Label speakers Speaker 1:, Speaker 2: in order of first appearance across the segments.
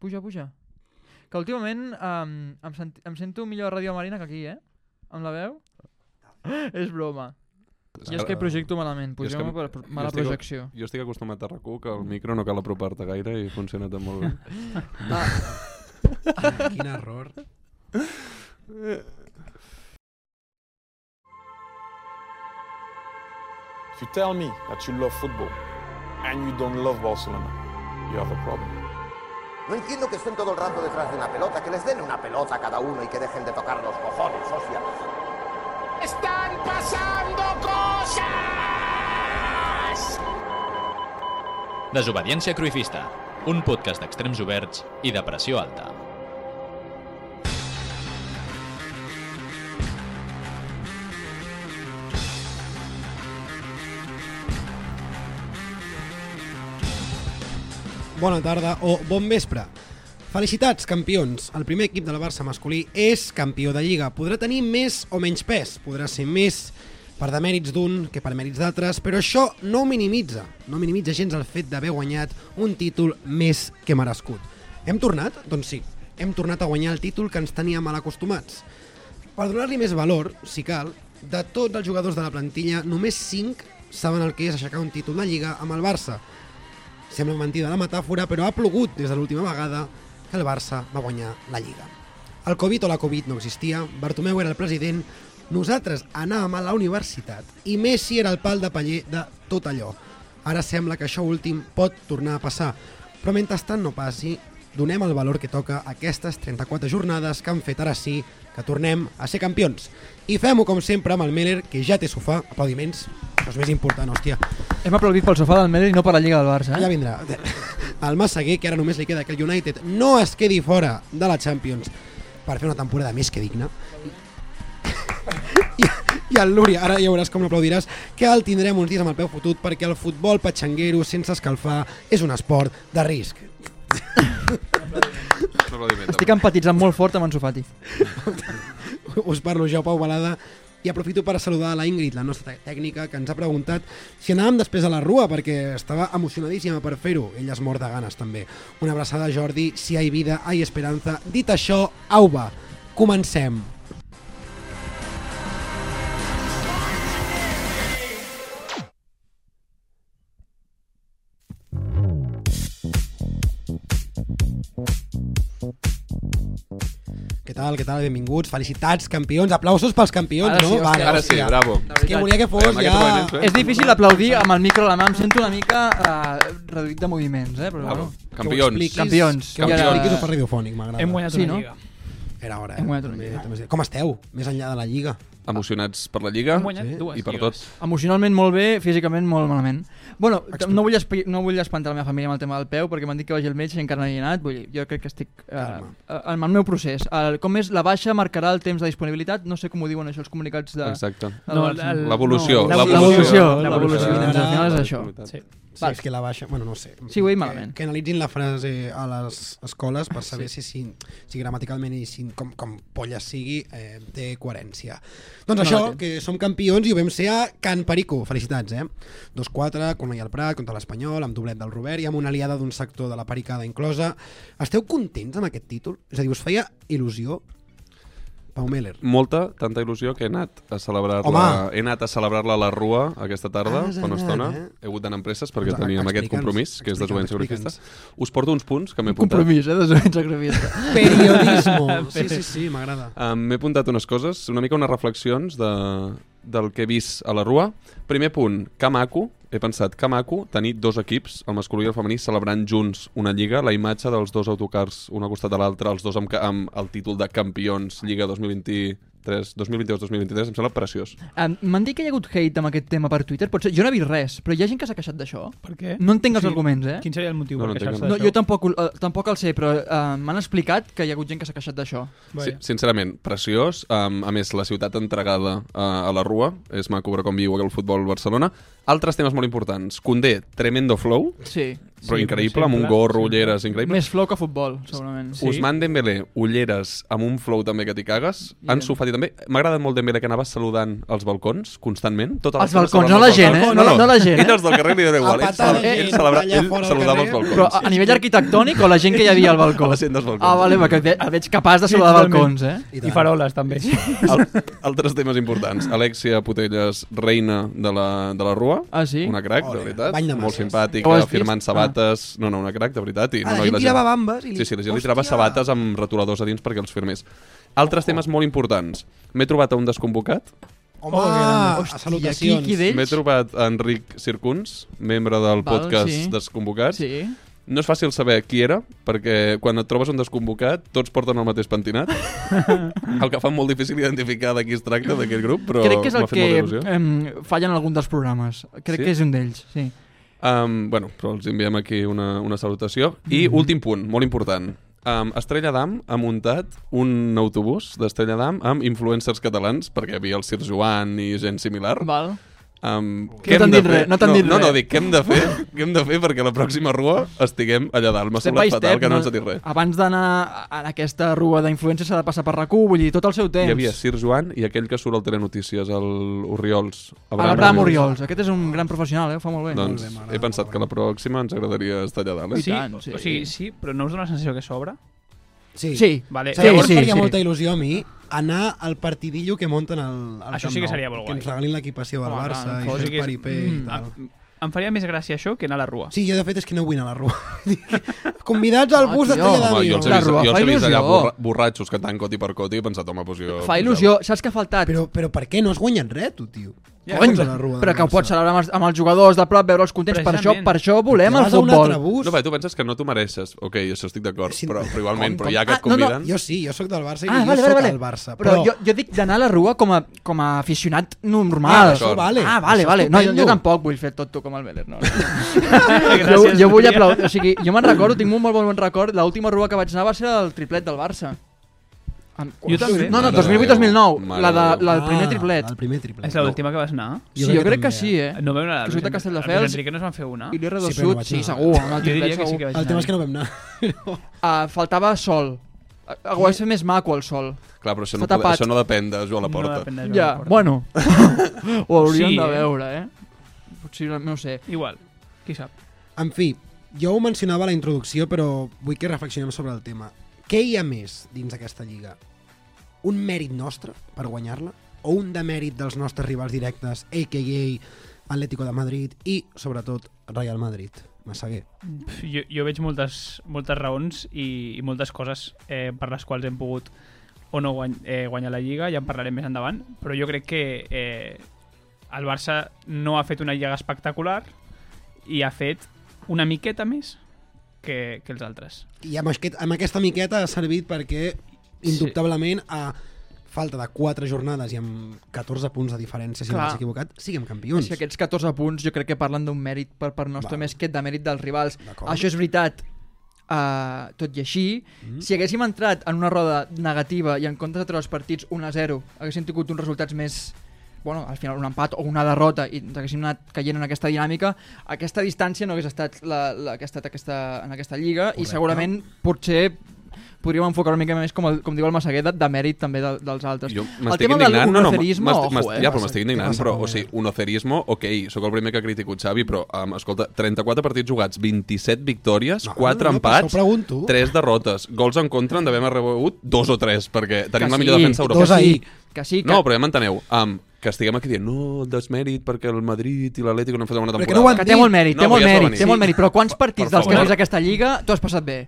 Speaker 1: Puja, puja. Que últimament um, em, sent, em sento millor a Ràdio Marina que aquí, eh? Amb la veu? és broma. I és que projecto malament,
Speaker 2: Ah. Jo és que
Speaker 1: pugem per
Speaker 2: m-
Speaker 1: per
Speaker 2: jo
Speaker 1: mala
Speaker 2: estic-
Speaker 1: projecció.
Speaker 2: Jo estic acostumat a rac que el micro no cal apropar-te gaire i funciona tan molt bé.
Speaker 1: Ah.
Speaker 3: Quin error.
Speaker 4: If you tell me that you love football and you don't love Barcelona, you have a problem.
Speaker 5: No entiendo que estén todo el rato detrás de una pelota, que les den una pelota a cada uno y que dejen de tocar los cojones, hostia.
Speaker 6: Están pasando cosas.
Speaker 7: Desobediència Cruifista, un podcast d'extrems oberts i de pressió alta.
Speaker 3: Bona tarda o bon vespre. Felicitats, campions. El primer equip del Barça masculí és campió de Lliga. Podrà tenir més o menys pes, podrà ser més per demèrits d'un que per mèrits d'altres, però això no ho minimitza, no minimitza gens el fet d'haver guanyat un títol més que merescut. Hem tornat? Doncs sí, hem tornat a guanyar el títol que ens tenia mal acostumats. Per donar-li més valor, si cal, de tots els jugadors de la plantilla, només 5 saben el que és aixecar un títol de Lliga amb el Barça. Sembla mentida la metàfora, però ha plogut des de l'última vegada que el Barça va guanyar la Lliga. El Covid o la Covid no existia, Bartomeu era el president, nosaltres anàvem a la universitat i Messi era el pal de paller de tot allò. Ara sembla que això últim pot tornar a passar, però mentrestant no passi, donem el valor que toca a aquestes 34 jornades que han fet ara sí que tornem a ser campions. I fem-ho com sempre amb el Meller, que ja té sofà, aplaudiments, això és més important, hòstia.
Speaker 1: Hem aplaudit pel sofà del Medellín i no per la Lliga del Barça,
Speaker 3: Ja
Speaker 1: eh?
Speaker 3: vindrà. El Massaguer, que ara només li queda que el United no es quedi fora de la Champions per fer una temporada més que digna. I, i el Lúria, ara ja veuràs com l'aplaudiràs, que el tindrem uns dies amb el peu fotut perquè el futbol patxanguero sense escalfar és un esport de risc.
Speaker 2: Un aplaudiment.
Speaker 1: Estic empatitzant molt fort amb en Sofati.
Speaker 3: us parlo jo, Pau Balada, i aprofito per saludar la Ingrid, la nostra tècnica, que ens ha preguntat si anàvem després a la rua, perquè estava emocionadíssima per fer-ho. Ella es mor de ganes, també. Una abraçada, Jordi, si hi ha vida, hi ha esperança. Dit això, au va, comencem. Què tal, què tal, benvinguts, felicitats, campions, aplausos pels campions,
Speaker 1: Ara sí,
Speaker 3: no?
Speaker 1: hòstia,
Speaker 2: Ara sí,
Speaker 3: hòstia.
Speaker 2: bravo.
Speaker 3: És que volia que fos
Speaker 2: Amb aquest
Speaker 3: ja...
Speaker 2: moment, eh?
Speaker 1: És difícil aplaudir amb el micro a la mà, em sento una mica eh, reduït de moviments, eh? Però,
Speaker 2: Bravo.
Speaker 1: bueno.
Speaker 3: Que ho
Speaker 2: Campions.
Speaker 3: expliquis-
Speaker 1: Campions.
Speaker 3: Que ho
Speaker 2: Ja era-
Speaker 3: expliquis ho fa radiofònic, m'agrada.
Speaker 8: Hem guanyat
Speaker 1: Sí,
Speaker 8: sí, una
Speaker 1: no?
Speaker 8: no? lliga.
Speaker 3: Era hora, eh?
Speaker 1: Hem guanyat una
Speaker 3: També-
Speaker 1: lliga.
Speaker 3: també és- Com esteu? Més enllà de la Lliga.
Speaker 2: Emocionats per la Lliga
Speaker 8: Hem guanyat
Speaker 3: Sí,
Speaker 8: dues
Speaker 2: i per tot.
Speaker 8: lligues.
Speaker 1: Emocionalment molt bé, físicament
Speaker 2: Ah.
Speaker 1: molt malament. Bueno, t- no vull, espe- no vull espantar la meva família amb el tema del peu perquè m'han dit que vagi al metge i encara no hi he anat. Vull dir, jo crec que estic eh,
Speaker 3: Calma.
Speaker 1: eh, en el meu procés. El, com és, la baixa marcarà el temps de disponibilitat? No sé com ho diuen això els comunicats de...
Speaker 2: Exacte.
Speaker 1: del
Speaker 8: No,
Speaker 1: Barça.
Speaker 8: el-
Speaker 2: L'evolució.
Speaker 8: no,
Speaker 1: Eh, L'evolució. L'evolució.
Speaker 8: l'evolució.
Speaker 3: L'evolució.
Speaker 1: Doncs Al final és això.
Speaker 8: Sí.
Speaker 3: Sí,
Speaker 1: Val.
Speaker 3: és que la baixa... Bueno, no ho sé.
Speaker 1: Sí, ho he dit
Speaker 3: Que-
Speaker 1: malament.
Speaker 3: Que analitzin la frase a les escoles per saber sí. si, si, si gramaticalment i si, com, com polla sigui eh, té coherència. Doncs
Speaker 1: No
Speaker 3: això,
Speaker 1: la té.
Speaker 3: que som campions i ho vam ser a Can Perico. Felicitats, eh? 2-4, Cornellà al Prat, contra l'Espanyol, amb doblet del Robert i amb una aliada d'un sector de la pericada inclosa. Esteu contents amb aquest títol? És a dir, us feia il·lusió? Pau Meller.
Speaker 2: Molta, tanta il·lusió que he anat a celebrar-la
Speaker 3: Home.
Speaker 2: he anat a celebrar-la a la Rua aquesta tarda,
Speaker 3: Has
Speaker 2: fa una
Speaker 3: anat,
Speaker 2: estona.
Speaker 3: eh?
Speaker 2: He hagut d'anar amb presses perquè
Speaker 3: Doncs,
Speaker 2: teníem aquest
Speaker 3: explica'ns,
Speaker 2: compromís, que és
Speaker 3: explica'ns,
Speaker 2: desobediència
Speaker 3: explica'ns.
Speaker 2: grafista. Us porto uns punts que m'he apuntat.
Speaker 1: Compromís, eh? Desobediència sacrifici.
Speaker 3: Periodismo. Sí, sí, sí, m'agrada.
Speaker 2: Um, M'he apuntat unes coses, una mica unes reflexions de, del que he vist a la Rua. Primer punt, que maco, he pensat, que maco tenir dos equips, el masculí i el femení, celebrant junts una lliga, la imatge dels dos autocars, un al costat de l'altre, els dos amb, ca- amb el títol de campions, Lliga 2023, 2022-2023, em sembla preciós.
Speaker 1: Em- M'han dit que hi ha hagut hate amb aquest tema per Twitter. Potser, jo no he vist res, però hi ha gent que s'ha queixat d'això.
Speaker 8: Per què?
Speaker 1: No entenc els arguments, eh?
Speaker 8: Eh? Quin seria el motiu
Speaker 2: No, no
Speaker 8: per
Speaker 2: entenc,
Speaker 8: queixar-se
Speaker 1: No,
Speaker 8: d'això?
Speaker 1: jo tampoc, eh, tampoc el sé, però eh, m'han explicat que hi ha hagut gent que s'ha queixat d'això.
Speaker 2: Sí,
Speaker 8: Vaja.
Speaker 2: sincerament, preciós. Um, a més, la ciutat entregada uh, a la Rua. És maco veure com viu el futbol Barcelona. Altres temes molt importants. Condé, tremendo flow,
Speaker 1: Sí.
Speaker 2: però
Speaker 8: Sí,
Speaker 2: increïble,
Speaker 8: com
Speaker 2: amb un
Speaker 8: sempre,
Speaker 2: gorro,
Speaker 8: sempre.
Speaker 2: ulleres, increïble.
Speaker 1: Més flow que futbol, segurament.
Speaker 8: Sí.
Speaker 2: Usman Dembélé, ulleres, amb un flow també que t'hi cagues.
Speaker 1: I
Speaker 2: Han
Speaker 1: tant.
Speaker 2: sofat comentari també. M'ha agradat molt Dembélé que anava saludant els balcons constantment. Tota
Speaker 1: Els balcons, no la gent, eh? No, no, la gent, eh?
Speaker 2: Ell els del carrer li dona igual.
Speaker 3: A
Speaker 2: Ell,
Speaker 3: patar
Speaker 2: ell,
Speaker 3: la gent,
Speaker 2: ell, celebra,
Speaker 3: allà
Speaker 2: ell
Speaker 3: fora al
Speaker 2: saludava els
Speaker 3: carrer.
Speaker 2: balcons.
Speaker 1: Però a, a nivell arquitectònic o la gent que hi havia al balcó?
Speaker 2: A la gent dels balcons.
Speaker 1: Ah, vale, perquè ve- et veig capaç de saludar
Speaker 8: Sí, totalment.
Speaker 1: balcons, eh?
Speaker 3: I,
Speaker 8: I faroles, també.
Speaker 2: Al, altres temes importants. Alexia Potelles, reina de la, de la Rua.
Speaker 1: Ah, sí?
Speaker 2: Una crac,
Speaker 3: Ole,
Speaker 2: de veritat.
Speaker 3: bany de
Speaker 2: Molt
Speaker 3: masses.
Speaker 1: Ho
Speaker 2: simpàtica,
Speaker 1: has vist? Ah.
Speaker 2: firmant sabates. No, no, una crac, de veritat. I,
Speaker 3: Ah,
Speaker 2: no,
Speaker 3: la
Speaker 2: i
Speaker 3: gent tirava bambes i li...
Speaker 2: Sí, sí, la gent li tirava sabates amb retoladors a dins perquè els firmés. Altres temes molt importants. M'he trobat a un desconvocat,
Speaker 3: Home,
Speaker 8: Oh, que gran.
Speaker 3: Hòstia,
Speaker 1: Ah, I aquí,
Speaker 3: Ah, salutacions.
Speaker 1: aquí
Speaker 2: m'he
Speaker 1: d'ells?
Speaker 2: trobat a Enric Circuns, membre del
Speaker 1: Val,
Speaker 2: podcast
Speaker 1: sí.
Speaker 2: Desconvocats.
Speaker 1: Sí.
Speaker 2: No és fàcil saber qui era, perquè quan et trobes un desconvocat, tots porten el mateix pentinat, el que fa molt difícil identificar de qui es tracta, d'aquest grup, però
Speaker 1: Crec que és el
Speaker 2: m'ha fet
Speaker 1: que
Speaker 2: molta il·lusió.
Speaker 1: em, falla en algun dels programes. Crec
Speaker 2: Sí?
Speaker 1: que és un d'ells, sí.
Speaker 2: Um, bueno, però els enviem aquí una, una salutació. I
Speaker 1: Mhm.
Speaker 2: últim punt, molt important. Um, Estrella d'Am ha muntat un autobús d'Estrella d'Am amb influencers catalans, perquè hi havia el Sir Joan i gent similar.
Speaker 1: Val.
Speaker 2: Um,
Speaker 1: t'han dit res, no t'han
Speaker 2: no,
Speaker 1: dit
Speaker 2: no,
Speaker 1: res.
Speaker 2: no, dic, què hem de fer? què hem de fer perquè la pròxima rua estiguem allà dalt? M'ha semblat fatal que no ens ha dit res.
Speaker 1: Abans d'anar a- a aquesta rua d'influència s'ha de passar per RAC1, vull dir, tot el seu temps.
Speaker 2: Hi havia Sir Joan i aquell que surt al Telenotícies, el Oriols.
Speaker 1: A l'Abraham Oriols. Aquest és un gran professional, eh? ho fa molt bé.
Speaker 2: Doncs he pensat que la pròxima ens agradaria estar allà dalt. Eh?
Speaker 8: Sí,
Speaker 1: tant, sí.
Speaker 8: o sigui, sí, però no us dona la sensació que s'obre?
Speaker 3: Sí.
Speaker 1: Sí.
Speaker 8: Vale.
Speaker 3: Sí, Llavors
Speaker 1: sí,
Speaker 3: sí, faria
Speaker 1: sí.
Speaker 3: molta il·lusió a mi anar al partidillo que munten al, al
Speaker 8: Això
Speaker 3: Camp
Speaker 8: sí que
Speaker 3: Nou,
Speaker 8: seria molt
Speaker 3: Que
Speaker 8: guai.
Speaker 3: ens regalin l'equipació del
Speaker 8: Home,
Speaker 3: Barça
Speaker 8: clar,
Speaker 3: i
Speaker 8: o
Speaker 3: fer
Speaker 8: sigui
Speaker 3: el
Speaker 8: que és- Mm, ah.
Speaker 3: paripé i tal.
Speaker 8: Em, em faria més gràcia això que anar a la rua.
Speaker 3: Sí, jo de fet és que no vull anar a la rua. Convidats al
Speaker 1: Ah,
Speaker 3: bus
Speaker 1: tio.
Speaker 3: d'Estrella
Speaker 2: Home, jo
Speaker 3: d'Avió.
Speaker 2: els he
Speaker 1: La
Speaker 2: vist,
Speaker 1: Rua fa
Speaker 2: jo els he vist allà
Speaker 1: il·lusió.
Speaker 2: borra, borratxos que tant coti per coti i he pensat, home, doncs jo...
Speaker 1: Fa il·lusió. Saps què ha faltat?
Speaker 3: Però, però per què? No has guanyat res, tu, tio.
Speaker 8: Ja,
Speaker 3: Com
Speaker 1: Cony,
Speaker 3: vas a la rua del
Speaker 1: però que ho
Speaker 3: Barça?
Speaker 1: pots celebrar amb els, amb els jugadors de prop, veure els contents. Per això,
Speaker 8: Precisament.
Speaker 1: per això volem
Speaker 3: Te
Speaker 1: el
Speaker 3: vas a un
Speaker 1: futbol.
Speaker 3: altre bus?
Speaker 2: No, bé, tu penses que no t'ho mereixes. Ok, això estic d'acord,
Speaker 3: Sí.
Speaker 2: però, però igualment, però ja
Speaker 1: Ah,
Speaker 2: que et
Speaker 1: no, no,
Speaker 2: conviden...
Speaker 3: Jo sí, jo sóc del Barça i
Speaker 1: Ah,
Speaker 3: jo
Speaker 1: vale,
Speaker 3: sóc
Speaker 1: vale, vale.
Speaker 3: del Barça.
Speaker 1: Però, jo, jo dic d'anar a la rua com a, com a aficionat normal.
Speaker 3: Ah, això vale.
Speaker 1: Ah, vale,
Speaker 3: Això
Speaker 1: vale. No, jo,
Speaker 3: estupendo.
Speaker 1: jo tampoc vull fer tot tu com el Beller. No. jo, jo vull aplaudir. O sigui, jo me'n recordo, tinc un molt bon record. L'última rua que vaig anar va ser el triplet del Barça. Amb...
Speaker 8: Jo també.
Speaker 1: No, no,
Speaker 8: Mare
Speaker 1: 2008-2009.
Speaker 2: de
Speaker 1: La, de,
Speaker 2: Déu.
Speaker 1: la del primer
Speaker 3: Ah,
Speaker 1: triplet.
Speaker 3: El primer triplet.
Speaker 8: És l'última que vas anar?
Speaker 1: Sí, jo crec que sí, eh?
Speaker 8: No vam anar.
Speaker 1: Que surt a Castelldefels.
Speaker 8: Els Enrique no es van fer una.
Speaker 1: I l'he
Speaker 3: Sí, però no
Speaker 1: reducit,
Speaker 3: vaig
Speaker 1: sí,
Speaker 3: anar.
Speaker 1: segur. Amb el
Speaker 8: Jo diria
Speaker 1: triplet,
Speaker 8: que sí
Speaker 1: segur.
Speaker 8: que vaig anar.
Speaker 3: El tema és que no vam anar.
Speaker 1: Ah, faltava sol. Ah, Ho has fet més maco, el sol.
Speaker 2: Clar, però això no,
Speaker 1: Està
Speaker 2: pode,
Speaker 1: tapat.
Speaker 2: això no depèn de Joan
Speaker 8: No
Speaker 2: Laporta.
Speaker 8: depèn de Joan
Speaker 1: Ja,
Speaker 8: Laporta.
Speaker 1: bueno. Ho hauríem
Speaker 8: Sí,
Speaker 1: de
Speaker 8: eh?
Speaker 1: veure, eh? Potser, no ho sé.
Speaker 8: Igual, qui sap.
Speaker 3: En fi, jo ho mencionava a la introducció, però vull que reflexionem sobre el tema. Què hi ha més dins d'aquesta lliga? Un mèrit nostre per guanyar-la? O un demèrit dels nostres rivals directes, a.k.a. Atlético de Madrid i, sobretot, Real Madrid? Massaguer.
Speaker 8: Pf, Jo, jo veig moltes, moltes raons i, i moltes coses eh, per les quals hem pogut o no guany, eh, guanyar la Lliga, ja en parlarem més endavant, però jo crec que eh, el Barça no ha fet una Lliga espectacular i ha fet una miqueta més que, que els altres.
Speaker 3: I amb, aquest, amb aquesta miqueta ha servit perquè, indubtablement, a falta de 4 jornades i amb 14 punts de diferència, si
Speaker 1: Clar.
Speaker 3: no m'has equivocat, siguem
Speaker 1: És
Speaker 3: campions.
Speaker 1: que aquests 14 punts jo crec que parlen d'un mèrit per part nostra
Speaker 3: Val.
Speaker 1: més que de mèrit dels rivals.
Speaker 3: D'acord.
Speaker 1: Això és veritat. Uh, tot i així, mm. si haguéssim entrat en una roda negativa i en comptes de treure els partits 1-0, haguéssim tingut uns resultats més... Bueno, al final un empat o una derrota i ens haguéssim anat caient en aquesta dinàmica, aquesta distància no hagués estat la, la que ha estat aquesta, en aquesta lliga Correcte. i
Speaker 3: Correcte.
Speaker 1: segurament potser podríem enfocar una mica més, com, el, com diu el Massaguer, de, de mèrit també de, dels altres.
Speaker 2: Jo
Speaker 1: el
Speaker 2: m'estic
Speaker 1: tema de
Speaker 2: indignant, no, no,
Speaker 1: l'unocerisme,
Speaker 2: m'estic-
Speaker 1: ojo, eh?
Speaker 2: m'estic- ja, però
Speaker 3: Passa-
Speaker 2: m'estic
Speaker 3: què
Speaker 2: indignant,
Speaker 3: passa
Speaker 2: però,
Speaker 3: molt
Speaker 2: o
Speaker 3: bé.
Speaker 2: sigui, unocerismo, ok, sóc el primer que critico Xavi, però, um, escolta, 34 partits jugats, 27 victòries,
Speaker 3: No,
Speaker 2: 4
Speaker 3: no, no, però això
Speaker 2: empats,
Speaker 3: ho pregunto.
Speaker 2: 3 derrotes, gols en contra, en devem haver rebut 2 o 3, perquè tenim
Speaker 1: Que
Speaker 2: la millor
Speaker 1: sí,
Speaker 2: defensa
Speaker 1: que
Speaker 2: europea.
Speaker 3: Dos ahir.
Speaker 1: Que sí, que,
Speaker 2: No, però ja m'enteneu. Um, que estiguem aquí dient, no, el desmèrit perquè el Madrid i l'Atlético no han fet una
Speaker 3: Perquè
Speaker 2: temporada.
Speaker 3: no ho han
Speaker 1: Que té molt mèrit,
Speaker 2: No,
Speaker 1: té molt
Speaker 2: ja es va
Speaker 1: mèrit,
Speaker 2: venir.
Speaker 1: té molt mèrit, però quants partits
Speaker 2: Per
Speaker 1: dels que
Speaker 2: favor.
Speaker 1: has vist aquesta lliga t'ho has passat bé?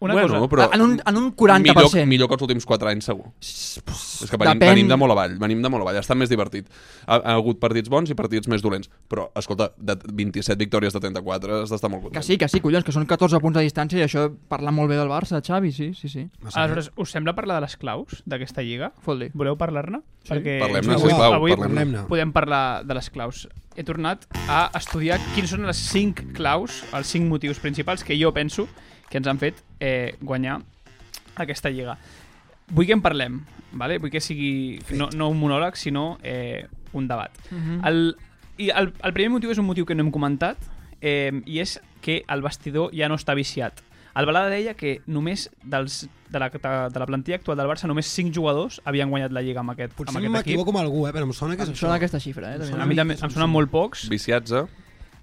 Speaker 8: Una
Speaker 2: bueno,
Speaker 8: cosa,
Speaker 2: però
Speaker 1: en un, en un 40%.
Speaker 2: Millor, millor que els últims 4 anys, segur. És que venim,
Speaker 1: depèn-
Speaker 2: venim de molt avall, venim de molt avall, ha estat més divertit. Ha, ha hagut partits bons i partits més dolents, però, escolta, de 27 victòries de 34 has d'estar molt content.
Speaker 1: Que sí, que sí, collons, que són 14 punts de distància i això parla molt bé del Barça, Xavi, sí, sí, sí.
Speaker 8: aleshores, us sembla parlar de les claus d'aquesta Lliga?
Speaker 1: Fot-li.
Speaker 8: Voleu parlar-ne? Sí. Perquè
Speaker 2: Parlem-ne,
Speaker 8: avui,
Speaker 2: sisplau,
Speaker 8: avui
Speaker 2: parlem-ne.
Speaker 3: Parlem-ne.
Speaker 8: podem parlar de les claus. He tornat a estudiar quins són les 5 claus, els 5 motius principals que jo penso que ens han fet eh, guanyar aquesta lliga. Vull que en parlem, vale? vull que sigui no, no un monòleg, sinó eh, un debat.
Speaker 1: Mhm.
Speaker 8: el, i el, el primer motiu és un motiu que no hem comentat eh, i és que el vestidor ja no està viciat. El Balada deia que només dels, de, la, de, de la plantilla actual del Barça, només 5 jugadors havien guanyat la Lliga amb aquest, amb
Speaker 3: Potser
Speaker 8: aquest equip.
Speaker 3: m'equivoco amb algú, eh? però em sona que és
Speaker 1: Em
Speaker 3: això.
Speaker 1: sona aquesta xifra, eh?
Speaker 8: A
Speaker 1: També.
Speaker 8: mi també em sonen molt pocs.
Speaker 2: Viciats, eh?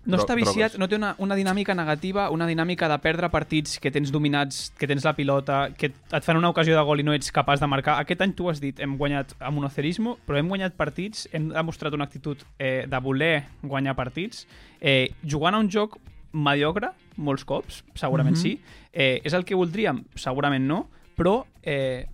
Speaker 8: No està
Speaker 2: Dro-
Speaker 8: viciat,
Speaker 2: drogues.
Speaker 8: no té una, una dinàmica negativa, una dinàmica de perdre partits que tens dominats, que tens la pilota, que et fan una ocasió de gol i no ets capaç de marcar. Aquest any tu has dit, hem guanyat amb monocerismo, però hem guanyat partits, hem demostrat una actitud eh, de voler guanyar partits, eh, jugant a un joc mediocre, molts cops, segurament
Speaker 2: Mhm.
Speaker 8: mm -hmm. sí. Eh, és el que voldríem? Segurament no, però eh,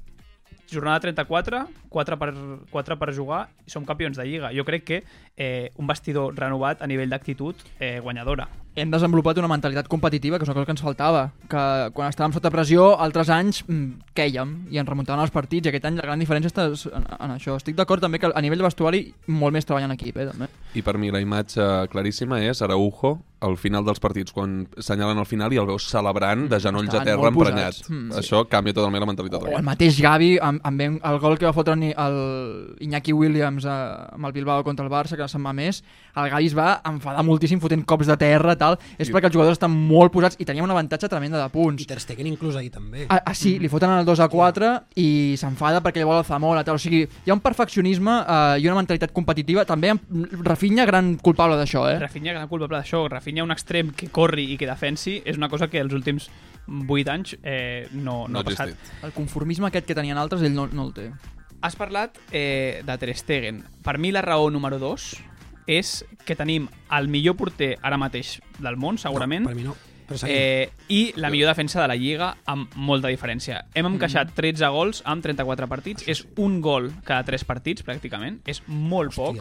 Speaker 8: jornada 34, 4 per, 4 per jugar, i som campions de Lliga. Jo crec que eh, un vestidor renovat a nivell d'actitud eh, guanyadora.
Speaker 1: Hem desenvolupat una mentalitat competitiva, que és una cosa que ens faltava, que quan estàvem sota pressió, altres anys mm, quèiem i ens remuntaven els partits, i aquest any la gran diferència està en, en això. Estic d'acord també que a nivell de vestuari molt més treballant en equip, eh, també.
Speaker 2: I per mi la imatge claríssima és Araujo al final dels partits, quan senyalen al final i el veus celebrant de genolls a
Speaker 1: Mm, Estaven
Speaker 2: terra
Speaker 1: molt
Speaker 2: emprenyat.
Speaker 1: posats. Mm, sí.
Speaker 2: Això canvia totalment la mentalitat.
Speaker 1: O el mateix Gavi, amb, amb ben- el gol que va fotre ni- el Iñaki Williams a, amb el Bilbao contra el Barça, que se'n va més, el Gavi es va enfadar moltíssim fotent cops de terra, tal. És
Speaker 2: I-
Speaker 1: perquè els jugadors estan molt posats i teníem un avantatge tremenda de punts.
Speaker 3: I Ter Stegen inclús ahir també.
Speaker 1: Ah, ah sí, li foten el 2 a 4 i s'enfada perquè li vol el Zamora. Tal. O sigui, hi ha un perfeccionisme eh, i una mentalitat competitiva. També en- Rafinha, gran culpable d'això, eh?
Speaker 8: Rafinha, gran culpable d'això, Rafinha, un extrem que corri i que defensi, és una cosa que els últims 8 anys eh, no, no,
Speaker 2: No
Speaker 8: ha passat.
Speaker 2: existit.
Speaker 1: El conformisme aquest que tenien altres, ell no, no el té.
Speaker 8: Has parlat eh, de Ter Stegen. Per mi la raó número 2 és que tenim el millor porter ara mateix del món, segurament,
Speaker 3: No, per mi no. Però seguim.
Speaker 8: eh, i la millor defensa de la Lliga amb molta diferència. Hem
Speaker 3: Mm.
Speaker 8: encaixat 13 gols amb 34 partits, és un gol cada 3 partits, pràcticament, és molt
Speaker 3: Hòstia.
Speaker 8: poc.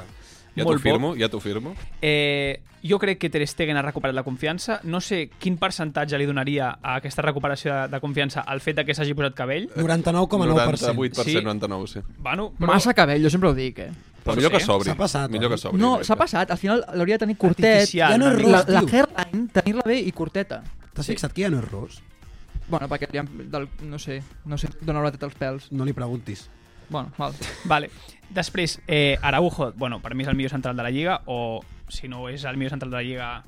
Speaker 2: Ja t'ho
Speaker 8: molt poc.
Speaker 2: firmo, ja t'ho firmo.
Speaker 8: Eh, jo crec que Ter Stegen ha recuperat la confiança. No sé quin percentatge li donaria a aquesta recuperació de, de confiança al fet de que s'hagi posat cabell.
Speaker 3: Eh. 99,9%.
Speaker 2: 98%,
Speaker 8: Sí.
Speaker 2: 99, sí.
Speaker 8: Bueno,
Speaker 1: Però... Massa cabell, jo sempre ho dic, eh?
Speaker 2: Però
Speaker 8: Pot
Speaker 2: millor que
Speaker 8: ser.
Speaker 2: s'obri.
Speaker 3: S'ha passat,
Speaker 2: Millor
Speaker 3: eh?
Speaker 2: que s'obri.
Speaker 1: No,
Speaker 2: directe.
Speaker 1: s'ha passat. Al final l'hauria de tenir curtet.
Speaker 8: Artificial,
Speaker 3: Ja no és
Speaker 8: una
Speaker 3: ros,
Speaker 1: la, la
Speaker 3: tio.
Speaker 1: hairline, tenir-la bé i curteta.
Speaker 3: T'has fixat que ja no és ros?
Speaker 1: Bueno, perquè li han, del, no sé, no sé d'on haurà tret els pèls.
Speaker 3: No li preguntis.
Speaker 1: Bueno, val.
Speaker 8: Vale. Després, eh, Araujo, bueno, per mi és el millor central de la Lliga, o si no és el millor central de la Lliga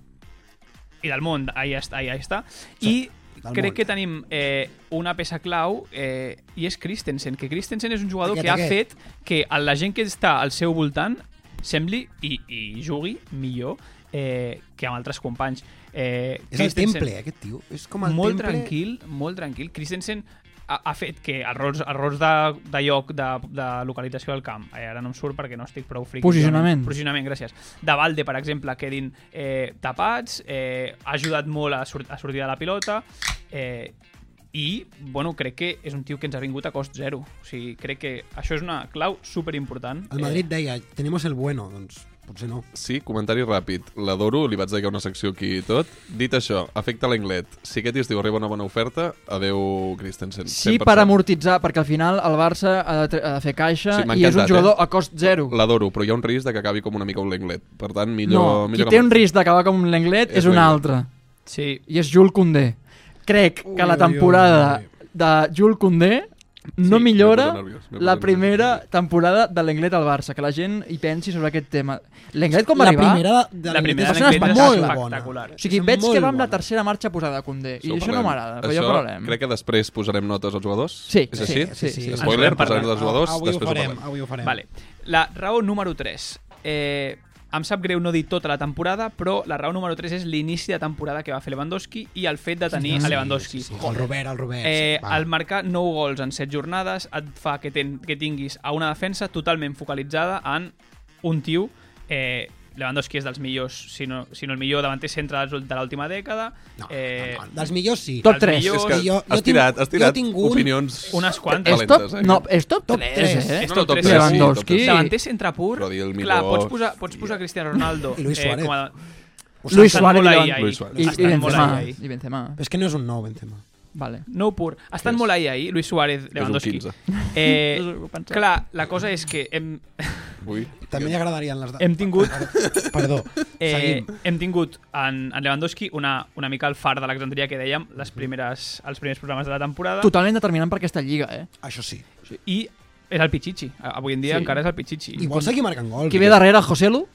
Speaker 8: i del món, ahí està. Ahí, ahí està. I
Speaker 3: del
Speaker 8: crec
Speaker 3: món.
Speaker 8: que tenim eh, una peça clau eh, i és Christensen, que Christensen és un jugador
Speaker 3: Aquest,
Speaker 8: que ha
Speaker 3: aquest.
Speaker 8: fet que a la gent que està al seu voltant sembli i, i jugui millor eh, que amb altres companys. Eh,
Speaker 3: És el
Speaker 8: Christensen-
Speaker 3: temple, aquest tio. És com el
Speaker 8: molt
Speaker 3: temple...
Speaker 8: tranquil, molt tranquil. Christensen ha, ha fet que errors, errors de, de lloc, de, de localització del camp, eh, ara no em surt perquè no estic prou friqui.
Speaker 1: Posicionament.
Speaker 8: Posicionament, gràcies. De Valde, per exemple, quedin eh, tapats, eh, ha ajudat molt a, sur a sortir de la pilota, eh, i, bueno, crec que és un tio que ens ha vingut a cost zero. O sigui, crec que això és una clau superimportant.
Speaker 3: El Madrid deia, tenemos el bueno, doncs potser no.
Speaker 2: Sí, comentari ràpid. L'adoro, li vaig dedicar una secció aquí i tot. Dit això, afecta l'anglet. Si aquest estiu arriba una bona oferta, adeu Christensen.
Speaker 1: Sí,
Speaker 2: 100%.
Speaker 1: per amortitzar, perquè al final el Barça ha de, tre- ha de fer caixa
Speaker 2: Sí, m'ha
Speaker 1: sí, i és un
Speaker 2: encantat,
Speaker 1: jugador
Speaker 2: eh?
Speaker 1: a cost zero.
Speaker 2: L'adoro, però hi ha un risc de que acabi com una mica un l'anglet. Per tant,
Speaker 1: no,
Speaker 2: millor... millor
Speaker 1: qui té
Speaker 2: amb-
Speaker 1: un risc d'acabar com l'Englet és
Speaker 2: És
Speaker 1: un
Speaker 2: Lenglet.
Speaker 1: altre,
Speaker 8: Eh, sí,
Speaker 1: i és Jules Condé. Crec que la
Speaker 3: ui,
Speaker 1: temporada de Jules Condé no
Speaker 2: Sí,
Speaker 1: millora
Speaker 2: m'he posat nerviós, m'he
Speaker 1: la
Speaker 2: posat
Speaker 1: primera
Speaker 2: nerviós.
Speaker 1: temporada de l'Englet al Barça, que la gent hi pensi sobre aquest tema. L'Englet com va
Speaker 3: la
Speaker 1: arribar?
Speaker 3: primera de
Speaker 8: La primera
Speaker 1: de l'Anglet
Speaker 3: és
Speaker 1: és
Speaker 3: molt
Speaker 8: espectacular.
Speaker 3: bona.
Speaker 1: O sigui,
Speaker 3: És
Speaker 1: veig
Speaker 3: molt
Speaker 1: que va amb
Speaker 3: bona.
Speaker 1: la tercera marxa posada a Condé, i
Speaker 2: Això ho
Speaker 1: això no
Speaker 2: parlem.
Speaker 1: m'agrada, però
Speaker 2: Això
Speaker 1: ja parlarem.
Speaker 2: crec que després posarem notes als jugadors.
Speaker 1: Sí,
Speaker 2: És
Speaker 1: sí,
Speaker 2: així?
Speaker 1: sí, sí, sí.
Speaker 2: Spoiler,
Speaker 8: Ens en
Speaker 2: posarem
Speaker 8: parlem.
Speaker 2: notes als jugadors,
Speaker 3: avui
Speaker 2: després
Speaker 3: ho farem,
Speaker 2: ho parlem.
Speaker 3: avui ho farem.
Speaker 8: Vale. La raó número 3. Eh, em sap greu no dir tota la temporada, però la raó número 3 és l'inici de temporada que va fer Lewandowski i el fet de tenir a Lewandowski.
Speaker 3: Sí, sí, el Robert, el Robert.
Speaker 8: Eh,
Speaker 3: sí, va.
Speaker 8: el marcar 9 gols en 7 jornades et fa que, ten, que tinguis a una defensa totalment focalitzada en un tio. Eh, Lewandowski és dels millors, si no, si no el millor davanter centre de l'última- de l'última dècada.
Speaker 3: No,
Speaker 8: eh,
Speaker 3: no, no. Dels millors sí.
Speaker 1: Top
Speaker 8: el
Speaker 1: 3.
Speaker 8: millor-
Speaker 2: És que
Speaker 3: Jo- jo
Speaker 2: has
Speaker 3: tinc-
Speaker 2: tirat, has
Speaker 3: jo
Speaker 2: tirat
Speaker 3: tinc un-
Speaker 2: opinions...
Speaker 8: unes quantes.
Speaker 1: És
Speaker 2: valentes,
Speaker 1: top,
Speaker 2: eh?
Speaker 1: no, és top
Speaker 3: Top
Speaker 1: 3,
Speaker 3: tres.
Speaker 1: eh?
Speaker 8: És
Speaker 2: No, no, top
Speaker 8: top
Speaker 2: 3,
Speaker 8: tres.
Speaker 1: Lewandowski.
Speaker 2: Sí, top
Speaker 8: Davanter centre pur,
Speaker 2: Però dir el Miró,
Speaker 8: clar, pots posar, pots
Speaker 2: hòstia.
Speaker 8: posar Cristiano Ronaldo
Speaker 3: I Luis
Speaker 8: eh,
Speaker 3: Suárez.
Speaker 8: com a,
Speaker 3: Ho
Speaker 1: Luis
Speaker 3: saps?
Speaker 8: Estan
Speaker 1: Suárez
Speaker 8: molt
Speaker 1: i
Speaker 8: ahí,
Speaker 1: Levan-
Speaker 8: ahí.
Speaker 2: Luis Suárez.
Speaker 1: i, i
Speaker 8: Estan molt
Speaker 1: Benzema.
Speaker 8: ahí, ahí.
Speaker 1: I Benzema.
Speaker 3: Però és que no és un nou Benzema.
Speaker 1: Vale.
Speaker 8: No pur. Estan
Speaker 2: Yes.
Speaker 8: molt ahí, ahí, Luis Suárez, Lewandowski.
Speaker 2: 15.
Speaker 8: Eh,
Speaker 1: És el que pensava.
Speaker 8: clar, la cosa és que hem,
Speaker 2: Ui,
Speaker 3: També li agradarien les...
Speaker 8: hem tingut...
Speaker 3: Perdó,
Speaker 8: Eh,
Speaker 3: seguim.
Speaker 8: hem tingut en, en Lewandowski una, una mica el far de l'Alexandria que dèiem les primeres, els primers programes de la temporada
Speaker 1: Totalment determinant per aquesta lliga, eh?
Speaker 3: Això sí.
Speaker 8: i és el Pichichi. Avui en dia
Speaker 1: Sí.
Speaker 8: encara és el Pichichi.
Speaker 3: I vol seguir marcant gols.
Speaker 1: Qui ve darrere, Joselu?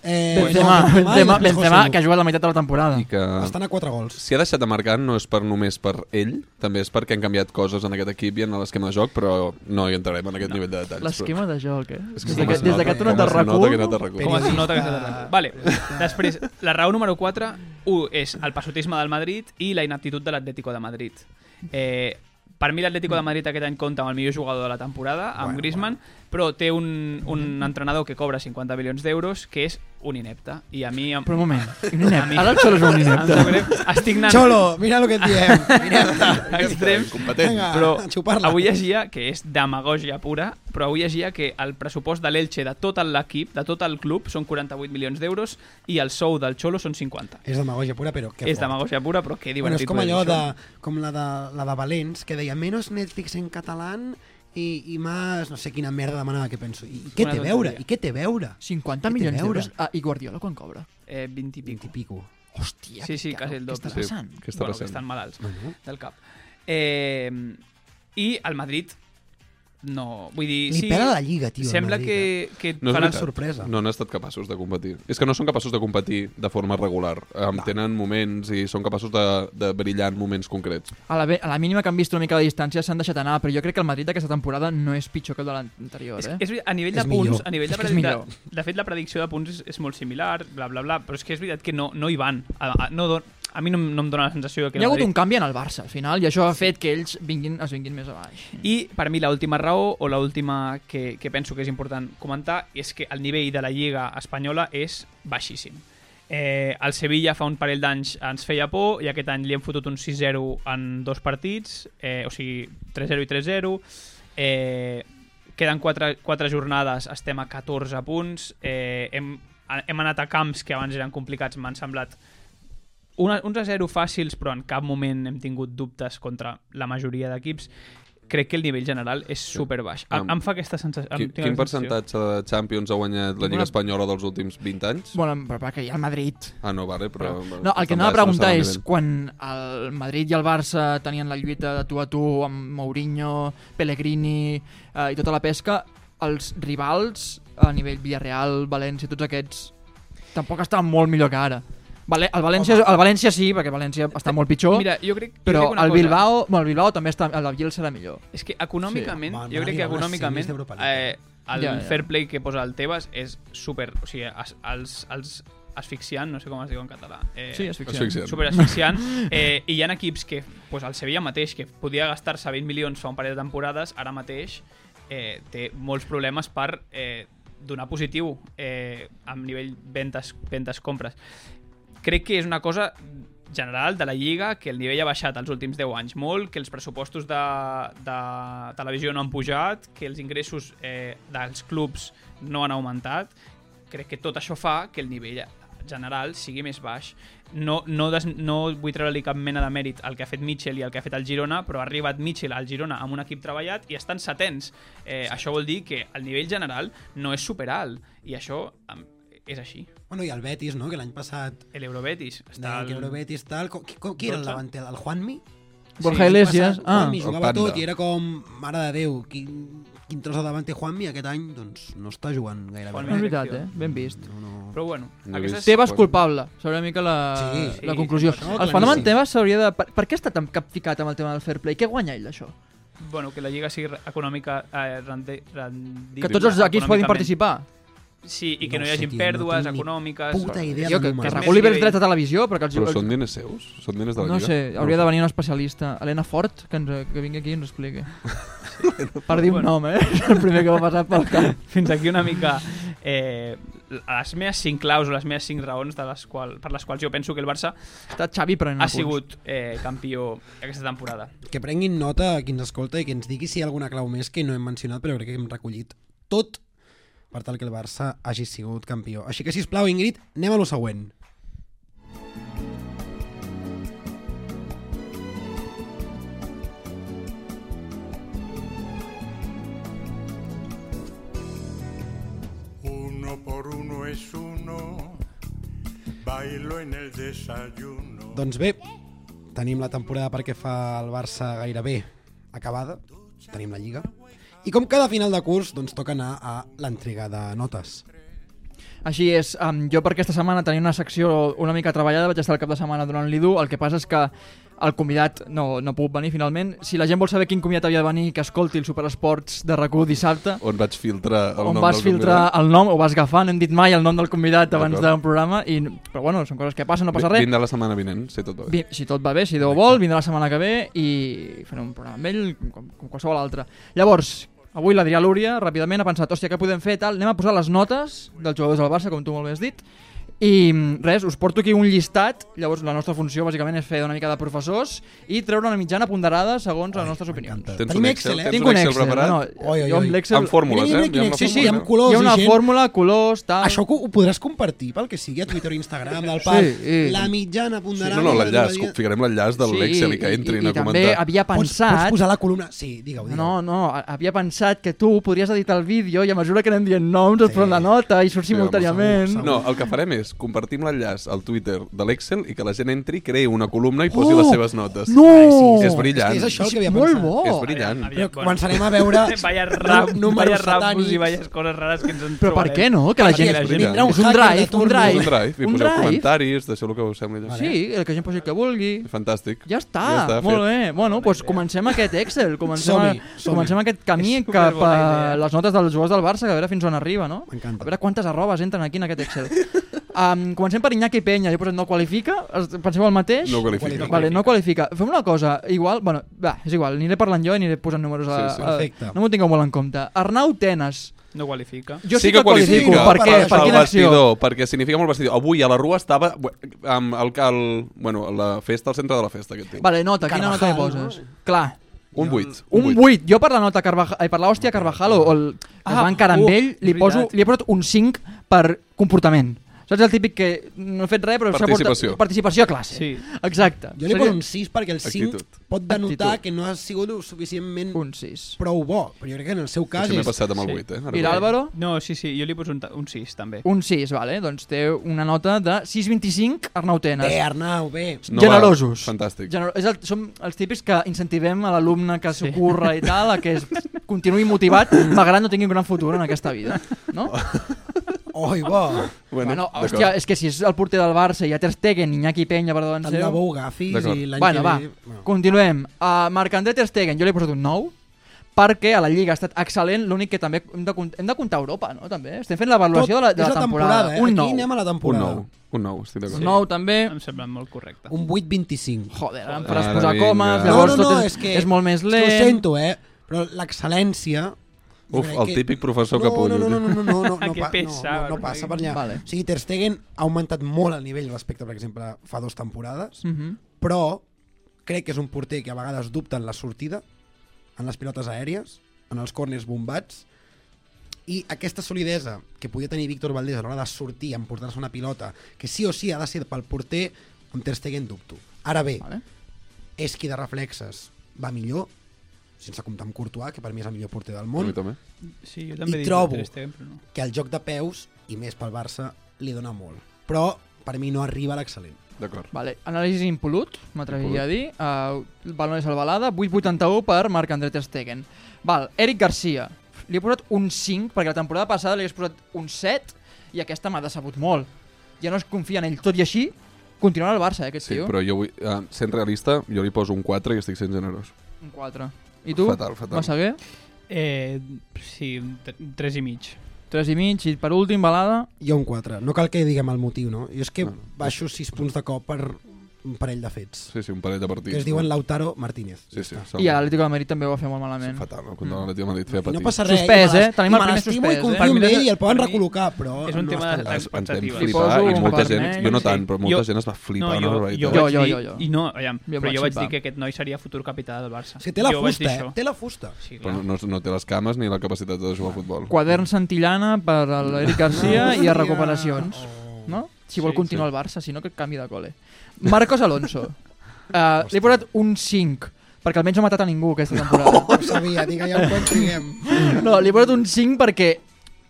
Speaker 3: Eh,
Speaker 1: Benzema,
Speaker 3: no,
Speaker 1: Benzema,
Speaker 3: i després
Speaker 1: Benzema,
Speaker 3: Joselu.
Speaker 1: que ha jugat la meitat de la temporada.
Speaker 2: I que...
Speaker 3: Estan a 4 gols.
Speaker 2: Si ha deixat de marcar no és per només per ell, també és perquè han canviat coses en aquest equip i en l'esquema de joc, però no hi entrarem en aquest nivell de detalls.
Speaker 1: L'esquema de joc, eh?
Speaker 2: Però...
Speaker 1: Des
Speaker 2: com
Speaker 1: de que, des
Speaker 2: es
Speaker 1: de
Speaker 2: nota,
Speaker 1: que ha tornat
Speaker 2: com
Speaker 1: de
Speaker 2: es nota que ha
Speaker 1: recu...
Speaker 2: anat de recu.
Speaker 8: Com es nota que s'ha
Speaker 3: Periodista.
Speaker 1: Ah.
Speaker 8: tardat. Vale. Després, la raó número 4, 1 és el passotisme del Madrid i la inaptitud de l'Atlético de Madrid. Eh, per mi l'Atlético de Madrid aquest any compta amb el millor jugador de la temporada, amb bueno, Griezmann, bueno. però té un, un entrenador que cobra 50 milions d'euros, que és un inepte. I a mi... Em,
Speaker 1: Però un moment, un inepte. Ara el Xolo és un
Speaker 8: em sap
Speaker 1: inepte.
Speaker 8: greu. Estic anant
Speaker 3: Xolo, mira el que et diem. Mira,
Speaker 8: a extrems,
Speaker 3: Vinga,
Speaker 8: però
Speaker 3: a Ah, xupar-la.
Speaker 8: avui llegia, que és demagògia pura, però avui llegia que el pressupost de l'Elche de tot l'equip, de tot el club, són 48 milions d'euros i el sou del Xolo són 50.
Speaker 3: És demagogia pura, però que
Speaker 8: és demagògia pura, però que
Speaker 3: Bueno, és
Speaker 8: divertit.
Speaker 3: com
Speaker 8: ho
Speaker 3: allò
Speaker 8: dir,
Speaker 3: de,
Speaker 8: això.
Speaker 3: com la de, la de Valents, que deia menos Netflix en català i, i més no sé quina merda demanava que penso. I, i què
Speaker 8: Una
Speaker 3: té a veure?
Speaker 8: tonteria.
Speaker 3: I què té a veure?
Speaker 1: 50
Speaker 3: Què té a
Speaker 1: milions
Speaker 3: veure?
Speaker 1: d'euros. Ah, I Guardiola quan cobra?
Speaker 8: Eh, 20 i pico.
Speaker 3: 20 i pico.
Speaker 1: Hòstia,
Speaker 8: Sí, sí, quasi el
Speaker 1: què
Speaker 8: doble.
Speaker 1: està passant?
Speaker 2: Què està
Speaker 8: bueno, que
Speaker 2: passant?
Speaker 8: estan malalts
Speaker 3: Bueno.
Speaker 8: del cap. Eh, I el Madrid no... Vull dir,
Speaker 3: Li
Speaker 8: sí,
Speaker 3: pela la Lliga, tio. eh.
Speaker 8: sembla
Speaker 3: la Lliga.
Speaker 8: que, que
Speaker 2: No és
Speaker 8: faran
Speaker 2: veritat.
Speaker 8: sorpresa.
Speaker 3: sorpresa.
Speaker 2: No han estat capaços de competir. És que no són capaços de competir de forma regular. Em tenen moments i són capaços de, de brillar en moments concrets.
Speaker 1: A la, ve- a la mínima que han vist una mica de distància s'han deixat anar, però jo crec que el Madrid d'aquesta temporada no és pitjor que el de l'anterior,
Speaker 8: És,
Speaker 1: eh?
Speaker 8: és, veritat, a nivell
Speaker 3: És
Speaker 8: de punts,
Speaker 3: millor.
Speaker 8: a nivell de,
Speaker 1: És que és
Speaker 8: predi-
Speaker 1: millor.
Speaker 8: de, de fet la predicció de punts és, és molt similar, bla bla bla, però és que és veritat que no, no hi van. A, a, no don, a mi no, em- no em dóna la sensació que
Speaker 1: Hi ha
Speaker 8: el
Speaker 1: hagut
Speaker 8: Madrid-
Speaker 1: un canvi en el Barça, al final, i això ha fet que ells vinguin, es vinguin més a baix.
Speaker 8: I per mi l'última raó, o l'última que, que penso que és important comentar, és que el nivell de la Lliga espanyola és baixíssim. Eh, el Sevilla fa un parell d'anys ens feia por i aquest any li hem fotut un 6-0 en dos partits, eh, o sigui 3-0 i 3-0. Eh, queden 4, 4 jornades, estem a 14 punts. Eh, hem, hem anat a camps que abans eren complicats, m'han semblat una, uns a 0 fàcils, però en cap moment hem tingut dubtes contra la majoria d'equips. Crec que el nivell general és super baix. Em,
Speaker 2: Am-
Speaker 8: em fa aquesta sensació.
Speaker 2: Qui,
Speaker 8: Em, tinc
Speaker 2: quin
Speaker 8: aquesta sensació.
Speaker 2: percentatge de Champions ha guanyat la Lliga Espanyola dels últims 20 anys?
Speaker 1: Bueno, però perquè hi ha el Madrid.
Speaker 2: Ah, no, vale, però...
Speaker 1: No, el que
Speaker 2: no
Speaker 1: anava a preguntar és, quan el Madrid i el Barça tenien la lluita de tu a tu amb Mourinho, Pellegrini eh, i tota la pesca, els rivals a nivell Villarreal, València, tots aquests, tampoc estaven molt millor que ara. Vale, el, València, el València sí, perquè València està molt pitjor,
Speaker 8: Mira, jo crec, jo
Speaker 1: però
Speaker 8: crec una
Speaker 1: el
Speaker 8: cosa.
Speaker 1: Bilbao, bueno, el Bilbao també està, el Bilbao serà millor.
Speaker 8: És que econòmicament,
Speaker 3: Sí,
Speaker 8: sí,
Speaker 3: home,
Speaker 8: jo
Speaker 3: van
Speaker 8: crec que
Speaker 3: arribar unes semis
Speaker 8: econòmicament
Speaker 3: d'Europa League.
Speaker 8: eh, el
Speaker 1: Ja,
Speaker 8: ja,
Speaker 1: ja.
Speaker 8: ja. fair play que posa el Tebas és super... O sigui, es, els, els asfixiant, no sé com es diu en català. Eh,
Speaker 1: Sí, és ficció.
Speaker 2: Asfixiant.
Speaker 8: super asfixiant. Eh, I hi ha equips que, pues, el Sevilla mateix, que podia gastar-se 20 milions fa un parell de temporades, ara mateix eh, té molts problemes per eh, donar positiu eh, amb nivell ventes, ventes compres. Crec que és una cosa general de la Lliga, que el nivell ha baixat els últims 10 anys molt, que els pressupostos de, de televisió no han pujat, que els ingressos eh, dels clubs no han augmentat. Crec que tot això fa que el nivell general sigui més baix. No, no, des, no vull treure-li cap mena de mèrit al que ha fet Mitchell i al que ha fet el Girona, però ha arribat Mitchell al Girona amb un equip treballat i estan setens. Eh, això vol dir que el nivell general no és superalt, i això em, és així.
Speaker 3: Bueno, i el Betis, no? Que l'any passat...
Speaker 8: L'Eurobetis està...
Speaker 3: Tal...
Speaker 8: al-
Speaker 3: Que el Betis tal... Com, com, qui era el
Speaker 8: 12?
Speaker 3: davanter? El Juanmi?
Speaker 1: Borja
Speaker 8: Sí,
Speaker 1: Iglesias,
Speaker 3: Passat,
Speaker 1: ah,
Speaker 3: Juanmi
Speaker 2: El
Speaker 3: jugava
Speaker 2: Panda.
Speaker 3: tot i era com... Mare de Déu, quin, quin tros de davanter Juanmi aquest any, doncs no està jugant gaire
Speaker 8: Juanmi.
Speaker 1: és
Speaker 3: bé.
Speaker 1: veritat, eh? Ben vist.
Speaker 3: No, no.
Speaker 8: Però bueno,
Speaker 2: No he
Speaker 8: aquestes...
Speaker 2: vist.
Speaker 1: Tebas culpable, seria una mica la,
Speaker 3: Sí,
Speaker 1: la
Speaker 8: sí,
Speaker 1: conclusió.
Speaker 3: no,
Speaker 1: el
Speaker 3: claríssim.
Speaker 1: fenomen Tebas s'hauria de... Per, per què està tan capficat amb el tema del fair play? Què guanya ell d'això?
Speaker 8: Bueno, que la lliga sigui re- econòmica eh, rendi- rendible
Speaker 1: Que tots els equips podin
Speaker 8: econòmicament.
Speaker 1: participar?
Speaker 8: Sí, i que
Speaker 3: No
Speaker 8: no,
Speaker 3: ho sé,
Speaker 8: hi hagi
Speaker 3: tio, no
Speaker 8: pèrdues
Speaker 3: tinc ni
Speaker 8: econòmiques...
Speaker 3: Puta idea eh?
Speaker 1: Jo,
Speaker 3: de
Speaker 1: que, que
Speaker 8: És
Speaker 3: números.
Speaker 8: més
Speaker 1: reguli bé els
Speaker 8: nivell.
Speaker 1: drets de televisió, però que els...
Speaker 2: Però són diners seus? Són diners de la
Speaker 1: no
Speaker 2: Lliga?
Speaker 1: sé, hauria de venir un especialista, Helena Fort, que, ens, que vingui aquí i ens ho expliqui. per dir un
Speaker 8: Bueno.
Speaker 1: nom, eh? El primer que m'ha passat pel cap.
Speaker 8: Fins aquí una mica eh, les meves cinc claus o les meves cinc raons de les qual, per les quals jo penso que el Barça
Speaker 1: Està Xavi prenent
Speaker 8: ha
Speaker 1: apunts.
Speaker 8: sigut eh, campió aquesta temporada.
Speaker 3: Que prenguin nota qui ens escolta i que ens digui si hi ha alguna clau més que no hem mencionat, però crec que hem recollit tot per tal que el Barça hagi sigut campió. Així que, si plau, Ingrid, anem a lo següent.
Speaker 9: Uno por uno es uno. Bailo en el desayuno.
Speaker 3: Doncs bé, tenim la temporada perquè fa el Barça gairebé acabada, tenim la Lliga, i com cada final de curs, doncs toca anar a l'entrega de notes.
Speaker 1: Així és, um, jo per aquesta setmana tenia una secció una mica treballada, vaig estar el cap de setmana donant-li dur, el que passa és que el convidat no, no ha pogut venir finalment. Si la gent vol saber quin convidat havia de venir, que escolti el Superesports de rac dissabte,
Speaker 2: On vaig filtrar el
Speaker 1: on
Speaker 2: nom
Speaker 1: vas
Speaker 2: del
Speaker 1: filtrar el nom, ho vas agafar, no hem dit mai el nom del convidat abans
Speaker 2: D'acord.
Speaker 1: d'un programa, i, però bueno, són coses que passen, no passa
Speaker 2: Vi-
Speaker 1: res.
Speaker 2: Vindrà la setmana vinent, si tot va bé.
Speaker 1: Vi- Si tot va bé, si Déu vol, vindrà la setmana que ve i farem un programa amb ell, com, com qualsevol altre. Llavors, avui l'Adrià Lúria ràpidament ha pensat, hòstia, què podem fer, tal, anem a posar les notes dels jugadors del Barça, com tu molt bé has dit, i mm, res, us porto aquí un llistat, llavors la nostra funció bàsicament és fer una mica de professors i treure una mitjana ponderada segons les nostres opinions.
Speaker 2: Tens
Speaker 3: Tenim
Speaker 2: un Excel,
Speaker 3: Excel, eh?
Speaker 2: tens
Speaker 1: Tinc
Speaker 2: un
Speaker 1: un
Speaker 2: Excel,
Speaker 1: Excel,
Speaker 2: preparat?
Speaker 1: no, no,
Speaker 3: Oi, oi,
Speaker 1: jo amb
Speaker 3: oi.
Speaker 1: l'Excel...
Speaker 2: Amb fórmules,
Speaker 3: Mira,
Speaker 2: eh?
Speaker 3: mira quin
Speaker 2: Hi ha una
Speaker 3: Excel, sí,
Speaker 2: fórmula.
Speaker 3: amb colors
Speaker 1: Hi ha una
Speaker 3: i gent.
Speaker 1: fórmula, colors,
Speaker 2: Ah.
Speaker 1: tal...
Speaker 3: Això ho, ho podràs compartir pel que sigui a Twitter o Instagram del pal. Sí,
Speaker 1: eh.
Speaker 3: La mitjana
Speaker 2: No,
Speaker 3: ponderada...
Speaker 2: no,
Speaker 3: de
Speaker 2: l'enllaç.
Speaker 3: la-
Speaker 2: Ficarem l'enllaç de l'Excel i que entrin
Speaker 1: i, i,
Speaker 2: a
Speaker 1: també
Speaker 2: comentar.
Speaker 1: havia
Speaker 3: Pots, pots
Speaker 1: pensat...
Speaker 3: posar la columna... Sí, digue-ho, digue
Speaker 1: No, no, a- havia pensat que tu podries editar el vídeo i a mesura que anem dient noms et pren la nota i surt
Speaker 2: Sí, home,
Speaker 1: simultàniament.
Speaker 3: segur,
Speaker 2: No, el que farem és compartim l'enllaç al Twitter de l'Excel i que la gent entri, creï una columna i posi les seves notes.
Speaker 1: No!
Speaker 3: sí,
Speaker 2: És brillant.
Speaker 3: És, que és això el que havia
Speaker 1: Molt
Speaker 3: pensat.
Speaker 1: bo!
Speaker 2: És brillant.
Speaker 3: Però començarem a veure
Speaker 8: Vaya rap,
Speaker 3: números
Speaker 8: vaya rapos
Speaker 3: satànics.
Speaker 8: i vayas coses rares que ens en
Speaker 1: Però per
Speaker 8: trobarem.
Speaker 1: què no? Que la
Speaker 3: Perquè
Speaker 1: gent...
Speaker 2: la gent-
Speaker 1: És
Speaker 2: vindrà
Speaker 1: un
Speaker 2: un
Speaker 3: hacker de
Speaker 1: drive,
Speaker 3: turno.
Speaker 1: un
Speaker 2: Fes
Speaker 1: drive.
Speaker 2: Un drive. I poseu comentaris, deixeu el que us sembli.
Speaker 1: Sí, que la gent posi el que vulgui.
Speaker 2: Fantàstic.
Speaker 1: Ja està,
Speaker 2: Ja està,
Speaker 1: molt
Speaker 2: fet.
Speaker 1: bé. Bueno, doncs comencem aquest Excel, comencem,
Speaker 3: Som-hi,
Speaker 1: a,
Speaker 3: som-hi.
Speaker 1: comencem aquest camí
Speaker 8: És
Speaker 1: cap
Speaker 8: superbona
Speaker 1: a
Speaker 8: idea.
Speaker 1: les notes dels jugadors del Barça, que a veure fins on arriba, no?
Speaker 3: M'encanta.
Speaker 1: A veure quantes arrobes entren aquí en aquest Excel. um, comencem per Iñaki Penya, jo he posat no qualifica, Es- penseu el mateix?
Speaker 2: No ho qualifica.
Speaker 3: No
Speaker 1: Vale, no qualifica. Fem una cosa, igual, bueno, va, és igual, aniré parlant jo i aniré posant números a...
Speaker 2: Sí, sí.
Speaker 1: a-
Speaker 3: Perfecte.
Speaker 1: no m'ho tingueu molt en compte. Arnau Tenes.
Speaker 8: No qualifica.
Speaker 1: Jo sí, que, qualifico,
Speaker 3: qualifica.
Speaker 1: per, què?
Speaker 3: Per
Speaker 1: per
Speaker 2: el
Speaker 1: quina acció?
Speaker 2: vestidor, perquè significa molt vestidor. Avui a la rua estava amb el, el, bueno, la festa, al centre de la festa, aquest tio.
Speaker 1: Vale, nota, quina nota hi
Speaker 3: Carvajal,
Speaker 1: poses? Clar,
Speaker 2: Un 8.
Speaker 1: Un 8. Jo per la nota Carvajal, ai, per l'hòstia Carvajal o el ah, es va encarar amb
Speaker 8: uh,
Speaker 1: ell, li,
Speaker 8: és
Speaker 1: poso,
Speaker 8: veritat.
Speaker 1: li he posat un 5 per comportament. Saps el típic que no he fet res, però s'ha
Speaker 2: Participació.
Speaker 1: Portat, participació a classe.
Speaker 8: Sí.
Speaker 1: Exacte.
Speaker 3: Jo li
Speaker 1: Seria
Speaker 3: poso un 6 perquè el 5
Speaker 2: Actitud.
Speaker 3: pot denotar
Speaker 1: Actitud.
Speaker 3: que no ha sigut suficientment
Speaker 1: un 6.
Speaker 3: prou bo. Però jo crec que en el seu cas
Speaker 2: Potser m'he
Speaker 3: és...
Speaker 2: passat amb el
Speaker 8: sí.
Speaker 2: 8, eh?
Speaker 1: I l'Àlvaro?
Speaker 8: No, sí, sí, jo li poso un, ta- un 6, també.
Speaker 1: Un 6, vale. Doncs té una nota de 6,25 Arnau Tenes.
Speaker 3: Bé, Arnau, bé.
Speaker 2: No,
Speaker 1: generosos.
Speaker 2: va, fantàstic.
Speaker 1: Gener és el, som els típics que incentivem a l'alumne que s'ho curra i tal, a que es continuï motivat, malgrat no tingui un gran futur en aquesta vida. No?
Speaker 3: Oi,
Speaker 1: Ah,
Speaker 3: bo.
Speaker 1: Bueno, bueno
Speaker 2: d'acord.
Speaker 1: hòstia, és que si és el porter del Barça i a Ter Stegen, Iñaki Peña per davant
Speaker 3: Tant
Speaker 1: seu...
Speaker 3: de bo ho agafis
Speaker 2: D'acord.
Speaker 3: i l'any
Speaker 1: Bueno,
Speaker 3: que
Speaker 1: va,
Speaker 3: ve... Bueno.
Speaker 1: continuem. Uh, Marc-André Ter Stegen, jo li he posat un 9, perquè a la Lliga ha estat excel·lent, l'únic que també hem de, cont- hem de comptar Europa, no? També. Estem fent l'avaluació de la, de
Speaker 3: és
Speaker 1: la temporada.
Speaker 3: eh?
Speaker 1: Un
Speaker 3: Aquí
Speaker 1: 9.
Speaker 3: anem a la
Speaker 2: Un
Speaker 3: temporada.
Speaker 2: 9. Un 9, estic d'acord.
Speaker 1: Un 9 també.
Speaker 8: Em sembla molt correcte.
Speaker 3: Un 8-25.
Speaker 1: Joder, ara em faràs
Speaker 2: Ara
Speaker 1: posar
Speaker 2: vinga.
Speaker 1: comes,
Speaker 2: No,
Speaker 1: llavors
Speaker 3: no, no,
Speaker 1: tot és,
Speaker 3: és que...
Speaker 1: és molt més
Speaker 3: és que
Speaker 1: lent.
Speaker 3: Ho sento, eh? Però l'excel·lència... jo
Speaker 2: Uf,
Speaker 3: crec
Speaker 2: el típic professor
Speaker 3: no,
Speaker 2: capullo,
Speaker 3: No, no, no,
Speaker 2: tio.
Speaker 3: no, no, no, no, no,
Speaker 8: Que
Speaker 3: pa- no,
Speaker 8: pesa,
Speaker 3: no, no
Speaker 8: no?
Speaker 3: passa per allà.
Speaker 1: Vale.
Speaker 3: O sigui, Ter Stegen ha augmentat molt el nivell respecte, per exemple, fa dues temporades,
Speaker 1: Mhm.
Speaker 3: però crec que és un porter que a vegades dubta en la sortida, en les pilotes aèries, en els corners bombats, i aquesta solidesa que podia tenir Víctor Valdés a l'hora de sortir, en portar-se una pilota, que sí o sí ha de ser pel porter, amb Ter Stegen dubto. Ara bé,
Speaker 1: Vale.
Speaker 3: és qui de reflexes va millor, sense comptar amb Courtois, que per mi és el millor porter del
Speaker 2: A mi
Speaker 3: món,
Speaker 2: també.
Speaker 8: Sí, jo també
Speaker 3: I
Speaker 8: dic
Speaker 3: trobo.
Speaker 8: Ter Stegen, però no.
Speaker 3: que el joc de peus, i més pel Barça, li dona molt. Però per mi no arriba a l'excel·lent.
Speaker 2: D'acord.
Speaker 1: Vale, anàlisi impolut, m'atreviria a dir. Uh, Balones al balada, 8,81 per Marc André Ter Stegen. Val, Eric Garcia. Li he posat un 5, perquè la temporada passada li hagués posat un 7, i aquesta m'ha decebut molt. Ja no es confia en ell. Tot i així, continuarà al Barça, eh, aquest
Speaker 2: Sí,
Speaker 1: tio.
Speaker 2: però jo vull, eh, sent realista, jo li poso un 4 i estic sent generós.
Speaker 1: Un 4. I tu,
Speaker 2: Fatal, fatal.
Speaker 1: Massaguer?
Speaker 8: Eh, sí, un tre- un 3 i mig.
Speaker 1: 3 i mig, i per últim, balada.
Speaker 3: Jo un 4. No cal que diguem el motiu, no? Jo és que baixo 6 punts de cop per un parell de fets.
Speaker 2: Sí, sí, un parell de partits.
Speaker 3: Que es diuen Lautaro Martínez.
Speaker 2: Sí, sí.
Speaker 1: I a l'Atlético de Madrid també ho va fer molt malament.
Speaker 2: Fatal, no?
Speaker 1: Mm.
Speaker 2: Contra l'Atlètic de Madrid feia
Speaker 3: I
Speaker 2: patir.
Speaker 3: no passa res.
Speaker 1: Suspès,
Speaker 3: i me
Speaker 1: eh?
Speaker 3: l'est-
Speaker 1: Tenim
Speaker 3: i
Speaker 1: el
Speaker 3: me
Speaker 1: primer
Speaker 3: l'estimo
Speaker 1: suspès,
Speaker 3: i
Speaker 1: eh?
Speaker 3: confio
Speaker 8: Per
Speaker 3: en
Speaker 8: mi
Speaker 3: ell i el poden
Speaker 8: per mi
Speaker 3: recol·locar, però...
Speaker 8: és un
Speaker 3: no
Speaker 8: tema
Speaker 3: està clar.
Speaker 8: de-
Speaker 2: Es, ens vam
Speaker 8: Expectatives.
Speaker 1: Li
Speaker 2: flipar i
Speaker 1: poso un
Speaker 2: molta gent,
Speaker 1: vermell.
Speaker 2: jo no tant, però molta
Speaker 8: Jo-
Speaker 2: gent es va flipar.
Speaker 8: no,
Speaker 2: una
Speaker 8: jo, jo,
Speaker 2: barbaritat.
Speaker 1: Jo,
Speaker 8: vaig
Speaker 1: jo,
Speaker 8: dir,
Speaker 1: jo, jo.
Speaker 8: I no, aviam,
Speaker 1: Jo em
Speaker 8: però
Speaker 1: vaig
Speaker 8: jo vaig dir
Speaker 1: flipar.
Speaker 8: que aquest noi seria futur capità del Barça.
Speaker 3: És que té la
Speaker 8: jo vaig dir
Speaker 3: fusta, eh?
Speaker 8: això.
Speaker 3: Té la fusta.
Speaker 8: Sí,
Speaker 2: Però
Speaker 8: clar.
Speaker 2: no, no té les cames ni la capacitat de jugar a futbol.
Speaker 1: Quadern Santillana per a l'Eric Garcia i a recuperacions. no? Si vol
Speaker 8: Ah, Oh. Sí,
Speaker 1: continuar al Barça, si no que canvi de col·le. Marcos Alonso. Uh, li he posat un 5, perquè almenys no ha matat a ningú aquesta temporada.
Speaker 3: Ho sabia, digue ja quan tinguem.
Speaker 1: No, li he posat un 5 perquè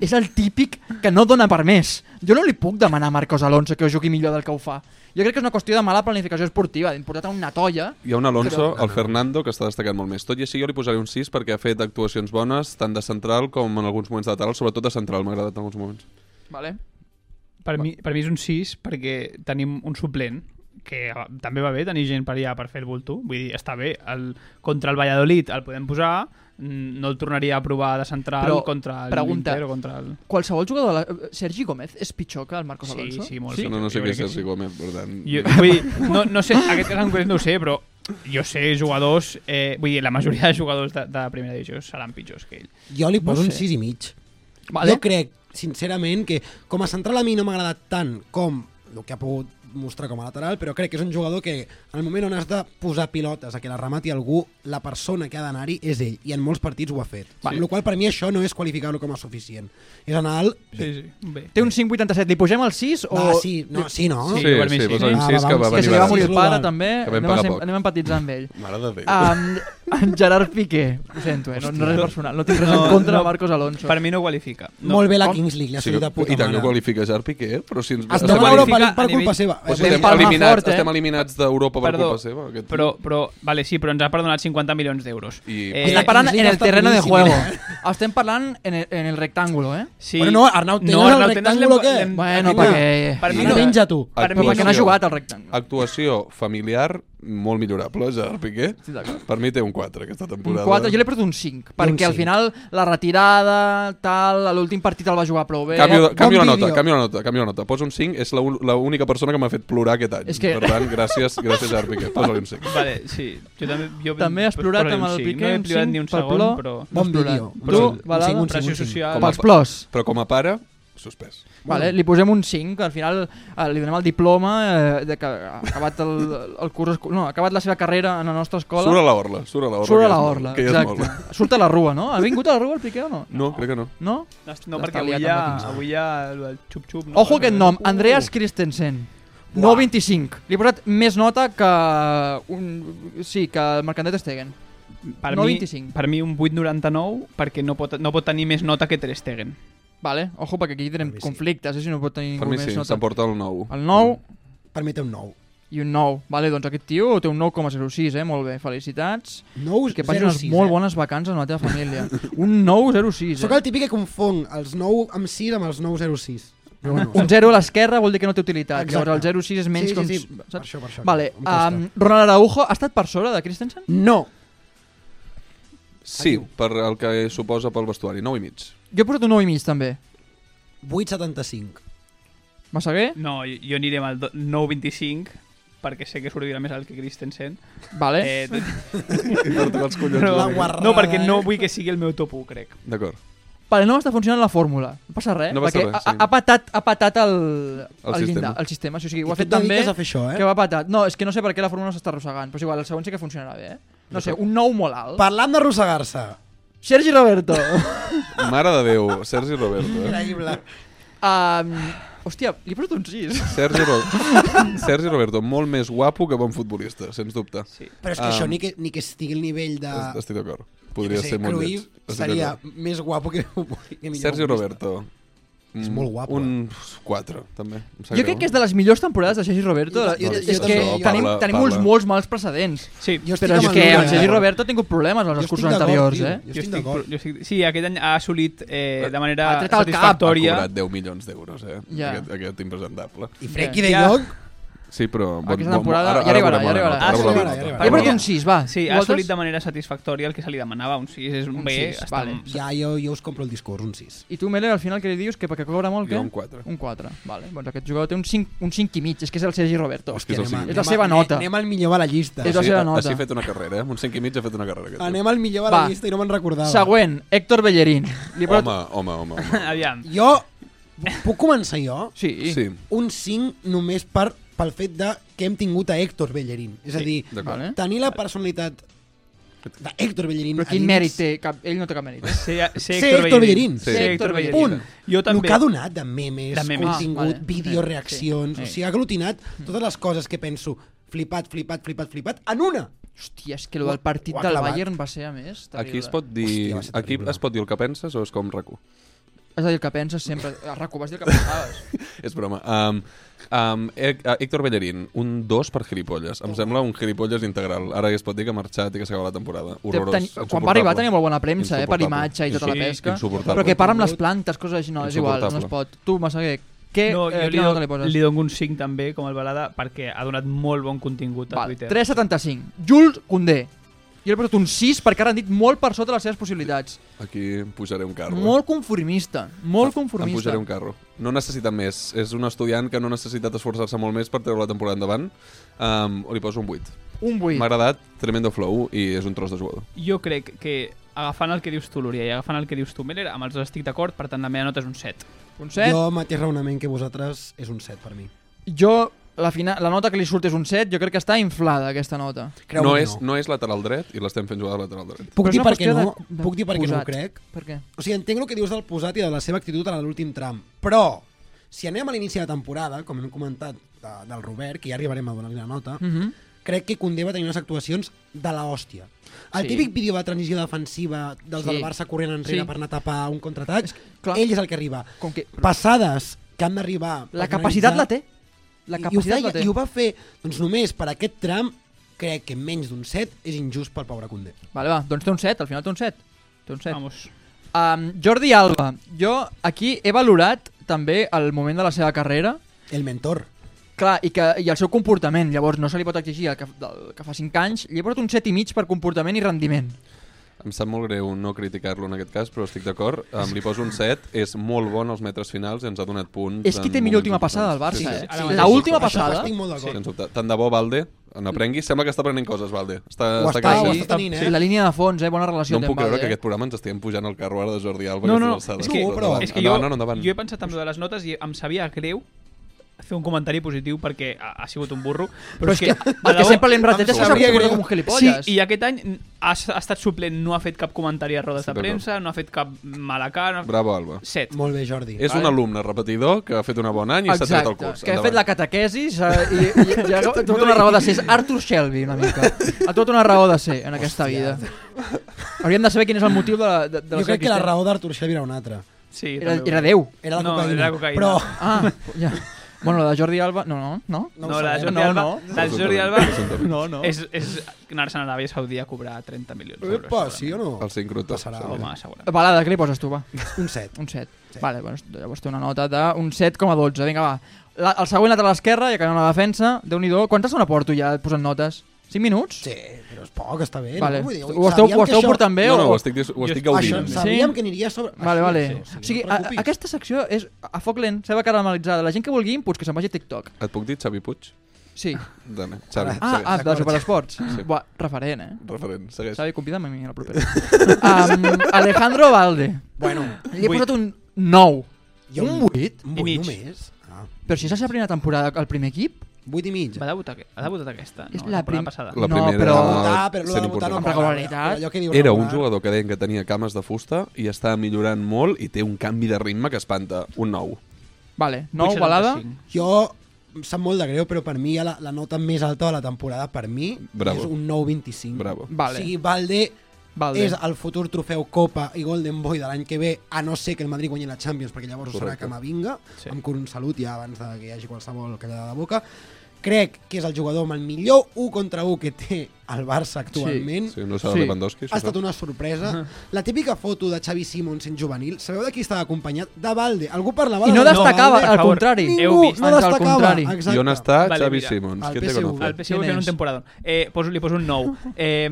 Speaker 1: és el típic que no dona per més. Jo no li puc demanar a Marcos Alonso que ho jugui millor del que ho fa. Jo crec que és una qüestió de mala planificació esportiva, d'importar una tolla.
Speaker 2: Hi ha un Alonso, el Fernando, que està destacant molt més. Tot i així jo li posaré un 6 perquè ha fet actuacions bones tant de central com en alguns moments de lateral, sobretot de central, m'ha agradat en alguns moments.
Speaker 1: Vale?
Speaker 8: Per, mi, per mi és un 6 perquè tenim un suplent que ah, també va bé tenir gent per allà per fer el bulto. Vull dir, està bé. El, contra el Valladolid el podem posar, mm, no el tornaria a provar de central
Speaker 1: Però,
Speaker 8: contra el
Speaker 1: pregunta,
Speaker 8: Inter o contra el...
Speaker 1: Qualsevol jugador... de La... Sergi Gómez és pitjor que el Marcos
Speaker 8: Sí,
Speaker 1: Alonso?
Speaker 8: sí, molt
Speaker 2: Sí?
Speaker 8: bé.
Speaker 2: No, no sé
Speaker 8: Jo
Speaker 2: què
Speaker 8: crec
Speaker 2: és
Speaker 8: que
Speaker 2: Sergi Gómez, per tant...
Speaker 8: Jo, vull dir, no, no sé, aquest cas en concret no ho sé, però jo sé jugadors, eh, vull dir, la majoria de jugadors de, de primera divisió seran pitjors que ell.
Speaker 3: Jo li poso
Speaker 1: No
Speaker 3: no
Speaker 1: sé.
Speaker 3: sé. un 6 i mig.
Speaker 1: Vale.
Speaker 3: Jo crec, sincerament, que com a central a mi no m'ha agradat tant com el que ha pogut mostrar com a lateral, però crec que és un jugador que en el moment on has de posar pilotes a que la remati algú, la persona que ha d'anar-hi és ell, i en molts partits ho ha fet. Sí. Amb la qual cosa, per mi això no és qualificar-lo com a suficient. És anar al...
Speaker 8: Sí, sí, bé.
Speaker 1: Té un 5,87. Li pugem al 6 o...
Speaker 3: Va, sí, no, sí, no?
Speaker 2: Sí,
Speaker 8: Sí,
Speaker 2: sí,
Speaker 8: per mi sí.
Speaker 2: posa'm
Speaker 3: Va,
Speaker 2: sis
Speaker 3: Ah, va,
Speaker 2: que va
Speaker 3: va, sí,
Speaker 1: Que se
Speaker 2: venir
Speaker 1: li va
Speaker 2: barat.
Speaker 1: morir el pare,
Speaker 3: global.
Speaker 1: també.
Speaker 2: Que vam
Speaker 1: Anem,
Speaker 2: pagar
Speaker 1: a,
Speaker 2: poc.
Speaker 1: anem empatitzant amb ell.
Speaker 2: Mare de Déu.
Speaker 1: Um, en Gerard Piqué, ho sento, eh? no, no res personal, no tinc res en
Speaker 8: No,
Speaker 1: contra
Speaker 8: no.
Speaker 1: de Marcos Alonso.
Speaker 8: Per mi no qualifica.
Speaker 3: No, Molt bé la Kings League, li ha
Speaker 2: Sí,
Speaker 3: sortit de puta
Speaker 2: I tant que
Speaker 3: mare.
Speaker 2: qualifica Gerard Piqué, però si ens...
Speaker 3: Es
Speaker 2: estem,
Speaker 3: demana
Speaker 8: qualifica
Speaker 3: Europa League
Speaker 8: a
Speaker 3: per
Speaker 8: nivell-
Speaker 3: culpa seva.
Speaker 2: o
Speaker 1: Pues
Speaker 2: sigui,
Speaker 1: Podem
Speaker 2: estem,
Speaker 1: palmar
Speaker 2: eliminats,
Speaker 1: fort, eh?
Speaker 2: estem eliminats d'Europa per
Speaker 8: Perdó,
Speaker 2: culpa seva. Aquest... tio.
Speaker 8: Però, però, vale, sí, però ens ha perdonat 50 milions d'euros. Eh,
Speaker 2: I-
Speaker 1: Estem parlant en
Speaker 3: Kings League
Speaker 1: el
Speaker 3: està
Speaker 1: terreno de
Speaker 3: boníssim,
Speaker 1: juego.
Speaker 3: eh?
Speaker 1: Estem parlant en el, en el rectàngulo, eh?
Speaker 8: Sí.
Speaker 3: Bueno, no, Arnau, tens el
Speaker 8: Arnau Tenas
Speaker 3: rectàngulo,
Speaker 8: l'hem-
Speaker 3: què?
Speaker 8: l'hem-
Speaker 1: Bueno,
Speaker 3: Vinga.
Speaker 1: perquè...
Speaker 8: Per mi
Speaker 3: Ara
Speaker 8: no.
Speaker 3: menja tu.
Speaker 8: Per mi
Speaker 1: Però perquè no ha
Speaker 2: Actuació.
Speaker 1: jugat al rectàngulo.
Speaker 2: Actuació familiar molt millorable, Gerard Piqué.
Speaker 1: Estic d'acord.
Speaker 2: Per mi té un 4 aquesta
Speaker 1: Un
Speaker 2: temporada.
Speaker 1: 4, jo li he perdut un 5, perquè al
Speaker 3: cinc.
Speaker 1: final la retirada, tal, a l'últim partit el va jugar prou bé.
Speaker 2: Canvio,
Speaker 3: Bon
Speaker 2: canvio, la nota,
Speaker 3: vídeo.
Speaker 2: canvio la nota, canvio la nota. Poso un 5, és la un- l'única persona que m'ha fet plorar aquest any.
Speaker 1: És que-
Speaker 2: Per tant, gràcies, gràcies Gerard Piqué. Posa-li un 5.
Speaker 8: Vale, sí. Jo també, jo
Speaker 1: També has
Speaker 8: pues,
Speaker 1: plorat
Speaker 8: posaré
Speaker 1: amb
Speaker 8: un
Speaker 1: el
Speaker 8: cinc.
Speaker 1: Piqué,
Speaker 8: No he
Speaker 1: un
Speaker 8: plorat ni
Speaker 1: cinc
Speaker 8: un
Speaker 1: per
Speaker 8: segon,
Speaker 1: plor.
Speaker 8: però...
Speaker 3: Bon vídeo.
Speaker 1: Tu, Balada?
Speaker 3: un
Speaker 8: Pressió
Speaker 3: 5, un 5.
Speaker 8: social...
Speaker 2: Com a-
Speaker 1: Pels plors.
Speaker 2: Però com a pare, suspès.
Speaker 1: Vale, li posem un 5, al final eh, li donem el diploma eh, de que ha acabat el, el curs... esco- No, ha acabat la seva carrera en la nostra escola.
Speaker 2: Surt a la orla, surt a la orla.
Speaker 1: Surt a
Speaker 2: que ja
Speaker 1: la
Speaker 2: és molt,
Speaker 1: orla,
Speaker 2: Que ja és molt.
Speaker 1: exacte. Surt a la rua, no? Ha vingut a la rua el Piqué o no?
Speaker 2: No, crec que no.
Speaker 1: No?
Speaker 8: No, perquè
Speaker 1: liat amb
Speaker 8: avui ja,
Speaker 1: la Kings.
Speaker 8: avui ja el del xup-xup... No? Uh.
Speaker 1: Ojo aquest nom, Andreas Christensen.
Speaker 3: Uah.
Speaker 1: 9.25. Li he posat més nota que... Un... Sí, que el Mercantet Stegen.
Speaker 8: Per
Speaker 1: no
Speaker 8: mi,
Speaker 1: 25.
Speaker 8: Per mi un 8,99 perquè no pot, no pot tenir més nota que Ter Stegen.
Speaker 1: Vale, ojo, perquè aquí tenim
Speaker 3: mi sí.
Speaker 1: conflictes, eh, si no pot tenir
Speaker 2: Per
Speaker 1: ningú
Speaker 2: mi
Speaker 1: més
Speaker 2: sí,
Speaker 1: nota.
Speaker 2: s'emporta el 9.
Speaker 1: El 9
Speaker 3: Per mi té un 9.
Speaker 1: i un 9. Vale, doncs aquest tio té un 9,06, eh? Molt bé, felicitats.
Speaker 3: 9,
Speaker 1: Que passin unes molt bones vacances amb la teva família. un 9,06,
Speaker 3: eh? Sóc
Speaker 1: eh?
Speaker 3: el típic que confon els 9 amb 6 amb els 906. Però bueno,
Speaker 1: Un 0 a l'esquerra vol dir que no té utilitat.
Speaker 3: Exacte.
Speaker 1: Llavors el 0,6 és menys
Speaker 3: sí,
Speaker 1: com...
Speaker 3: Sí, sí, per
Speaker 1: saps?
Speaker 3: això, per això.
Speaker 1: Vale,
Speaker 3: em costa.
Speaker 1: um, Ronald Araujo ha estat per sobre de Christensen?
Speaker 3: No,
Speaker 2: Mm. Sí, per el que suposa pel vestuari, 9 i mig.
Speaker 1: Jo he posat un 9 i mig, també.
Speaker 3: 8,75.
Speaker 1: Massaguer?
Speaker 8: No, jo, jo aniré amb el do- 9,25 perquè sé que sortirà més alt que Christensen.
Speaker 1: Vale.
Speaker 8: Eh, tot-
Speaker 2: Per tocar els collons.
Speaker 8: però,
Speaker 3: La guarrada,
Speaker 8: no, perquè
Speaker 3: eh?
Speaker 8: no vull que sigui el meu top 1, crec.
Speaker 2: D'acord.
Speaker 1: Vale, no està funcionant la fórmula. No passa res,
Speaker 2: No passa
Speaker 1: perquè
Speaker 2: res,
Speaker 1: ha-
Speaker 2: sí.
Speaker 1: ha, ha, patat, ha patat el,
Speaker 2: El
Speaker 1: el,
Speaker 2: sistema.
Speaker 1: llindar, el sistema. O sigui, ho
Speaker 3: I
Speaker 1: ha
Speaker 3: tu
Speaker 1: fet
Speaker 3: et
Speaker 1: tan bé
Speaker 3: dediques a fer això, eh?
Speaker 1: que ho ha patat. No, és que no sé per què la fórmula no s'està arrossegant, però és igual, el segon sí que funcionarà bé, eh? No sé, un nou molt alt.
Speaker 3: Parlant d'arrossegar-se.
Speaker 1: Sergi Roberto.
Speaker 2: Mare de Déu, Sergi Roberto. Eh?
Speaker 3: Increïble.
Speaker 1: um, hòstia, li he posat un 6.
Speaker 2: Sergi, Ro... Sergi Roberto, molt més guapo que bon futbolista, sens dubte.
Speaker 8: Sí.
Speaker 3: Però és que
Speaker 2: Ah.
Speaker 3: això ni que, ni que estigui al nivell de...
Speaker 2: Es- Estic d'acord. Podria
Speaker 3: jo què sé,
Speaker 2: ser molt
Speaker 3: Ah. Cruyff
Speaker 2: lleig. Estic
Speaker 3: Seria
Speaker 2: d'acord.
Speaker 3: més guapo que, que millor.
Speaker 2: Sergi Roberto.
Speaker 3: És
Speaker 2: Mm,
Speaker 3: molt guapo, eh?
Speaker 2: Un 4, també. Em sap
Speaker 1: Jo crec que és de les millors temporades de Sergi Roberto.
Speaker 3: Jo-
Speaker 1: Jo,
Speaker 3: jo-
Speaker 1: és
Speaker 3: jo
Speaker 1: que
Speaker 3: també-
Speaker 1: tenim,
Speaker 2: Parla,
Speaker 1: tenim
Speaker 2: parla.
Speaker 1: uns molts mals precedents.
Speaker 8: Sí,
Speaker 3: Jo estic
Speaker 1: Però és
Speaker 3: amb el
Speaker 1: que
Speaker 3: Luna,
Speaker 1: el Sergi
Speaker 3: eh?
Speaker 1: Roberto ha tingut problemes en
Speaker 3: Jo
Speaker 1: els
Speaker 3: estic
Speaker 1: cursos
Speaker 3: d'acord,
Speaker 1: anteriors,
Speaker 3: tio,
Speaker 1: eh?
Speaker 3: Jo estic
Speaker 8: estic,
Speaker 3: d'acord.
Speaker 8: jo estic, sí, aquest any ha assolit eh, de manera
Speaker 1: Ha tret el cap.
Speaker 8: satisfactòria.
Speaker 2: Ha cobrat 10 milions d'euros, eh?
Speaker 1: Ja.
Speaker 2: Aquest, aquest impresentable.
Speaker 3: I Frenkie de
Speaker 8: Ja.
Speaker 3: Jong,
Speaker 2: Sí, però...
Speaker 1: Aquesta temporada ja arribarà,
Speaker 2: volem
Speaker 1: ja
Speaker 2: la
Speaker 1: arribarà.
Speaker 2: nota,
Speaker 8: Ah, sí,
Speaker 2: volem la
Speaker 3: arribarà,
Speaker 2: nota.
Speaker 3: ja
Speaker 1: Li he posat un 6, va.
Speaker 8: Sí, ha
Speaker 1: Vosaltres?
Speaker 8: assolit de manera satisfactòria el que se li demanava, un 6, és un,
Speaker 1: Un
Speaker 8: B,
Speaker 1: sis,
Speaker 8: està,
Speaker 1: vale.
Speaker 3: ja jo, jo us compro el discurs, un 6.
Speaker 1: I tu, Mele, al final què li dius? Que perquè cobra
Speaker 3: eh?
Speaker 1: molt, què?
Speaker 2: Jo un 4.
Speaker 1: Un 4, vale. Doncs aquest jugador té un 5, un 5 i mig, és que és el Sergi Roberto.
Speaker 2: Hòstia, és el cinc.
Speaker 1: És la seva nota.
Speaker 3: Anem al millor a la llista.
Speaker 1: És la seva nota.
Speaker 2: Així ha fet una carrera, eh? Amb Un 5 i mig ha fet una carrera. Aquest.
Speaker 3: Anem al millor a la
Speaker 1: Va.
Speaker 3: llista i no me'n recordava.
Speaker 1: Següent, Héctor Bellerín. Li he
Speaker 2: Home,
Speaker 1: posat...
Speaker 2: home, home.
Speaker 8: home.
Speaker 2: home.
Speaker 8: Aviam.
Speaker 3: Jo, puc començar jo?
Speaker 1: Sí.
Speaker 2: Sí,
Speaker 3: Un 5 només per, pel fet de que hem tingut a Héctor Bellerín. És a dir,
Speaker 2: d'acord.
Speaker 1: Vale.
Speaker 3: tenir la personalitat de Héctor Bellerín
Speaker 1: Però
Speaker 3: a
Speaker 1: quin
Speaker 3: dins,
Speaker 1: mèrit té? Cap... Ell no té cap mèrit. eh?
Speaker 8: Sé, sé
Speaker 3: Sé Héctor Bellerín.
Speaker 2: Sí.
Speaker 8: Sé
Speaker 1: Sé
Speaker 8: Héctor
Speaker 1: Héctor
Speaker 8: Bellerín.
Speaker 3: Punt.
Speaker 8: Jo
Speaker 3: El
Speaker 8: també.
Speaker 3: que ha donat de memes,
Speaker 8: De memes.
Speaker 3: contingut,
Speaker 1: Ah, vale.
Speaker 3: ah, vídeo, reaccions,
Speaker 1: Sí.
Speaker 3: o sigui, ha aglutinat totes les coses que penso flipat, flipat, flipat, flipat, en una.
Speaker 1: Hòstia, és que el del partit
Speaker 3: Ho ha
Speaker 1: del
Speaker 3: clavat.
Speaker 1: Bayern va ser, a més, terrible.
Speaker 2: Aquí es pot dir...
Speaker 3: Hòstia, va ser
Speaker 2: aquí
Speaker 3: terrible.
Speaker 2: es pot dir el que penses o és com rac
Speaker 1: Has de dir el que penses sempre. A RAC1 vas dir el que pensaves.
Speaker 2: És broma. Um, um, Hec- uh, Héctor Bellerín, un 2 per Gilipolles. Em sembla un Gilipolles integral. Ara ja es pot dir que ha marxat i que s'acaba la temporada. Horrorós.
Speaker 1: Ten... Quan va
Speaker 2: insuportable.
Speaker 1: arribar tenia molt bona premsa, eh, per
Speaker 2: Insuportable.
Speaker 1: imatge i tota la
Speaker 2: Sí,
Speaker 1: pesca.
Speaker 2: Insuportable.
Speaker 1: Però que parla amb les plantes, coses així, no, és igual, no es
Speaker 2: Insuportable.
Speaker 1: pot. Tu, Massaguer, què
Speaker 8: No,
Speaker 1: no, eh,
Speaker 8: jo li,
Speaker 1: quina nota li
Speaker 8: do,
Speaker 1: poses?
Speaker 8: li dono un 5 també, com el Balada, perquè ha donat molt bon contingut a
Speaker 1: Val,
Speaker 8: Twitter.
Speaker 1: 3,75. Jules Condé. Jo li he posat un 6 perquè ara han dit molt per sota de les seves possibilitats.
Speaker 2: Aquí em pujaré un carro. eh?
Speaker 1: Molt conformista. Molt
Speaker 2: Em
Speaker 1: conformista.
Speaker 2: pujaré un carro. No necessita més. És un estudiant que no ha necessitat esforçar-se molt més per treure la temporada endavant. Um, li poso un 8.
Speaker 1: Un 8.
Speaker 2: M'ha agradat, tremendo flow, i és un tros de jugador.
Speaker 8: Jo crec que agafant el que dius tu, Lúria, i agafant el que dius tu, Meller, amb els dos estic d'acord, per tant la meva nota és un 7.
Speaker 1: Un 7.
Speaker 3: Jo, mateix raonament que vosaltres, és un 7 per mi.
Speaker 1: Jo, la, fina, la nota que li surt és un 7, jo crec que està inflada aquesta nota.
Speaker 3: Creu
Speaker 2: no,
Speaker 3: no.
Speaker 2: és, no és lateral dret i l'estem fent jugar de lateral dret.
Speaker 3: Puc
Speaker 1: Però és
Speaker 3: dir
Speaker 1: una
Speaker 3: per què
Speaker 1: qüestió
Speaker 3: no,
Speaker 1: de- de
Speaker 3: puc dir per què no ho
Speaker 1: posat.
Speaker 3: crec?
Speaker 1: Per què?
Speaker 3: O sigui, entenc el que dius del posat i de la seva actitud a l'últim tram, però si anem a l'inici de temporada, com hem comentat de, del Robert, que ja arribarem a donar-li la nota, mm
Speaker 1: Mhm.
Speaker 3: crec que Condé va tenir unes actuacions de la hòstia. El
Speaker 1: Sí.
Speaker 3: sí. típic vídeo de transició defensiva dels
Speaker 1: Sí.
Speaker 3: sí. del Barça corrent enrere
Speaker 1: Sí.
Speaker 3: sí. per anar a tapar un contraatac,
Speaker 1: clar.
Speaker 3: ell és el que arriba.
Speaker 1: Com que...
Speaker 3: Passades que han d'arribar... per
Speaker 1: La capacitat
Speaker 3: finalitzar,
Speaker 1: la té. La
Speaker 3: i-
Speaker 1: capacitat
Speaker 3: i ho,
Speaker 1: la
Speaker 3: feia,
Speaker 1: té.
Speaker 3: I ho va fer, doncs només per aquest tram, crec que menys d'un set és injust pel pobre Condé.
Speaker 1: Vale, va, doncs té un 7, al final té un 7. Té un 7.
Speaker 8: Vamos.
Speaker 1: Um, Jordi Alba, jo aquí he valorat també el moment de la seva carrera,
Speaker 3: El mentor.
Speaker 1: clar, i, que, i el seu comportament, llavors no se li pot exigir el que, del, que fa 5 anys, li he posat un 7 i mig per comportament i rendiment.
Speaker 2: Em sap molt greu no criticar-lo en aquest cas, però estic d'acord. Em li poso un 7, és molt bon als metres finals, ens ha donat punts...
Speaker 1: És qui té
Speaker 2: en
Speaker 1: millor
Speaker 2: moments
Speaker 1: última passada del Barça,
Speaker 2: importants.
Speaker 1: eh?
Speaker 8: sí, sí.
Speaker 1: La
Speaker 8: Sí,
Speaker 1: última
Speaker 3: Això
Speaker 1: passada...
Speaker 3: Estic molt
Speaker 2: Sí.
Speaker 3: d'acord.
Speaker 2: Sens dubte. Tant de bo, Valde, n'aprengui. Sembla que està aprenent coses, Valde. Està,
Speaker 3: Ho
Speaker 2: està
Speaker 3: està, ho
Speaker 2: creixent.
Speaker 3: està tenint, eh?
Speaker 1: La línia de fons, eh? Bona relació.
Speaker 2: No em
Speaker 1: té en
Speaker 2: puc creure
Speaker 1: Valde,
Speaker 2: que
Speaker 1: eh?
Speaker 2: aquest programa ens estiguem pujant al carro ara de Jordi Alba.
Speaker 8: No,
Speaker 2: a
Speaker 8: no,
Speaker 2: aquestes alçades.
Speaker 8: és que,
Speaker 3: No, però-
Speaker 8: és que jo,
Speaker 2: endavant, no, endavant.
Speaker 8: jo he pensat en lo de les notes i em sabia greu fer un comentari positiu perquè ha, ha sigut un burro, però,
Speaker 1: Però és que el que sempre l'hem retet és que s'ha
Speaker 3: sabria
Speaker 1: comportat
Speaker 3: greu.
Speaker 1: com un gilipolles.
Speaker 8: Sí, i aquest any ha, ha estat suplent, no ha fet cap comentari a rodes
Speaker 2: Estic
Speaker 8: de premsa, no ha fet cap mala cara... No...
Speaker 2: Bravo, Alba.
Speaker 8: Set.
Speaker 3: Molt bé, Jordi.
Speaker 2: És un alumne repetidor que ha fet una bona any i s'ha
Speaker 1: Exacte,
Speaker 2: tret el curs.
Speaker 1: que ha fet la catequesis eh, i, i, i, i ha trobat una raó de ser. És Arthur Shelby, una mica. Ha trobat una raó de ser en aquesta
Speaker 3: Hòstia.
Speaker 1: vida. Hauríem de saber quin és el motiu de la, de, de la
Speaker 3: Jo
Speaker 1: seva
Speaker 3: crec que la
Speaker 1: existència.
Speaker 3: raó d'Artur Xavi era una altra.
Speaker 8: Sí,
Speaker 1: Era,
Speaker 8: també ho
Speaker 1: era Déu.
Speaker 3: Era la
Speaker 8: crec. No,
Speaker 3: cocaïna.
Speaker 8: era la cocaïna.
Speaker 3: Però
Speaker 1: Ah, ja. Bueno, la de Jordi Alba... No, no, no.
Speaker 3: no,
Speaker 8: No,
Speaker 3: ho
Speaker 8: la de
Speaker 3: sabem.
Speaker 8: Jordi
Speaker 1: No,
Speaker 8: Alba,
Speaker 1: no.
Speaker 8: la de Jordi Alba
Speaker 1: No, no.
Speaker 8: és, és anar-se'n a l'Aràbia Saudí a cobrar 30 milions d'euros.
Speaker 3: Epa, sí o no?
Speaker 2: El sincrotó.
Speaker 3: Passarà.
Speaker 8: Home, segurament.
Speaker 1: Balada, què li poses tu, va?
Speaker 3: Un set.
Speaker 1: Un 7. Vale, bueno, llavors té una nota d'un 7,12. Vinga, va. La, el següent lateral esquerre, ja que la defensa, déu nhi Quanta estona porto ja posant notes? 5 minuts?
Speaker 3: Sí, però és poc, està bé.
Speaker 1: Vale.
Speaker 3: No? Vull dir,
Speaker 1: Ho esteu,
Speaker 3: sabíem
Speaker 1: ho
Speaker 3: que
Speaker 1: esteu
Speaker 3: això-
Speaker 1: portant bé
Speaker 2: No, no,
Speaker 1: o...
Speaker 2: ho estic, dis- ho estic
Speaker 3: Això,
Speaker 2: gaudint.
Speaker 3: sabíem
Speaker 1: Sí.
Speaker 3: que aniria sobre...
Speaker 1: Vale,
Speaker 3: així,
Speaker 1: vale.
Speaker 3: sí,
Speaker 1: O sigui,
Speaker 3: no
Speaker 1: a,
Speaker 3: et preocupis.
Speaker 1: aquesta secció és a foc lent, ceba caramelitzada. La gent que vulgui inputs, que se'n vagi a TikTok.
Speaker 2: Et puc dir Xavi Puig?
Speaker 1: Sí.
Speaker 2: Dame,
Speaker 1: Ah,
Speaker 2: Xavi,
Speaker 1: ah,
Speaker 2: segueix.
Speaker 1: de Superesports.
Speaker 2: Sí.
Speaker 1: Buah, referent, eh?
Speaker 2: Referent, segueix.
Speaker 1: Xavi, convida'm a mi a la propera. um, Alejandro Valde.
Speaker 3: Bueno,
Speaker 1: Li he posat un 9.
Speaker 3: jo
Speaker 1: un
Speaker 3: vuit.
Speaker 1: 8?
Speaker 3: Un
Speaker 8: I
Speaker 3: vuit
Speaker 8: mig.
Speaker 3: només. Ah,
Speaker 1: Però si és la seva primera temporada al primer equip,
Speaker 3: vuit i mig.
Speaker 8: Va debutar, ha debutat aquesta? No,
Speaker 1: És la
Speaker 8: temporada
Speaker 1: prim-
Speaker 8: passada.
Speaker 2: La
Speaker 1: No,
Speaker 2: primera...
Speaker 1: però-
Speaker 3: Votar, però
Speaker 2: sent
Speaker 3: l'ha de votar
Speaker 2: important.
Speaker 1: Amb
Speaker 3: no cola,
Speaker 1: regularitat.
Speaker 3: però allò que diu
Speaker 2: Era un
Speaker 3: regular-
Speaker 2: jugador que deien que tenia cames de fusta i està millorant molt i té un canvi de ritme que espanta. Un nou.
Speaker 1: vale, 9 balada.
Speaker 8: 8,75.
Speaker 3: Jo em sap molt de greu, però per mi la, la nota més alta de la temporada, per mi,
Speaker 2: Bravo.
Speaker 3: és un 9-25.
Speaker 2: Bravo.
Speaker 1: Vale.
Speaker 3: O sigui, Valde,
Speaker 1: Valde.
Speaker 3: és el futur trofeu Copa i Golden Boy de l'any que ve, a no ser que el Madrid guanyi la Champions, perquè llavors Correcte. serà
Speaker 2: Correcte.
Speaker 3: Camavinga,
Speaker 8: Sí.
Speaker 3: sí. amb un salut ja abans de que hi hagi qualsevol callada de boca. Crec que és el jugador amb el millor 1 contra 1 que té el Barça actualment.
Speaker 2: Sí, no serà
Speaker 1: Sí.
Speaker 2: sí. Lewandowski, això.
Speaker 3: Ha estat una sorpresa. La típica foto de Xavi Simons en juvenil, sabeu de qui estava acompanyat? De Valde. Algú parlava
Speaker 1: I
Speaker 3: de
Speaker 1: no
Speaker 3: Valde.
Speaker 1: destacava,
Speaker 8: per
Speaker 1: al
Speaker 8: favor.
Speaker 1: contrari.
Speaker 8: Heu
Speaker 3: Ningú
Speaker 8: vist,
Speaker 3: no
Speaker 1: ans al
Speaker 3: destacava.
Speaker 1: contrari.
Speaker 3: Exacte.
Speaker 2: I on està
Speaker 8: Vale,
Speaker 2: Xavi
Speaker 8: mira,
Speaker 2: Simons?
Speaker 3: al
Speaker 2: Què té
Speaker 3: PSV.
Speaker 2: conoce?
Speaker 8: El PSV
Speaker 1: Quin
Speaker 8: fent un
Speaker 1: és?
Speaker 8: temporada. Eh, poso, li poso un 9. Eh,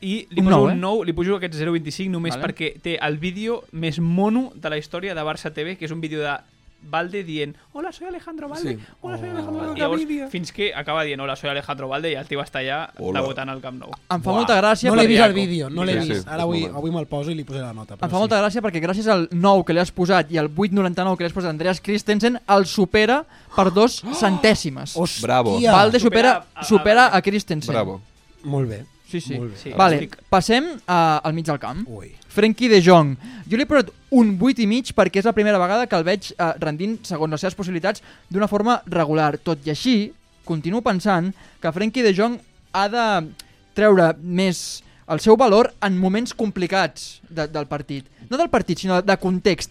Speaker 8: I li
Speaker 1: Un
Speaker 8: poso
Speaker 1: nou, eh?
Speaker 8: un 9, li poso aquest 0,25 només
Speaker 1: Vale.
Speaker 8: vale. perquè té el vídeo més mono de la història de Barça TV, que és un vídeo de Valde dient Hola, soy Alejandro Valde.
Speaker 2: Sí.
Speaker 8: Hola, soy Alejandro Valde. Oh. Llavors, fins que acaba dient Hola, soy Alejandro Valde i el tio està allà
Speaker 2: Hola.
Speaker 8: debutant al Camp Nou.
Speaker 1: Em fa molta gràcia
Speaker 3: No l'he
Speaker 1: perquè-
Speaker 3: vist al vídeo, no l'he
Speaker 2: Sí,
Speaker 3: vist.
Speaker 2: sí,
Speaker 3: Ara
Speaker 2: és
Speaker 3: avui,
Speaker 2: molt mal.
Speaker 3: avui me'l poso i li posaré la nota.
Speaker 1: Em
Speaker 3: però
Speaker 1: fa molta gràcia perquè gràcies al 9 que li has posat i al 8,99 que li has posat a Andreas Christensen el supera per dos centèsimes.
Speaker 3: Hòstia!
Speaker 2: Bravo.
Speaker 1: Valde
Speaker 8: Supera
Speaker 1: supera,
Speaker 8: a- a-
Speaker 1: supera a Christensen.
Speaker 2: Bravo.
Speaker 3: Molt bé.
Speaker 1: Sí, sí.
Speaker 3: Molt bé.
Speaker 8: Sí.
Speaker 1: Vale,
Speaker 8: Estic-
Speaker 1: passem a, al mig del camp.
Speaker 3: Ui.
Speaker 1: Frenkie de Jong. Jo li he posat un 8 i mig perquè és la primera vegada que el veig eh, rendint segons les seves possibilitats d'una forma regular. Tot i així, continuo pensant que Frenkie de Jong ha de treure més el seu valor en moments complicats de, del partit. No del partit, sinó de context.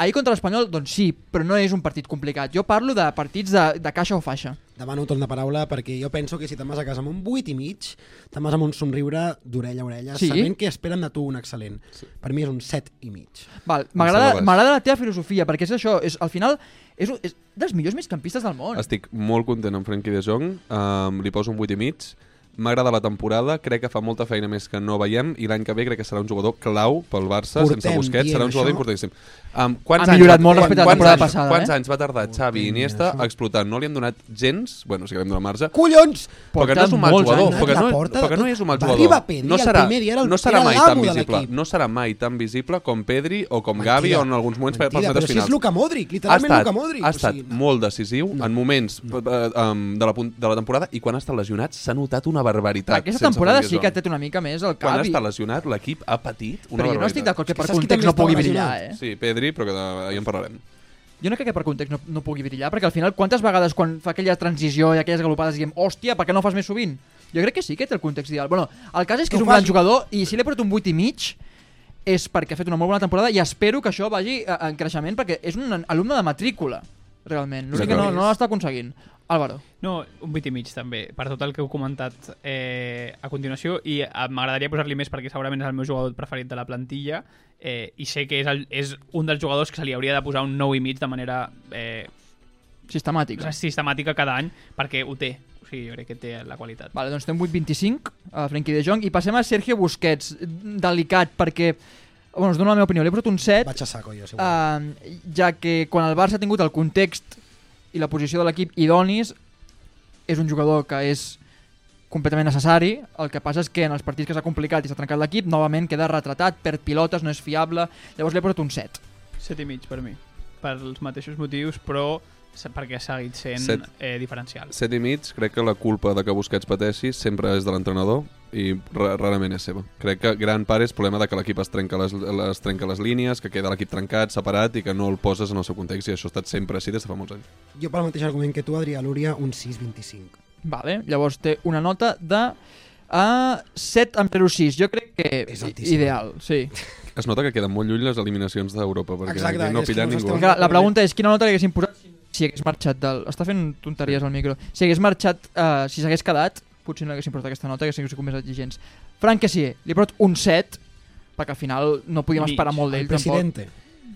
Speaker 1: Ahir contra l'Espanyol, doncs sí, però no és un partit complicat. Jo parlo de partits de, de caixa o faixa.
Speaker 3: Demano torn de paraula perquè jo penso que si te'n vas a casa amb un 8 i mig, te'n vas amb un somriure d'orella a orella,
Speaker 1: Sí.
Speaker 3: sí. sabent que esperen de tu un excel·lent. Sí. Per mi és un 7 i mig.
Speaker 1: Val,
Speaker 2: sembla
Speaker 1: M'agrada
Speaker 2: baix.
Speaker 1: m'agrada la teva filosofia, perquè és això, és, al final és, un- és dels millors migcampistes del món.
Speaker 2: Estic molt content amb Frenkie de Jong, um, li poso un 8 i mig, m'agrada la temporada, crec que fa molta feina més que no veiem i l'any que ve crec que serà un jugador clau pel Barça,
Speaker 3: Portem
Speaker 2: sense Busquets,
Speaker 3: dient
Speaker 2: serà un jugador
Speaker 3: això.
Speaker 2: importantíssim. Um, quants
Speaker 1: Ha millorat
Speaker 2: anys,
Speaker 1: molt respecte a la
Speaker 2: quants
Speaker 1: temporada
Speaker 2: anys,
Speaker 1: passada,
Speaker 2: Quants
Speaker 1: eh?
Speaker 2: anys va tardar Xavi i Iniesta a explotar? No li hem donat gens, bueno, sí que li hem donat marge,
Speaker 3: Collons!
Speaker 2: però que
Speaker 1: Porta
Speaker 2: no és un mal
Speaker 1: molts
Speaker 2: jugador,
Speaker 1: anys.
Speaker 2: però que
Speaker 3: La
Speaker 2: no,
Speaker 3: porta de
Speaker 2: però que no
Speaker 3: tot.
Speaker 2: és un mal
Speaker 3: Va
Speaker 2: jugador.
Speaker 3: arribar Pedri,
Speaker 2: no
Speaker 3: el
Speaker 2: serà,
Speaker 3: primer dia era el-
Speaker 2: no serà
Speaker 3: era
Speaker 2: mai
Speaker 3: l'amo
Speaker 2: tan
Speaker 3: de
Speaker 2: visible,
Speaker 3: l'equip.
Speaker 2: no serà mai tan visible com Pedri o com Gavi
Speaker 3: Mentida.
Speaker 2: o en alguns moments per-
Speaker 3: Mentida,
Speaker 2: pels metres
Speaker 3: però si és
Speaker 2: finals
Speaker 3: Luka Modric, literalment
Speaker 2: ha
Speaker 3: Luka
Speaker 2: estat,
Speaker 3: Modric.
Speaker 2: Ha estat o sigui,
Speaker 3: no.
Speaker 2: molt decisiu no. en moments no. de, la, pun- de la temporada i quan ha estat lesionat s'ha notat una barbaritat.
Speaker 1: Aquesta
Speaker 2: sense
Speaker 1: temporada
Speaker 2: Frenkie
Speaker 1: sí que
Speaker 2: de
Speaker 1: té una mica més el
Speaker 2: Jong. Quan
Speaker 1: cap.
Speaker 2: ha
Speaker 1: i-
Speaker 2: estat lesionat, l'equip ha patit una
Speaker 1: Però jo no
Speaker 2: barbaritat.
Speaker 1: estic d'acord que
Speaker 3: És que
Speaker 1: per
Speaker 3: saps qui també
Speaker 1: context no
Speaker 3: estava
Speaker 1: pugui
Speaker 3: lesionat?
Speaker 1: brillar, eh?
Speaker 2: Sí, Pedri, però que de, ahir en parlarem.
Speaker 1: Jo no crec que per context no, no pugui brillar, perquè al final quantes vegades quan fa aquella transició i aquelles galopades diem hòstia, per què no ho fas més sovint? Jo crec que sí que té el context ideal. Bueno, el cas és que
Speaker 3: No
Speaker 1: és un
Speaker 3: fas-
Speaker 1: gran jugador i si l'he portat un 8 i mig és perquè ha fet una molt bona temporada i espero que això vagi eh, en creixement perquè és un alumne de matrícula, realment. L'únic que no, no l'està aconseguint. Álvaro.
Speaker 8: No, un 8 i mig també, per tot el que heu comentat eh, a continuació i eh, m'agradaria posar-li més perquè segurament és el meu jugador preferit de la plantilla eh, i sé que és, el, és un dels jugadors que se li hauria de posar un 9 i mig de manera eh,
Speaker 1: Sistemàtic.
Speaker 8: sistemàtica cada any perquè ho té, o sigui, jo crec que té la qualitat.
Speaker 1: Vale, doncs té un 8-25 a eh, Frenkie de Jong i passem a Sergio Busquets, delicat perquè... Bueno, us dono la meva opinió. Li he posat un 7
Speaker 3: Vaig a saco, jo, segurament.
Speaker 1: eh, ja que quan el Barça ha tingut el context i la posició de l'equip idonis, és un jugador que és completament necessari, el que passa és que en els partits que s'ha complicat i s'ha trencat l'equip, novament queda retratat, perd pilotes, no és fiable, llavors li he posat un 7.
Speaker 8: 7 i mig per mi, pels mateixos motius, però se- perquè ha seguit sent
Speaker 2: Set.
Speaker 8: eh, diferencial.
Speaker 2: Set i mig, crec que la culpa de que Busquets pateixi sempre és de l'entrenador i ra- rarament és seva. Crec que gran part és problema de que l'equip es, trenca les, les trenca les línies, que queda l'equip trencat, separat i que no el poses en el seu context i això ha estat sempre així des de fa molts anys.
Speaker 3: Jo pel mateix argument que tu, Adrià Lúria, un 6-25.
Speaker 1: Vale, llavors té una nota de eh, a 7 amb 06. Jo crec que
Speaker 3: És altíssim.
Speaker 1: ideal, sí.
Speaker 2: Es nota que queden molt lluny les eliminacions d'Europa perquè
Speaker 3: Exacte,
Speaker 2: aquí no
Speaker 3: és que
Speaker 2: pillen
Speaker 3: no
Speaker 2: ningú.
Speaker 3: s'esteu-
Speaker 1: Clar, la pregunta és quina nota li haguessin posat si- si hagués marxat del... Està fent tonteries al micro. Si hagués marxat, eh, si s'hagués quedat, potser no haguessin portat aquesta nota, haguessin sigut més exigents. Frank que sí, li he portat un 7, perquè al final no podíem
Speaker 8: Mig.
Speaker 1: esperar molt d'ell,
Speaker 3: El
Speaker 1: tampoc.
Speaker 3: presidente.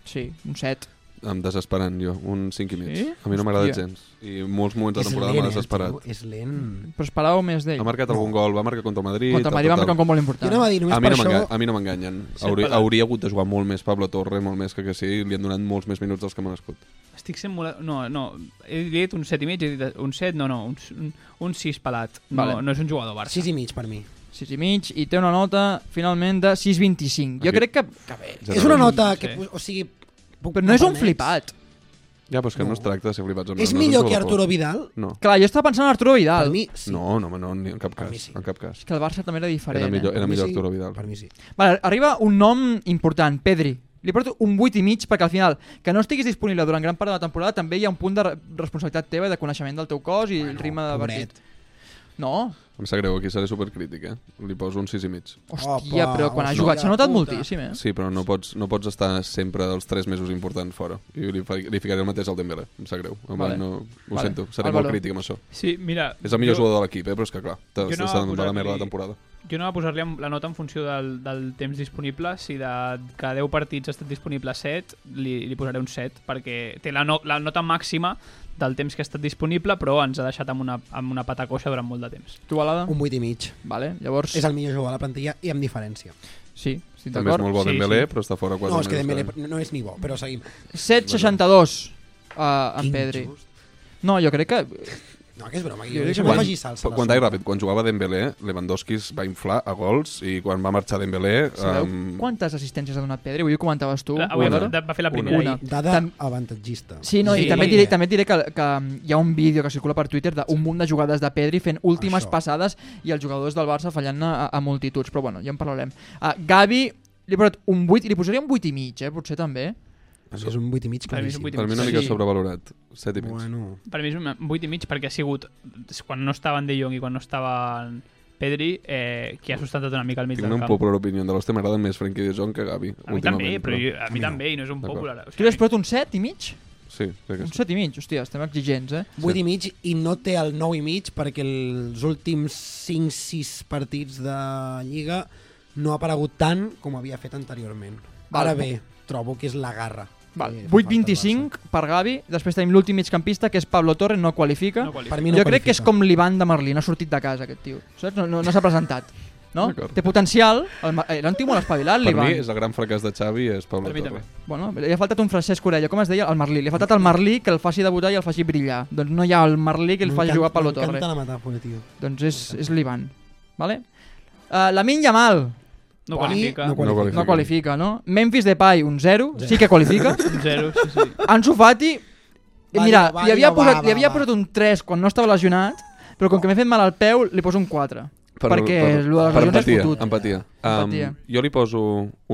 Speaker 1: Sí, un 7.
Speaker 2: Em desesperant, jo. Un 5 i mig.
Speaker 1: Sí?
Speaker 2: A mi no m'agrada
Speaker 1: Hòstia.
Speaker 2: gens. I molts moments de temporada m'ha
Speaker 3: eh,
Speaker 2: desesperat.
Speaker 3: tio, és lent.
Speaker 1: Però esperàveu més d'ell.
Speaker 2: Ha marcat algun gol, va marcar contra el Madrid...
Speaker 1: Contra el Madrid va marcar un com molt
Speaker 3: Jo
Speaker 1: important.
Speaker 3: anava a dir, només
Speaker 2: A mi,
Speaker 3: per
Speaker 2: no
Speaker 3: això...
Speaker 2: m'enga- a mi no m'enganyen. Hauria, hauria hagut de jugar molt més Pablo Torre, molt més que que sí, li han donat molts més minuts dels que m'han escut.
Speaker 8: Estic sent molt... No, no, he dit un 7 i mig, he dit un 7, no, no, un, un, un 6 pelat. No,
Speaker 1: Vale.
Speaker 8: no és un jugador Barça.
Speaker 3: 6 i mig per mi.
Speaker 1: 6 i mig, i té una nota, finalment, de 6,25. Jo
Speaker 2: Aquí.
Speaker 1: crec que...
Speaker 2: Ja
Speaker 3: Eh, és una
Speaker 2: no-
Speaker 3: nota que...
Speaker 8: Sí.
Speaker 3: pos- O sigui... puc-
Speaker 1: Però no és un
Speaker 3: permets?
Speaker 1: flipat.
Speaker 2: Ja, però és que no,
Speaker 3: No.
Speaker 2: es tracta de ser flipats. amb
Speaker 3: És
Speaker 2: no
Speaker 3: millor
Speaker 2: un
Speaker 3: que
Speaker 2: jugador.
Speaker 3: Arturo Vidal?
Speaker 2: No.
Speaker 1: Clar, jo estava pensant en Arturo
Speaker 3: Per
Speaker 1: Vidal.
Speaker 3: mi, sí.
Speaker 2: no, no, home, no, ni en cap
Speaker 3: Per mi
Speaker 2: cas.
Speaker 3: sí.
Speaker 2: En cap cas.
Speaker 1: És que el Barça també era diferent.
Speaker 2: Era millor,
Speaker 1: eh?
Speaker 2: era
Speaker 3: Per mi
Speaker 2: millor
Speaker 3: sí.
Speaker 2: Arturo
Speaker 3: Per
Speaker 2: Vidal.
Speaker 3: mi sí.
Speaker 1: Vale, arriba un nom important, Pedri. Li porto un 8 i mig perquè al final que no estiguis disponible durant gran part de la temporada també hi ha un punt de re- responsabilitat teva i de coneixement del teu cos i bueno, el ritme de
Speaker 3: pobret.
Speaker 1: partit. No,
Speaker 2: Em sap greu, aquí seré supercrític, eh? Li poso un 6 i mig.
Speaker 1: hòstia,
Speaker 3: Opa,
Speaker 1: però quan ha
Speaker 3: hòstia,
Speaker 1: jugat s'ha notat
Speaker 3: puta.
Speaker 1: moltíssim, eh?
Speaker 2: Sí, però no pots, no pots estar sempre els 3 mesos importants fora. I li, fa- li ficaré el mateix al Dembélé. Em sap greu. Home,
Speaker 1: Vale.
Speaker 2: vale. no, ho
Speaker 1: Vale.
Speaker 2: vale. sento. Seré
Speaker 1: Álvaro.
Speaker 2: molt crític amb això.
Speaker 8: Sí, mira...
Speaker 2: És el millor jugador de l'equip, eh? però és que clar, t'ha
Speaker 8: Jo
Speaker 2: no
Speaker 8: no
Speaker 2: de donar la
Speaker 8: posar-li-
Speaker 2: merda de temporada.
Speaker 8: Jo anava a posar-li la nota en funció del, del temps disponible. Si de cada 10 partits ha estat disponible 7, li, li posaré un 7, perquè té la, no, la nota màxima del temps que ha estat disponible, però ens ha deixat amb una, amb una patacoixa durant molt de temps.
Speaker 1: Tu, Balada?
Speaker 3: Un 8 i mig.
Speaker 1: Vale, llavors...
Speaker 3: És el millor jugador de la plantilla i amb diferència.
Speaker 1: Sí, estic
Speaker 2: També és
Speaker 1: d'acord.
Speaker 2: molt bo
Speaker 8: Sí,
Speaker 2: Dembélé,
Speaker 8: sí.
Speaker 2: però està fora eh. 4
Speaker 3: No, és que Dembélé no és ni bo, però seguim.
Speaker 1: 7,62 uh, en
Speaker 3: Quin
Speaker 1: Pedri.
Speaker 3: just.
Speaker 1: No, jo crec que...
Speaker 3: No, que és broma.
Speaker 1: Jo
Speaker 3: Jo
Speaker 1: crec que
Speaker 3: crec
Speaker 1: quan-
Speaker 3: afegir salsa.
Speaker 2: Quan vaig ràpid, quan jugava Dembélé, Lewandowski es va inflar a gols i quan va marxar Dembélé...
Speaker 1: Sabeu
Speaker 2: em,
Speaker 1: quantes assistències ha donat Pedri? Avui ho comentaves tu.
Speaker 8: La- Eh, Avui
Speaker 2: una.
Speaker 8: va, va fer la
Speaker 2: Una.
Speaker 8: primera.
Speaker 1: Una.
Speaker 8: ahir.
Speaker 3: Dada
Speaker 1: Tam-
Speaker 3: avantatgista.
Speaker 1: Sí, no, sí.
Speaker 8: Sí.
Speaker 1: i també et diré, també et diré que, que hi ha un vídeo que circula per Twitter d'un munt de jugades de Pedri fent últimes
Speaker 3: Això.
Speaker 1: passades i els jugadors del Barça fallant a, a multituds, però bueno, ja en parlarem. Uh, Gavi, li he posat un 8, i li posaria un 8 i mig, eh, potser també.
Speaker 3: Doncs És un 8 i mig
Speaker 8: Per mi és
Speaker 3: claríssim.
Speaker 8: un vuit i
Speaker 2: Per mi una
Speaker 8: mig.
Speaker 2: mica
Speaker 1: Sí.
Speaker 2: sobrevalorat. 7 i mig.
Speaker 3: Bueno,
Speaker 8: Per mi és un 8 i mig perquè ha sigut quan no estaven De Jong i quan no estaven Pedri, eh, que ha sustentat una mica al mig
Speaker 2: Tinc
Speaker 8: del
Speaker 2: una
Speaker 8: camp.
Speaker 2: popular opinió de l'Oste, m'agrada més Frenkie de Jong que Gavi.
Speaker 8: A mi també, però jo, a mi també, i no és un
Speaker 2: D'acord.
Speaker 8: popular. O
Speaker 1: Tu li has posat un 7 i mig?
Speaker 2: Sí, crec que
Speaker 1: Un
Speaker 2: sí.
Speaker 1: 7 i mig, hòstia, estem exigents, eh?
Speaker 3: 8 i mig i no té el 9 i mig perquè els últims 5-6 partits de Lliga no ha aparegut tant com havia fet anteriorment.
Speaker 1: Val.
Speaker 3: Ara bé, trobo que és la garra. Eh,
Speaker 1: Val.
Speaker 3: que fa falta al Barça.
Speaker 1: 8-25 per Gavi, després tenim l'últim migcampista, que és Pablo Torre, no qualifica.
Speaker 8: No qualifica.
Speaker 3: Per mi
Speaker 1: jo
Speaker 3: no
Speaker 1: crec que és
Speaker 3: qualifica.
Speaker 1: com l'Ivan de Merlí, no ha sortit de casa aquest tio, saps? No, no, no s'ha presentat. No?
Speaker 2: D'acord.
Speaker 1: Té potencial, el, Ma- era un tio molt espavilat,
Speaker 2: Per mi
Speaker 1: l'Ivan.
Speaker 2: és el gran fracàs de Xavi és Pablo
Speaker 8: Per mi
Speaker 2: Torre.
Speaker 1: Bueno, li ha faltat un Francesc Orella, com es deia? El Merlí. Li ha faltat el Merlí que el faci debutar i el faci brillar. Doncs no hi ha el Merlí que el faci
Speaker 3: M'encanta-
Speaker 1: jugar a Pablo Torre.
Speaker 3: M'encanta la metàfora, tio.
Speaker 1: Doncs és, és l'Ivan. Vale? Uh, la Minya Mal
Speaker 8: No
Speaker 3: Per mi
Speaker 8: qualifica.
Speaker 3: No qualifica.
Speaker 1: eh? no qualifica, no? Memphis Depay, un 0, sí que qualifica.
Speaker 8: Un zero, sí, sí.
Speaker 1: Ansu Fati, eh,
Speaker 3: Va,
Speaker 1: mira,
Speaker 3: va,
Speaker 1: li havia,
Speaker 3: va,
Speaker 1: posat,
Speaker 3: va,
Speaker 1: li havia
Speaker 3: va.
Speaker 1: posat un 3 quan no estava lesionat, però com que m'he fet mal al peu, li poso un 4. perquè lo de les
Speaker 2: per
Speaker 1: lesions és
Speaker 2: empatia,
Speaker 1: fotut.
Speaker 2: empatia.
Speaker 1: Empatia.
Speaker 2: Um, jo li poso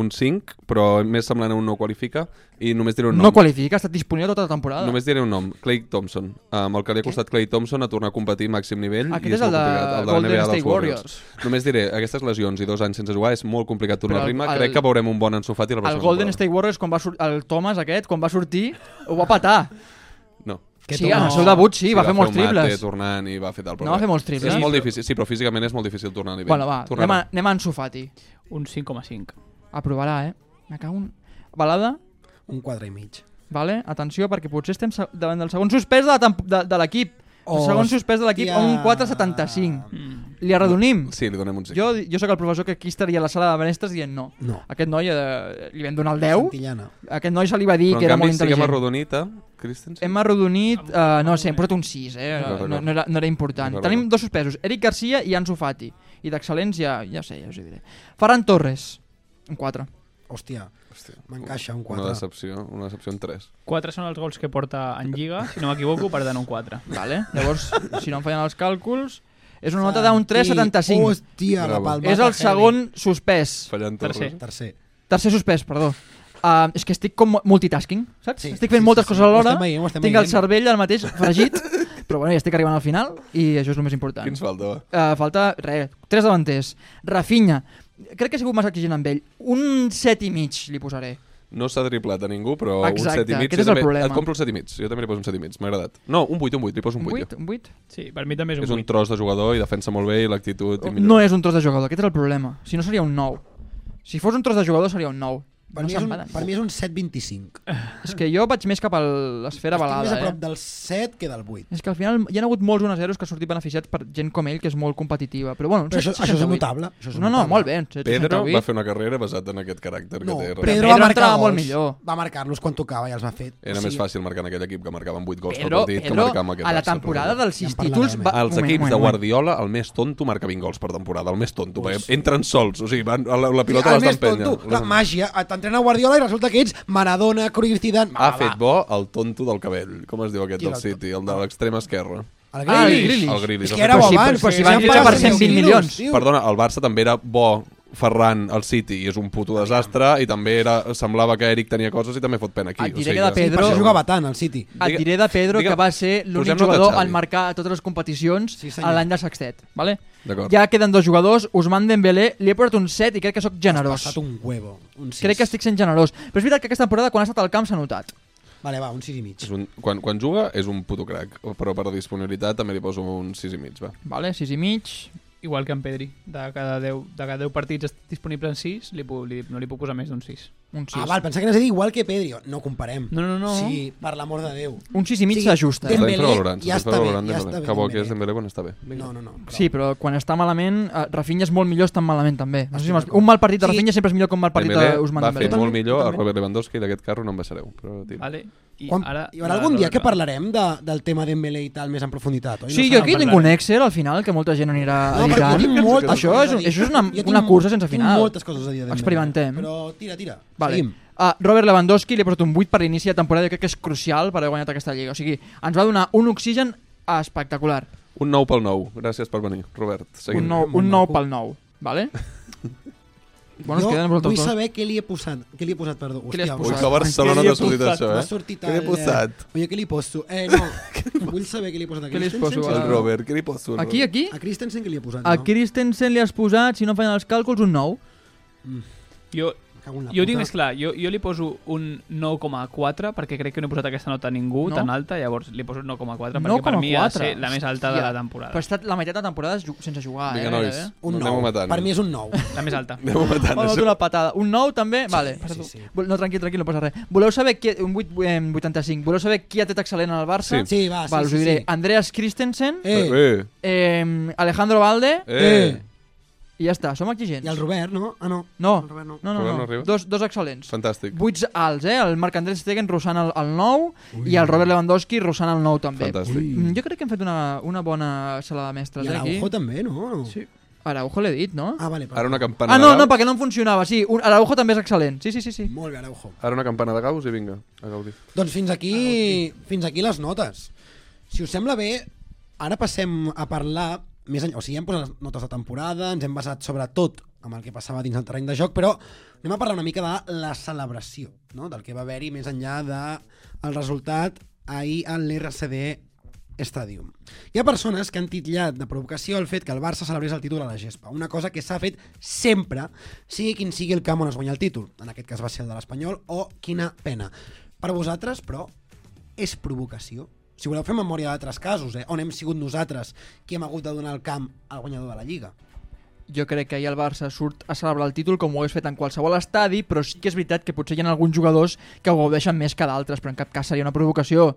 Speaker 2: un 5, però més semblant a un no qualifica, i només diré un
Speaker 1: No
Speaker 2: nom.
Speaker 1: qualifica, ha estat disponible tota la temporada.
Speaker 2: Només diré un nom, Clay Thompson. Um, el que li ha costat Clay Thompson a tornar a competir a màxim nivell.
Speaker 1: Aquest
Speaker 2: i
Speaker 1: és el
Speaker 2: molt
Speaker 1: de
Speaker 2: complicat, la
Speaker 1: Golden
Speaker 2: NBA dels
Speaker 1: State Warriors.
Speaker 2: Només diré, aquestes lesions i dos anys sense jugar és molt complicat tornar
Speaker 1: Però
Speaker 2: al ritme.
Speaker 1: el-
Speaker 2: Crec que veurem un bon ensofat i la
Speaker 1: El
Speaker 2: persona.
Speaker 1: Golden State Warriors, quan va sur- el Thomas aquest, quan va sortir, ho va patar.
Speaker 2: No.
Speaker 1: Sí, en el seu debut sí, va fer molts
Speaker 2: un mate
Speaker 1: triples.
Speaker 2: tornant i va fer tal. però
Speaker 1: No va
Speaker 2: bé.
Speaker 1: fer molts triples.
Speaker 2: És molt difícil, sí, però físicament és molt difícil tornar a nivell.
Speaker 1: Bueno, va, anem a,
Speaker 2: Tornarà.
Speaker 1: anem a Ansu Fati.
Speaker 8: Un 5,5.
Speaker 1: Aprovarà, eh? Me cago en... Balada,
Speaker 3: Un 4 i mig.
Speaker 1: vale? atenció, perquè potser estem se- davant del segon suspès de, la temp- de, de l'equip. El segon suspès de l'equip a un 4,75.
Speaker 8: Mm.
Speaker 1: Li arredonim.
Speaker 2: Sí, li donem un 5.
Speaker 1: Jo, jo sóc el professor que aquí estaria a la sala de benestres dient no.
Speaker 3: No.
Speaker 1: Aquest noi eh, li vam donar el 10,
Speaker 3: Santillana.
Speaker 1: aquest noi se li va dir
Speaker 2: però
Speaker 1: que
Speaker 2: en
Speaker 1: era
Speaker 2: canvi
Speaker 1: molt
Speaker 2: sí que hem
Speaker 1: intel·ligent.
Speaker 2: arrodonit a Christensen.
Speaker 1: Hem arrodonit, uh, no sé, hem posat un 6, eh?
Speaker 2: D'acord,
Speaker 1: No,
Speaker 2: d'acord.
Speaker 1: no, era, no era important.
Speaker 2: D'acord,
Speaker 1: Tenim
Speaker 2: d'acord.
Speaker 1: dos suspesos, Eric Garcia i Ansu Fati. I d'excel·lents ja, ja sé, ja us hi diré. Ferran Torres, un 4.
Speaker 3: Hòstia, m'encaixa un
Speaker 2: Una
Speaker 3: 4.
Speaker 2: decepció, una decepció en 3.
Speaker 8: 4 són els gols que porta en Lliga, si no m'equivoco, per tant un 4.
Speaker 1: Vale? Llavors, si no em fallen els càlculs, és una nota d'un 3,75.
Speaker 3: Hòstia, la
Speaker 2: Bravo.
Speaker 3: palmada.
Speaker 1: És el
Speaker 3: heavy.
Speaker 1: segon suspès.
Speaker 2: Fallant
Speaker 8: Tercer.
Speaker 2: Torres.
Speaker 3: Tercer.
Speaker 1: Tercer suspès, perdó. Uh, és que estic com multitasking, saps?
Speaker 3: Sí,
Speaker 1: estic fent
Speaker 3: sí,
Speaker 1: moltes
Speaker 3: sí, sí.
Speaker 1: coses alhora,
Speaker 3: Ho estem veient, ho estem
Speaker 1: tinc el
Speaker 3: veient.
Speaker 1: cervell ara mateix fregit, però bueno, ja estic arribant al final i això és el més important.
Speaker 2: Quins falta, va?
Speaker 1: Uh, falta, res, tres davanters. Rafinha, crec que he sigut massa exigent amb ell. Un set i mig li posaré.
Speaker 2: No s'ha driplat a ningú, però un
Speaker 1: Exacte,
Speaker 2: 7 i mig.
Speaker 1: aquest
Speaker 2: jo
Speaker 1: és el
Speaker 2: també-
Speaker 1: problema.
Speaker 2: Et compro un 7 i mig. Jo també li poso un 7 i mig, m'ha agradat. No, un 8, un 8, li poso un 8.
Speaker 1: Un vuit? eh? Un vuit?
Speaker 8: Sí, per mi també és un
Speaker 2: És un
Speaker 8: 8.
Speaker 2: tros de jugador i defensa molt bé i l'actitud... i
Speaker 1: No
Speaker 2: millor.
Speaker 1: és un tros de jugador, aquest era el problema. Si no seria un nou. Si fos un tros de jugador seria un nou.
Speaker 3: Per,
Speaker 1: no
Speaker 3: mi és un,
Speaker 1: se'n valen.
Speaker 3: per mi és un 7-25.
Speaker 1: És que jo vaig més cap a l'esfera
Speaker 3: Estic més
Speaker 1: balada,
Speaker 3: a prop
Speaker 1: eh?
Speaker 3: del 7 que del 8.
Speaker 1: És que al final hi ha hagut molts 1-0 que han sortit beneficiats per gent com ell, que és molt competitiva. Però bueno, un
Speaker 3: Però això, això és
Speaker 1: 68.
Speaker 3: notable. Això és
Speaker 1: No, no,
Speaker 3: notable.
Speaker 1: molt bé. un 68.
Speaker 2: Pedro va fer una carrera basat en aquest caràcter que té.
Speaker 3: No,
Speaker 2: realment.
Speaker 3: Pedro
Speaker 1: Pedro
Speaker 3: va marcar
Speaker 1: entrava
Speaker 3: gols.
Speaker 1: molt millor.
Speaker 3: Va marcar-los quan tocava i els va fer.
Speaker 2: Era més fàcil marcar en aquell equip que marcaven 8 gols
Speaker 1: Pedro,
Speaker 2: per partit que
Speaker 1: Pedro
Speaker 2: marcar amb aquest
Speaker 1: a la
Speaker 2: Barça, però
Speaker 1: temporada
Speaker 2: bueno.
Speaker 1: dels
Speaker 3: Ja en
Speaker 1: 6 títols...
Speaker 3: parlarem,
Speaker 1: Va...
Speaker 2: Els
Speaker 1: eh?" Moment,
Speaker 2: equips
Speaker 1: moment,
Speaker 2: de
Speaker 1: moment.
Speaker 2: Guardiola, el més tonto marca 20 gols per temporada, el més tonto, perquè entren sols, o sigui, van, la, la pilota
Speaker 3: el
Speaker 2: l'has
Speaker 3: més
Speaker 2: d'empènyer.
Speaker 3: tonto, la màgia. T'entrena Guardiola i resulta que ets Maradona, Cruyff, Zidane...
Speaker 2: Ha
Speaker 1: Ah,
Speaker 2: fet bo el tonto del cabell, com es diu aquest
Speaker 3: Qui
Speaker 2: del
Speaker 3: era el tonto?
Speaker 2: City, el de l'extrema esquerra.
Speaker 3: El
Speaker 1: Ah, el
Speaker 3: Grealish.
Speaker 1: Grealish.
Speaker 2: El Grealish.
Speaker 3: És que era bo
Speaker 1: Però sí, però
Speaker 3: abans,
Speaker 1: si
Speaker 3: si
Speaker 1: van
Speaker 3: van
Speaker 1: fitxar
Speaker 3: pagar
Speaker 1: per
Speaker 3: 100
Speaker 1: 120 milions.
Speaker 3: tio.
Speaker 2: Perdona, el Barça també era bo Ferran al City i és un puto desastre i també era, semblava que Eric tenia coses i també fot pena aquí.
Speaker 1: Et diré que de
Speaker 3: Sí, per
Speaker 1: Pedro-
Speaker 3: això jugava tant, al City.
Speaker 1: Et
Speaker 2: Digue-
Speaker 1: diré de Pedro
Speaker 2: digue-
Speaker 1: que va ser l'únic
Speaker 2: posem-nos de
Speaker 1: jugador
Speaker 2: Xavi.
Speaker 1: en marcar a totes les competicions
Speaker 3: Sí, senyor.
Speaker 1: a l'any de sextet. Vale?
Speaker 2: D'acord.
Speaker 1: Ja queden dos jugadors, Usman Dembélé, li he posat un 7 i crec que sóc
Speaker 3: Ha
Speaker 1: generós.
Speaker 3: estat un huevo. Un sis.
Speaker 1: Crec que estic sent generós. Però és veritat que aquesta temporada, quan ha estat al camp, s'ha notat.
Speaker 3: Vale, va, un 6 i mig.
Speaker 2: És un, quan, quan juga és un puto crac, però per disponibilitat també li poso un 6 i mig, va.
Speaker 1: Vale? 6 i mig.
Speaker 8: Igual que en Pedri. De cada 10, de cada 10 partits disponibles en 6, li, puc- li, no li puc posar més d'un 6.
Speaker 1: Un 6.
Speaker 3: Ah, val, pensava que anaves a dir igual que Pedri. No comparem.
Speaker 8: No, no, no.
Speaker 3: Sí, per l'amor de Déu.
Speaker 1: Un 6 i mig
Speaker 3: Sí,
Speaker 1: s'ajusta.
Speaker 3: Dembélé
Speaker 2: infravalorant,
Speaker 3: ja està bé,
Speaker 2: infravalorant
Speaker 3: ja
Speaker 2: Dembélé.
Speaker 3: està bé,
Speaker 2: Que bo
Speaker 3: Dembélé.
Speaker 2: que és Dembélé quan està bé.
Speaker 3: No, no, no. prou.
Speaker 1: Sí, però quan està malament, eh, Rafinha és molt millor estant malament també. No sé si
Speaker 3: Estic
Speaker 1: m'has-
Speaker 3: d'acord.
Speaker 1: un mal partit de
Speaker 3: Ah, Sí.
Speaker 1: Rafinha sempre és millor que un mal partit
Speaker 2: Dembélé
Speaker 1: d'Usman
Speaker 2: va fer
Speaker 1: Dembélé.
Speaker 2: molt millor a Robert Lewandowski i d'aquest carro no en baixareu. Però, tira.
Speaker 8: Vale? I
Speaker 3: Quan,
Speaker 8: ara,
Speaker 3: hi haurà algun dia que
Speaker 8: parlar
Speaker 3: parlarem de, del tema d'Embélé i tal més en profunditat, oi?
Speaker 1: Sí,
Speaker 3: No
Speaker 1: jo
Speaker 3: sé.
Speaker 1: aquí tinc un Excel al final que molta gent anirà
Speaker 3: No, perquè
Speaker 1: editant.
Speaker 3: jo tinc moltes
Speaker 1: Ah, això,
Speaker 3: coses
Speaker 1: és,
Speaker 3: a
Speaker 1: un-
Speaker 3: dir.
Speaker 1: això és una,
Speaker 3: Jo tinc-
Speaker 1: una cursa sense
Speaker 3: Tinc
Speaker 1: final.
Speaker 3: moltes coses a dir de Dembélé.
Speaker 1: Experimentem.
Speaker 3: Però tira, tira.
Speaker 1: Vale.
Speaker 3: Seguim.
Speaker 1: Uh, Robert Lewandowski li ha posat un 8 per l'inici de temporada i crec que és crucial per haver guanyat aquesta lliga. O sigui, ens va donar un oxigen espectacular.
Speaker 2: Un 9 pel 9. Gràcies per venir, Robert. Seguim.
Speaker 1: Un nou, un nou pel nou. Vale? Bueno, es
Speaker 3: jo
Speaker 1: queden vosaltres
Speaker 3: vull
Speaker 1: dos.
Speaker 3: saber què li he posat, què li he posat, perdó.
Speaker 1: Què li has
Speaker 3: Hòstia,
Speaker 2: Ui,
Speaker 1: posat?
Speaker 2: que a Barcelona t'ha sortit
Speaker 3: posat?
Speaker 2: això,
Speaker 3: M'ha
Speaker 2: eh?
Speaker 3: sortit
Speaker 2: Què li he
Speaker 3: el-
Speaker 2: posat?
Speaker 3: Oi, què li poso? Eh, no. Vull saber què li he posat a
Speaker 1: Què li has
Speaker 3: Christensen.
Speaker 1: poso?
Speaker 2: El Robert, què li poso? al
Speaker 1: Aquí,
Speaker 2: Robert?
Speaker 1: aquí?
Speaker 3: A Christensen què li he posat?
Speaker 1: A
Speaker 3: no?
Speaker 1: Christensen li has posat, si no feien els càlculs, un 9.
Speaker 8: Jo,
Speaker 3: Cago en la
Speaker 8: jo ho
Speaker 3: puta.
Speaker 8: tinc més clar, jo, jo li poso un 9,4 perquè crec que no he posat aquesta nota a ningú
Speaker 1: No?
Speaker 8: tan alta, llavors li poso un 9,4 perquè per mi ha de ser la més alta de la temporada.
Speaker 1: Però ha estat la meitat de la temporada ju- sense jugar,
Speaker 2: Vinga,
Speaker 1: eh?
Speaker 2: nois.
Speaker 1: gairebé.
Speaker 3: Un
Speaker 2: Anem
Speaker 3: nou.
Speaker 2: matant.
Speaker 3: Per mi és un nou.
Speaker 8: La més alta.
Speaker 2: Anem matant,
Speaker 1: Oh,
Speaker 2: això.
Speaker 1: no, una patada. Un 9 també? Vale.
Speaker 3: sí,
Speaker 1: perdó.
Speaker 3: sí.
Speaker 1: Vol- No, tranquil, tranquil, no passa res. Voleu saber qui... Un 8, eh, 85. Voleu saber qui ha tret excel·lent al Barça?
Speaker 3: Sí, va, sí,
Speaker 1: Val, us
Speaker 3: sí,
Speaker 1: ho diré.
Speaker 3: sí.
Speaker 1: Andreas Christensen, eh.
Speaker 3: Eh,
Speaker 2: Eh,
Speaker 1: Alejandro Valde,
Speaker 2: eh, eh.
Speaker 1: i ja està. Som exigents.
Speaker 3: i el Robert, no? Ah, no.
Speaker 1: No,
Speaker 3: El Robert no.
Speaker 1: no, no.
Speaker 2: Robert no
Speaker 1: no.
Speaker 2: arriba?
Speaker 1: dos, dos excel·lents.
Speaker 2: Fantàstic.
Speaker 1: Buits alts, eh? El Marc Andrés Stegen rossant el, el 9 i el Robert Lewandowski rossant el 9 també.
Speaker 2: Fantàstic.
Speaker 1: Mm, Jo crec que hem fet una, una bona sala de mestres,
Speaker 3: I
Speaker 1: eh, aquí.
Speaker 3: l'Araujo també, no? Sí.
Speaker 1: Araujo l'he dit, no?
Speaker 3: Ah, vale. Perdó.
Speaker 2: Ara una campana
Speaker 1: Ah, no,
Speaker 2: de
Speaker 1: no,
Speaker 2: Gauss.
Speaker 1: perquè no em funcionava. Sí, un, Araujo també és excel·lent. Sí, sí, sí. sí.
Speaker 3: Molt bé, Araujo.
Speaker 2: Ara una campana de Gauss i vinga, a gaudir.
Speaker 3: Doncs fins aquí, fins aquí les notes. Si us sembla bé, ara passem a parlar més enllà. O sigui, hem posat les notes de temporada, ens hem basat sobretot amb el que passava dins el terreny de joc, però anem a parlar una mica de la celebració, no? del que va haver-hi més enllà del el resultat ahir a l'RCD Stadium. Hi ha persones que han titllat de provocació el fet que el Barça celebrés el títol a la gespa, una cosa que s'ha fet sempre, sigui quin sigui el camp on es guanya el títol. En aquest cas va ser el de l'Espanyol, o quina pena. Per vosaltres, però, és provocació? Si voleu fer memòria d'altres casos, eh? on hem sigut nosaltres qui hem hagut de donar el camp al guanyador de la Lliga.
Speaker 1: Jo crec que ahir el Barça surt a celebrar el títol com ho hagués fet en qualsevol estadi, però sí que és veritat que potser hi ha alguns jugadors que ho gaudeixen més que d'altres, però en cap cas seria una provocació.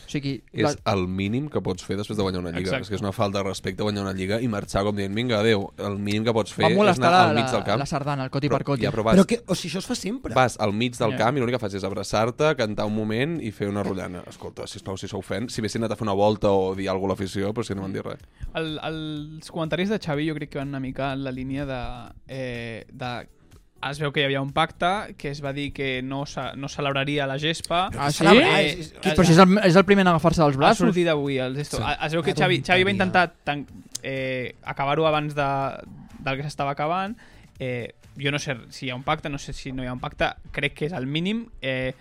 Speaker 1: O sigui, la-
Speaker 2: És el mínim que pots fer després de guanyar una lliga.
Speaker 8: Exacte.
Speaker 2: És que és una falta de respecte guanyar una lliga i marxar com dient, vinga, adeu, el mínim que pots fer
Speaker 1: va
Speaker 2: és
Speaker 1: molestar
Speaker 2: anar
Speaker 1: la,
Speaker 2: al
Speaker 1: la,
Speaker 2: mig del camp.
Speaker 1: la sardana, el coti
Speaker 2: però,
Speaker 1: per coti.
Speaker 2: ja, però
Speaker 3: Però
Speaker 2: vas,
Speaker 3: que, o sigui, això es fa sempre.
Speaker 2: vas al mig del
Speaker 8: Ja.
Speaker 2: camp i l'únic que fas és abraçar-te, cantar un moment i fer una rotllana. Escolta, sisplau, si sou fent, si haguessin anat a fer una volta o dir alguna cosa a l'afició, però si no m'han dit res.
Speaker 8: El, els comentaris de Xavi jo crec que van una mica en la línia de... Eh, de es veu que hi havia un pacte que es va dir que no, se, no celebraria la gespa.
Speaker 1: Ah, sí?
Speaker 8: Celebrar-
Speaker 1: Eh, però si és el, és el primer en agafar-se dels
Speaker 8: ha
Speaker 1: braços.
Speaker 8: sortit avui el gesto. Sí. Es veu que
Speaker 3: Ara
Speaker 8: Xavi,
Speaker 3: tonteria.
Speaker 8: Xavi va intentar tan, eh, acabar-ho abans de, del que s'estava acabant. Eh, jo no sé si hi ha un pacte, no sé si no hi ha un pacte. Crec que és el mínim. Eh,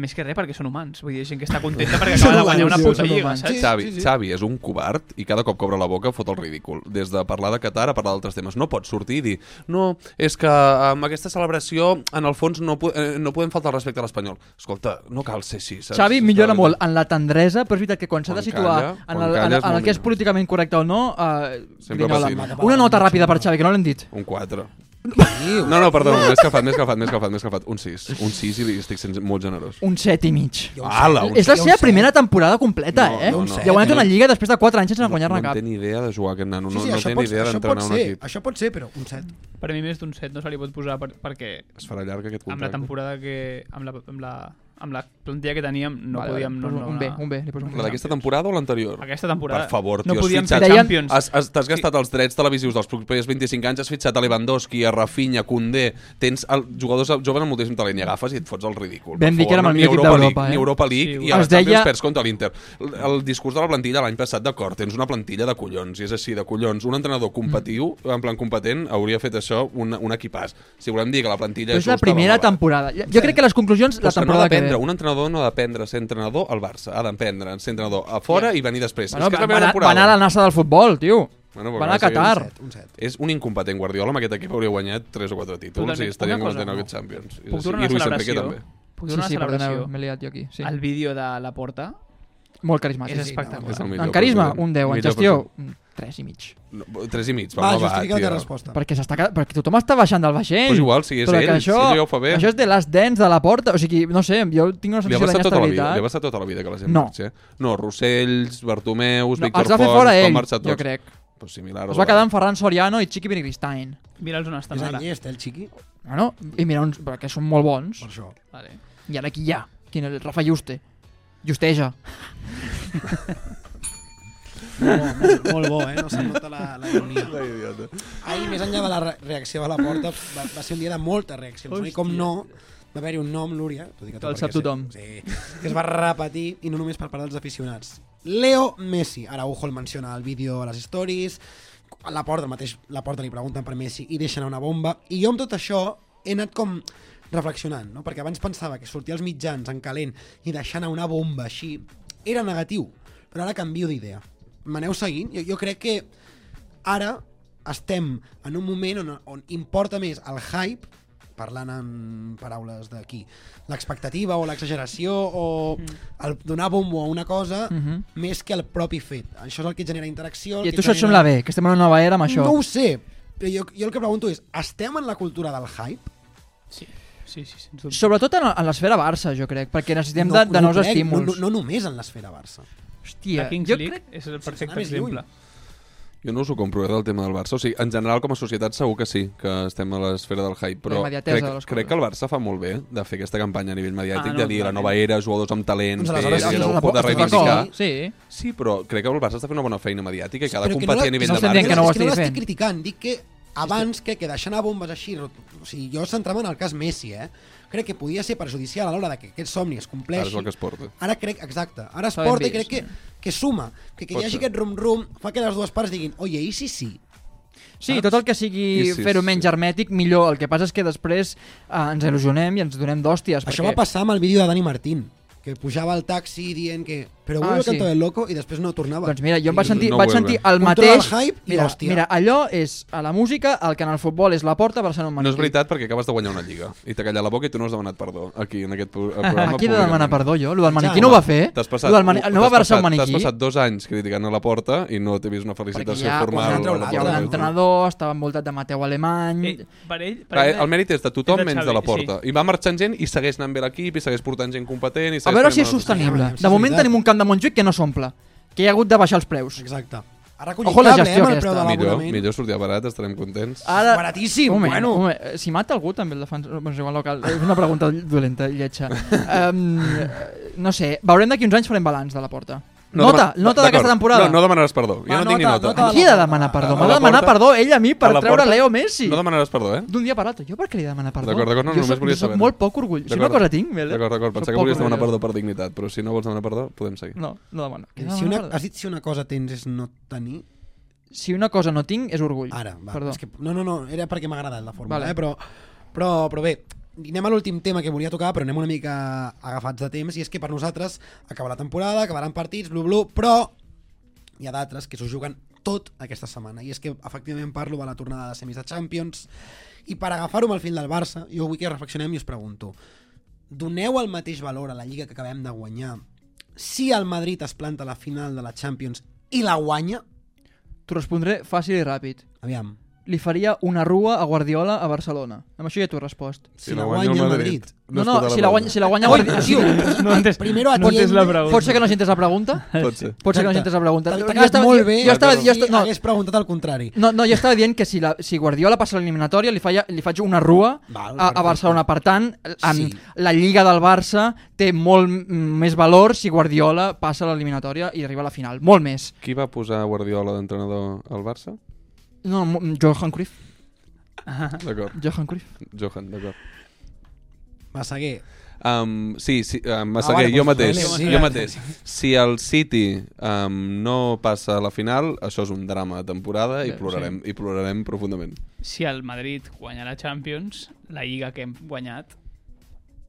Speaker 8: més que res perquè són humans. Vull dir, gent que està contenta perquè
Speaker 3: Són
Speaker 8: acaba de guanyar
Speaker 3: humans,
Speaker 8: una
Speaker 3: sí,
Speaker 8: puta
Speaker 1: són
Speaker 8: lliga,
Speaker 1: humans.
Speaker 8: saps?
Speaker 2: Xavi, sí, sí. Xavi és un covard i cada cop que obre la boca fot el ridícul. Des de parlar de Qatar a parlar d'altres temes. No pot sortir i dir no, és que amb aquesta celebració en el fons no, po- eh, no podem faltar el respecte a l'espanyol. Escolta, no cal ser així. Saps?
Speaker 1: Xavi millora
Speaker 2: Clar,
Speaker 1: molt en la tendresa, però és veritat que quan s'ha de
Speaker 2: Quan
Speaker 1: situar
Speaker 2: calla,
Speaker 1: en,
Speaker 2: quan
Speaker 1: el, en, en
Speaker 2: calla és
Speaker 1: el
Speaker 2: molt
Speaker 1: que és
Speaker 2: millor.
Speaker 1: políticament correcte o no, eh,
Speaker 2: Sempre
Speaker 1: grinyola.
Speaker 2: pacient.
Speaker 1: Una nota ràpida per Xavi, que no l'hem dit.
Speaker 2: Un 4. No, no, perdó, més calfat, més calfat, més calfat, més calfat. Un 6. Un 6 i li estic sent molt generós.
Speaker 1: Un set i mig.
Speaker 2: Ala, un
Speaker 1: És la
Speaker 3: jo un
Speaker 1: seva
Speaker 3: set.
Speaker 1: primera temporada completa,
Speaker 2: No,
Speaker 1: eh?
Speaker 2: jo
Speaker 1: I
Speaker 2: un set,
Speaker 1: ha guanyat
Speaker 2: eh?
Speaker 1: una lliga després de 4 anys sense guanyar-ne
Speaker 2: no, no
Speaker 1: cap.
Speaker 2: té ni idea de jugar aquest nano, no,
Speaker 3: Sí, sí,
Speaker 2: no
Speaker 3: això,
Speaker 2: té ni
Speaker 3: pot,
Speaker 2: idea
Speaker 3: això, pot
Speaker 2: d'entrenar un
Speaker 3: ser,
Speaker 2: equip.
Speaker 3: això pot ser, però un set.
Speaker 8: Per mi més d'un set no se li pot posar per, perquè
Speaker 2: Es farà llarg aquest
Speaker 8: amb la
Speaker 2: contracte.
Speaker 8: temporada que... amb la, amb la, amb la plantilla que teníem no
Speaker 1: Vale,
Speaker 8: podíem...
Speaker 1: vale,
Speaker 8: no,
Speaker 1: poso
Speaker 8: no,
Speaker 1: un
Speaker 8: una-
Speaker 1: bé, un bé, li poso un bé.
Speaker 2: La d'aquesta temporada o l'anterior?
Speaker 8: Aquesta temporada
Speaker 2: Per favor,
Speaker 8: no
Speaker 2: tio, has
Speaker 8: podíem fer
Speaker 2: fitxat-
Speaker 8: Champions.
Speaker 2: Has, has, T'has gastat els drets televisius dels propers 25 anys, has fitxat a Lewandowski, a Rafinha, a Koundé, tens el, jugadors joves amb moltíssim talent i agafes i et fots el ridícul.
Speaker 1: Vam
Speaker 2: Per
Speaker 1: dir que
Speaker 2: favor,
Speaker 1: érem el
Speaker 2: ni
Speaker 1: millor equip
Speaker 2: Europa
Speaker 1: d'Europa,
Speaker 2: League,
Speaker 1: eh?
Speaker 2: Ni Europa League
Speaker 8: Sí,
Speaker 2: i a
Speaker 1: Els
Speaker 2: les Champions
Speaker 1: deia-
Speaker 2: perds contra l'Inter. El, el discurs de la plantilla l'any passat, d'acord, tens una plantilla de collons, i és així, de collons. Un entrenador competiu,
Speaker 1: Mm.
Speaker 2: en plan competent, hauria fet això un, un equipàs. Si volem dir que la plantilla
Speaker 1: Però és la
Speaker 2: justa,
Speaker 1: primera
Speaker 2: doncs, vale.
Speaker 1: temporada. Jo- Jo crec que les conclusions
Speaker 2: Però
Speaker 1: la
Speaker 2: és que no ha
Speaker 1: temporada que
Speaker 2: d'aprendre,
Speaker 1: ve.
Speaker 2: un entrenador no ha d'aprendre a ser entrenador al Barça, ha d'aprendre a ser entrenador a fora i venir després.
Speaker 1: Bueno,
Speaker 2: és que és
Speaker 1: va, va,
Speaker 2: la primera
Speaker 1: anar- va
Speaker 2: temporada.
Speaker 1: anar a la NASA del futbol, tio.
Speaker 2: Bueno, però
Speaker 1: Va anar a
Speaker 2: clar, sí,
Speaker 1: Qatar.
Speaker 3: Un set, un set.
Speaker 2: És un incompetent Guardiola, amb aquest equip hauria guanyat 3 o 4 títols
Speaker 8: Totalment.
Speaker 2: i estaria
Speaker 8: Una cosa,
Speaker 2: content
Speaker 8: no.
Speaker 2: aquest Champions. És
Speaker 8: Puc
Speaker 2: així.
Speaker 8: donar una
Speaker 2: I Luis Enrique
Speaker 8: celebració?
Speaker 2: també.
Speaker 8: Puc
Speaker 1: Sí,
Speaker 8: donar
Speaker 1: sí,
Speaker 8: una
Speaker 1: perdoneu,
Speaker 8: celebració?
Speaker 1: m'he liat jo aquí. Sí.
Speaker 8: El vídeo de la porta
Speaker 1: Molt
Speaker 8: és
Speaker 1: carismàtic.
Speaker 8: espectacular.
Speaker 2: És el millor
Speaker 1: En carisma,
Speaker 2: president.
Speaker 1: un 10. En
Speaker 2: Millor
Speaker 1: gestió, un 3 i mig.
Speaker 2: president. No, 3 i mig, va,
Speaker 3: Va,
Speaker 2: va,
Speaker 3: justifica la teva
Speaker 2: tio.
Speaker 3: resposta.
Speaker 1: Perquè, s'està ca- perquè tothom està baixant del vaixell.
Speaker 2: Però és igual, si és
Speaker 1: Però
Speaker 2: ell,
Speaker 1: que això,
Speaker 2: si ell ja ho fa bé.
Speaker 1: Això és de les dents de la porta. O sigui, no sé, jo tinc una
Speaker 2: Li ha,
Speaker 1: sensació
Speaker 2: passat tota la vida,
Speaker 1: d'inestabilitat.
Speaker 2: li ha passat tota la vida que la gent
Speaker 1: No.
Speaker 2: marxi. eh? No, Rossells, Bartomeus,
Speaker 1: no,
Speaker 2: Víctor
Speaker 1: els va fer
Speaker 2: Font,
Speaker 1: fora
Speaker 2: van
Speaker 1: ell,
Speaker 2: marxar tots.
Speaker 1: jo crec.
Speaker 2: Però similar,
Speaker 1: Es va quedar amb Ferran Soriano i Chiqui Benigristain.
Speaker 8: Mira'ls on estan
Speaker 3: És
Speaker 8: ara.
Speaker 3: any llest, eh, el xiqui?
Speaker 1: Bueno, i mira, uns, perquè són molt bons.
Speaker 3: Per això.
Speaker 8: Vale.
Speaker 1: I ara aquí hi ha, quin el Rafa Juste. Justeja.
Speaker 3: Molt bo, molt, molt bo, eh? No se'n nota la, la ironia. Ahir, més enllà de la re- reacció a la porta, va, va ser un dia de moltes reaccions. No? I com no, va haver-hi un nom, Lúria, t'ho dic a tu
Speaker 1: El
Speaker 3: perquè
Speaker 1: sap
Speaker 3: sé-
Speaker 1: tothom.
Speaker 3: Sí, que es va repetir, i no només per part dels aficionats. Leo Messi, Araujo el menciona al vídeo a les stories, a la porta, el mateix la porta li pregunten per Messi i deixen anar una bomba. I jo amb tot això he anat com reflexionant, no? perquè abans pensava que sortir als mitjans en calent i deixar anar una bomba així era negatiu, però ara canvio d'idea. M'aneu seguint? Jo, jo crec que ara estem en un moment on, on importa més el hype parlant en paraules d'aquí, l'expectativa o l'exageració o el donar bombo a una cosa
Speaker 1: Mhm.
Speaker 3: més que el propi fet. Això és el que genera interacció. el
Speaker 1: I a
Speaker 3: que
Speaker 1: tu això et sembla
Speaker 3: genera-
Speaker 1: bé, que estem en una nova era amb això.
Speaker 3: No ho sé, però jo, jo el que pregunto és, estem en la cultura del hype?
Speaker 8: Sí, sí, sí, sens dubte.
Speaker 1: Sobretot en, en l'esfera Barça, jo crec, perquè necessitem de, de
Speaker 3: ho
Speaker 1: nous
Speaker 3: crec,
Speaker 1: estímuls.
Speaker 3: No, no, no només en l'esfera Barça.
Speaker 1: Hòstia,
Speaker 8: la Kings
Speaker 1: jo
Speaker 8: League
Speaker 1: crec...
Speaker 8: és
Speaker 3: Sense
Speaker 8: el
Speaker 3: anar
Speaker 8: perfecte
Speaker 3: més lluny.
Speaker 8: exemple.
Speaker 2: Jo no us ho compro, eh, del tema del Barça. O sigui, en general, com a societat, segur que sí, que estem a l'esfera del hype, però
Speaker 1: La immediatesa
Speaker 2: crec,
Speaker 1: de les coses.
Speaker 2: crec que el Barça fa molt bé de fer aquesta campanya a nivell mediàtic, ah,
Speaker 8: Ah, no,
Speaker 2: no, de dir la
Speaker 8: totalment.
Speaker 2: nova
Speaker 1: eh.
Speaker 2: era, jugadors amb talent,
Speaker 3: Doncs
Speaker 2: doncs
Speaker 3: aleshores,
Speaker 2: que,
Speaker 3: sí,
Speaker 2: que,
Speaker 3: aleshores
Speaker 2: que, de
Speaker 3: la por-
Speaker 2: reivindicar...
Speaker 1: D'acord, sí.
Speaker 2: Sí, però crec que el Barça està fent una bona feina mediàtica i que ha de
Speaker 3: Però
Speaker 2: competir a nivell
Speaker 1: no
Speaker 2: de
Speaker 1: estem dient
Speaker 2: Barça.
Speaker 1: que no ho
Speaker 3: és que no
Speaker 1: estigui
Speaker 3: l'estic
Speaker 1: fent.
Speaker 3: criticant, dic que abans crec que deixant a bombes així, rot- o sigui, jo centrava en el cas Messi, eh? crec que podia ser perjudicial a l'hora de que aquest somni es
Speaker 2: Ara és
Speaker 3: compleixi.
Speaker 2: el que es porta.
Speaker 3: Ara crec, exacte, ara es
Speaker 1: Està ben
Speaker 3: porta i
Speaker 1: vist,
Speaker 3: crec que, que suma, que, que hi
Speaker 2: Pot
Speaker 3: hagi
Speaker 2: ser.
Speaker 3: aquest rum-rum, fa que les dues parts diguin, oye, i si sí?
Speaker 1: Sí,
Speaker 3: Saps?
Speaker 1: tot el que sigui
Speaker 2: I sí,
Speaker 1: fer-ho
Speaker 2: sí.
Speaker 1: menys hermètic, millor. El que passa és que després eh, ens il·lusionem i ens donem d'hòsties.
Speaker 3: Això
Speaker 1: perquè...
Speaker 3: va passar amb el vídeo de Dani Martín, que pujava al taxi dient que... Però
Speaker 1: Ah,
Speaker 3: vuelve ah,
Speaker 1: sí.
Speaker 3: canto del loco i després no tornava.
Speaker 1: Doncs mira, jo em vaig
Speaker 2: Sí,
Speaker 1: sentir,
Speaker 2: no
Speaker 1: no vaig
Speaker 2: vuelve.
Speaker 1: sentir el
Speaker 3: Controla
Speaker 1: mateix...
Speaker 3: el hype i
Speaker 1: mira,
Speaker 3: hòstia.
Speaker 1: mira, allò és a la música, el que en el futbol és la porta, Barcelona un
Speaker 2: No
Speaker 1: maniquí.
Speaker 2: és veritat perquè acabes de guanyar una lliga i t'ha callat la boca i tu no has demanat perdó aquí en aquest
Speaker 1: Ah,
Speaker 2: pro- programa.
Speaker 1: Aquí he de
Speaker 2: públicament.
Speaker 1: demanar perdó jo, el del maniquí
Speaker 3: Ja,
Speaker 1: no ho va
Speaker 2: home,
Speaker 1: fer.
Speaker 2: T'has passat,
Speaker 1: Lo del mani...
Speaker 2: t'has
Speaker 1: No va versar un
Speaker 2: passat-
Speaker 1: maniquí.
Speaker 2: T'has passat dos anys criticant a la porta i no t'he vist una
Speaker 1: perquè
Speaker 2: felicitació
Speaker 1: hi ha,
Speaker 2: formal.
Speaker 3: un altre-
Speaker 2: a la
Speaker 1: hi ha
Speaker 2: porta.
Speaker 1: un
Speaker 3: Laporta.
Speaker 1: entrenador, estava envoltat de Mateu Alemany...
Speaker 2: Eh,
Speaker 8: Ell, per ell, per
Speaker 2: Clar,
Speaker 8: ell,
Speaker 2: eh, el mèrit és de tothom
Speaker 8: és de
Speaker 2: menys de
Speaker 8: Xavi,
Speaker 2: la porta. Sí. I va marxant gent i segueix anant bé l'equip i segueix portant gent competent. I
Speaker 1: A
Speaker 2: segueix
Speaker 1: veure si
Speaker 2: fent
Speaker 1: és
Speaker 2: bones coses.
Speaker 1: sostenible.
Speaker 3: Aviam, si
Speaker 1: De
Speaker 3: és
Speaker 1: moment
Speaker 3: veritat.
Speaker 1: tenim un camp de Montjuïc que no s'omple, que hi ha hagut de baixar els preus.
Speaker 3: Exacte. Ara
Speaker 1: Ojo la
Speaker 3: collitable, eh,
Speaker 1: gestió
Speaker 3: amb el preu
Speaker 1: aquesta.
Speaker 3: de
Speaker 2: Millor,
Speaker 3: l'abonament.
Speaker 2: millor sortir barat, estarem contents. Ah.
Speaker 1: Ara...
Speaker 3: Baratíssim,
Speaker 1: Un moment,
Speaker 3: bueno.
Speaker 1: un moment. Eh, Si mata algú també el defensa... Bueno, és igual local. Eh, És una pregunta dolenta, lletja. Um, no sé, veurem d'aquí uns anys farem balanç de la porta. nota, nota d'aquesta temporada.
Speaker 2: No, Ah, no demanaràs perdó. Jo
Speaker 3: Va,
Speaker 2: no tinc ni
Speaker 3: nota,
Speaker 2: nota.
Speaker 3: nota.
Speaker 1: Qui ha de demanar perdó?
Speaker 2: A
Speaker 1: M'ha de
Speaker 2: la
Speaker 1: demanar
Speaker 2: porta-
Speaker 1: perdó ell a mi per
Speaker 2: a la
Speaker 1: treure
Speaker 2: porta-
Speaker 1: Leo Messi.
Speaker 2: No demanaràs perdó, eh?
Speaker 1: D'un dia per l'altre. Jo per què li he de demanar perdó?
Speaker 2: D'acord, d'acord, no,
Speaker 1: jo
Speaker 2: només
Speaker 1: soc,
Speaker 2: volia
Speaker 1: jo soc
Speaker 2: saber.
Speaker 1: molt poc orgull. Si una
Speaker 2: D'acord.
Speaker 1: cosa tinc, vele.
Speaker 2: D'acord, d'acord.
Speaker 1: Soc
Speaker 2: Pensava que
Speaker 1: poc
Speaker 2: volies demanar
Speaker 1: orgullós.
Speaker 2: perdó per dignitat, però si no vols demanar perdó, podem seguir.
Speaker 1: No, no demano. Què he de
Speaker 3: Si una,
Speaker 1: demanar perdó?
Speaker 3: has dit si una cosa tens és no tenir...
Speaker 1: Si una cosa no tinc, és orgull.
Speaker 3: Ara, va.
Speaker 1: Perdó.
Speaker 3: És que, no, no, no, era perquè m'ha agradat la fórmula,
Speaker 1: Vale.
Speaker 3: eh? però, però, però bé, anem a l'últim tema que volia tocar, però anem una mica agafats de temps, i és que per nosaltres acaba la temporada, acabaran partits, blu, blu, però hi ha d'altres que s'ho juguen tot aquesta setmana, i és que efectivament parlo de la tornada de semis de Champions, i per agafar-ho amb el fil del Barça, jo vull que reflexionem i us pregunto, doneu el mateix valor a la Lliga que acabem de guanyar si el Madrid es planta a la final de la Champions i la guanya?
Speaker 1: T'ho respondré fàcil i ràpid.
Speaker 3: Aviam,
Speaker 1: Li faria una rua a Guardiola a Barcelona. Amb això ja t'ho he respost.
Speaker 3: si, la guanya el Madrid.
Speaker 1: No, no, si la guanya, si la guanya
Speaker 3: Oi,
Speaker 1: Guardiola...
Speaker 3: tio,
Speaker 8: No entens,
Speaker 3: primero
Speaker 8: no entens
Speaker 3: atiende.
Speaker 8: la pregunta.
Speaker 1: Pot ser que no sentes la pregunta?
Speaker 2: Pot ser.
Speaker 1: Pot ser que no
Speaker 3: Exacte.
Speaker 1: sentes la pregunta.
Speaker 3: T'ha
Speaker 1: Jo
Speaker 3: t'ha quedat
Speaker 1: estava-
Speaker 3: molt bé
Speaker 1: Jo estava, jo
Speaker 3: si
Speaker 1: estava, no,
Speaker 3: hagués preguntat el contrari.
Speaker 1: no, no, jo estava dient que si, la, si Guardiola passa l'eliminatòria li, falla, li faig una rua
Speaker 3: Val,
Speaker 1: a, a
Speaker 3: perfecte.
Speaker 1: Barcelona. Per tant, en
Speaker 3: Sí.
Speaker 1: la Lliga del Barça té molt m- més valor si Guardiola passa l'eliminatòria i arriba a la final. Molt més.
Speaker 2: Qui va posar Guardiola d'entrenador al Barça?
Speaker 1: No, mo- Johan Cruyff.
Speaker 2: D'acord.
Speaker 1: Johan Cruyff.
Speaker 2: Johan, d'acord.
Speaker 3: Massaguer.
Speaker 2: Um, sí, sí um,
Speaker 3: Ah,
Speaker 2: Massaguer,
Speaker 3: vale,
Speaker 2: jo
Speaker 3: doncs,
Speaker 2: mateix.
Speaker 3: vale,
Speaker 8: sí,
Speaker 2: jo
Speaker 8: vale.
Speaker 2: mateix. Si el City um, no passa a la final, això és un drama de temporada i
Speaker 1: Bé,
Speaker 2: plorarem, i plorarem profundament.
Speaker 8: Si el Madrid guanya la Champions, la lliga que hem guanyat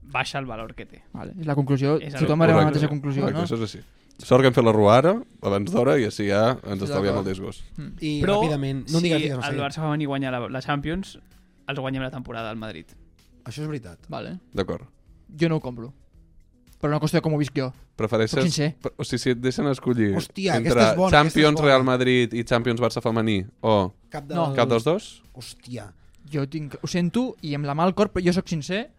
Speaker 8: baixa el valor que té.
Speaker 1: Vale, és la conclusió.
Speaker 8: És el-
Speaker 1: Tothom arriba a la
Speaker 2: Correcte,
Speaker 1: mateixa conclusió,
Speaker 2: correcte,
Speaker 1: no?
Speaker 2: Això és així. Sort que hem fet la rua ara, abans d'hora, i així ja ens estalviem el
Speaker 1: d'acord.
Speaker 2: disgust.
Speaker 3: I ràpidament, no em digues, digues
Speaker 8: si el
Speaker 3: Massaguer.
Speaker 8: Barça va venir a guanyar la, la Champions, els guanyem la temporada al Madrid.
Speaker 3: Això és veritat.
Speaker 1: Vale.
Speaker 2: D'acord.
Speaker 1: Jo no ho compro. Però no qüestió de com ho visc jo.
Speaker 2: Prefereixes...
Speaker 1: Sóc sincer.
Speaker 2: Pre- O sigui, si et deixen escollir
Speaker 3: Hòstia, aquesta
Speaker 2: entre
Speaker 3: és bona, aquesta és
Speaker 2: Champions
Speaker 3: bona.
Speaker 2: Real Madrid i Champions Barça femení o
Speaker 3: Cap, de...
Speaker 1: No.
Speaker 2: cap dels dos,
Speaker 3: Hòstia.
Speaker 1: Jo tinc, ho sento i amb la mà al cor, però jo sóc sincer,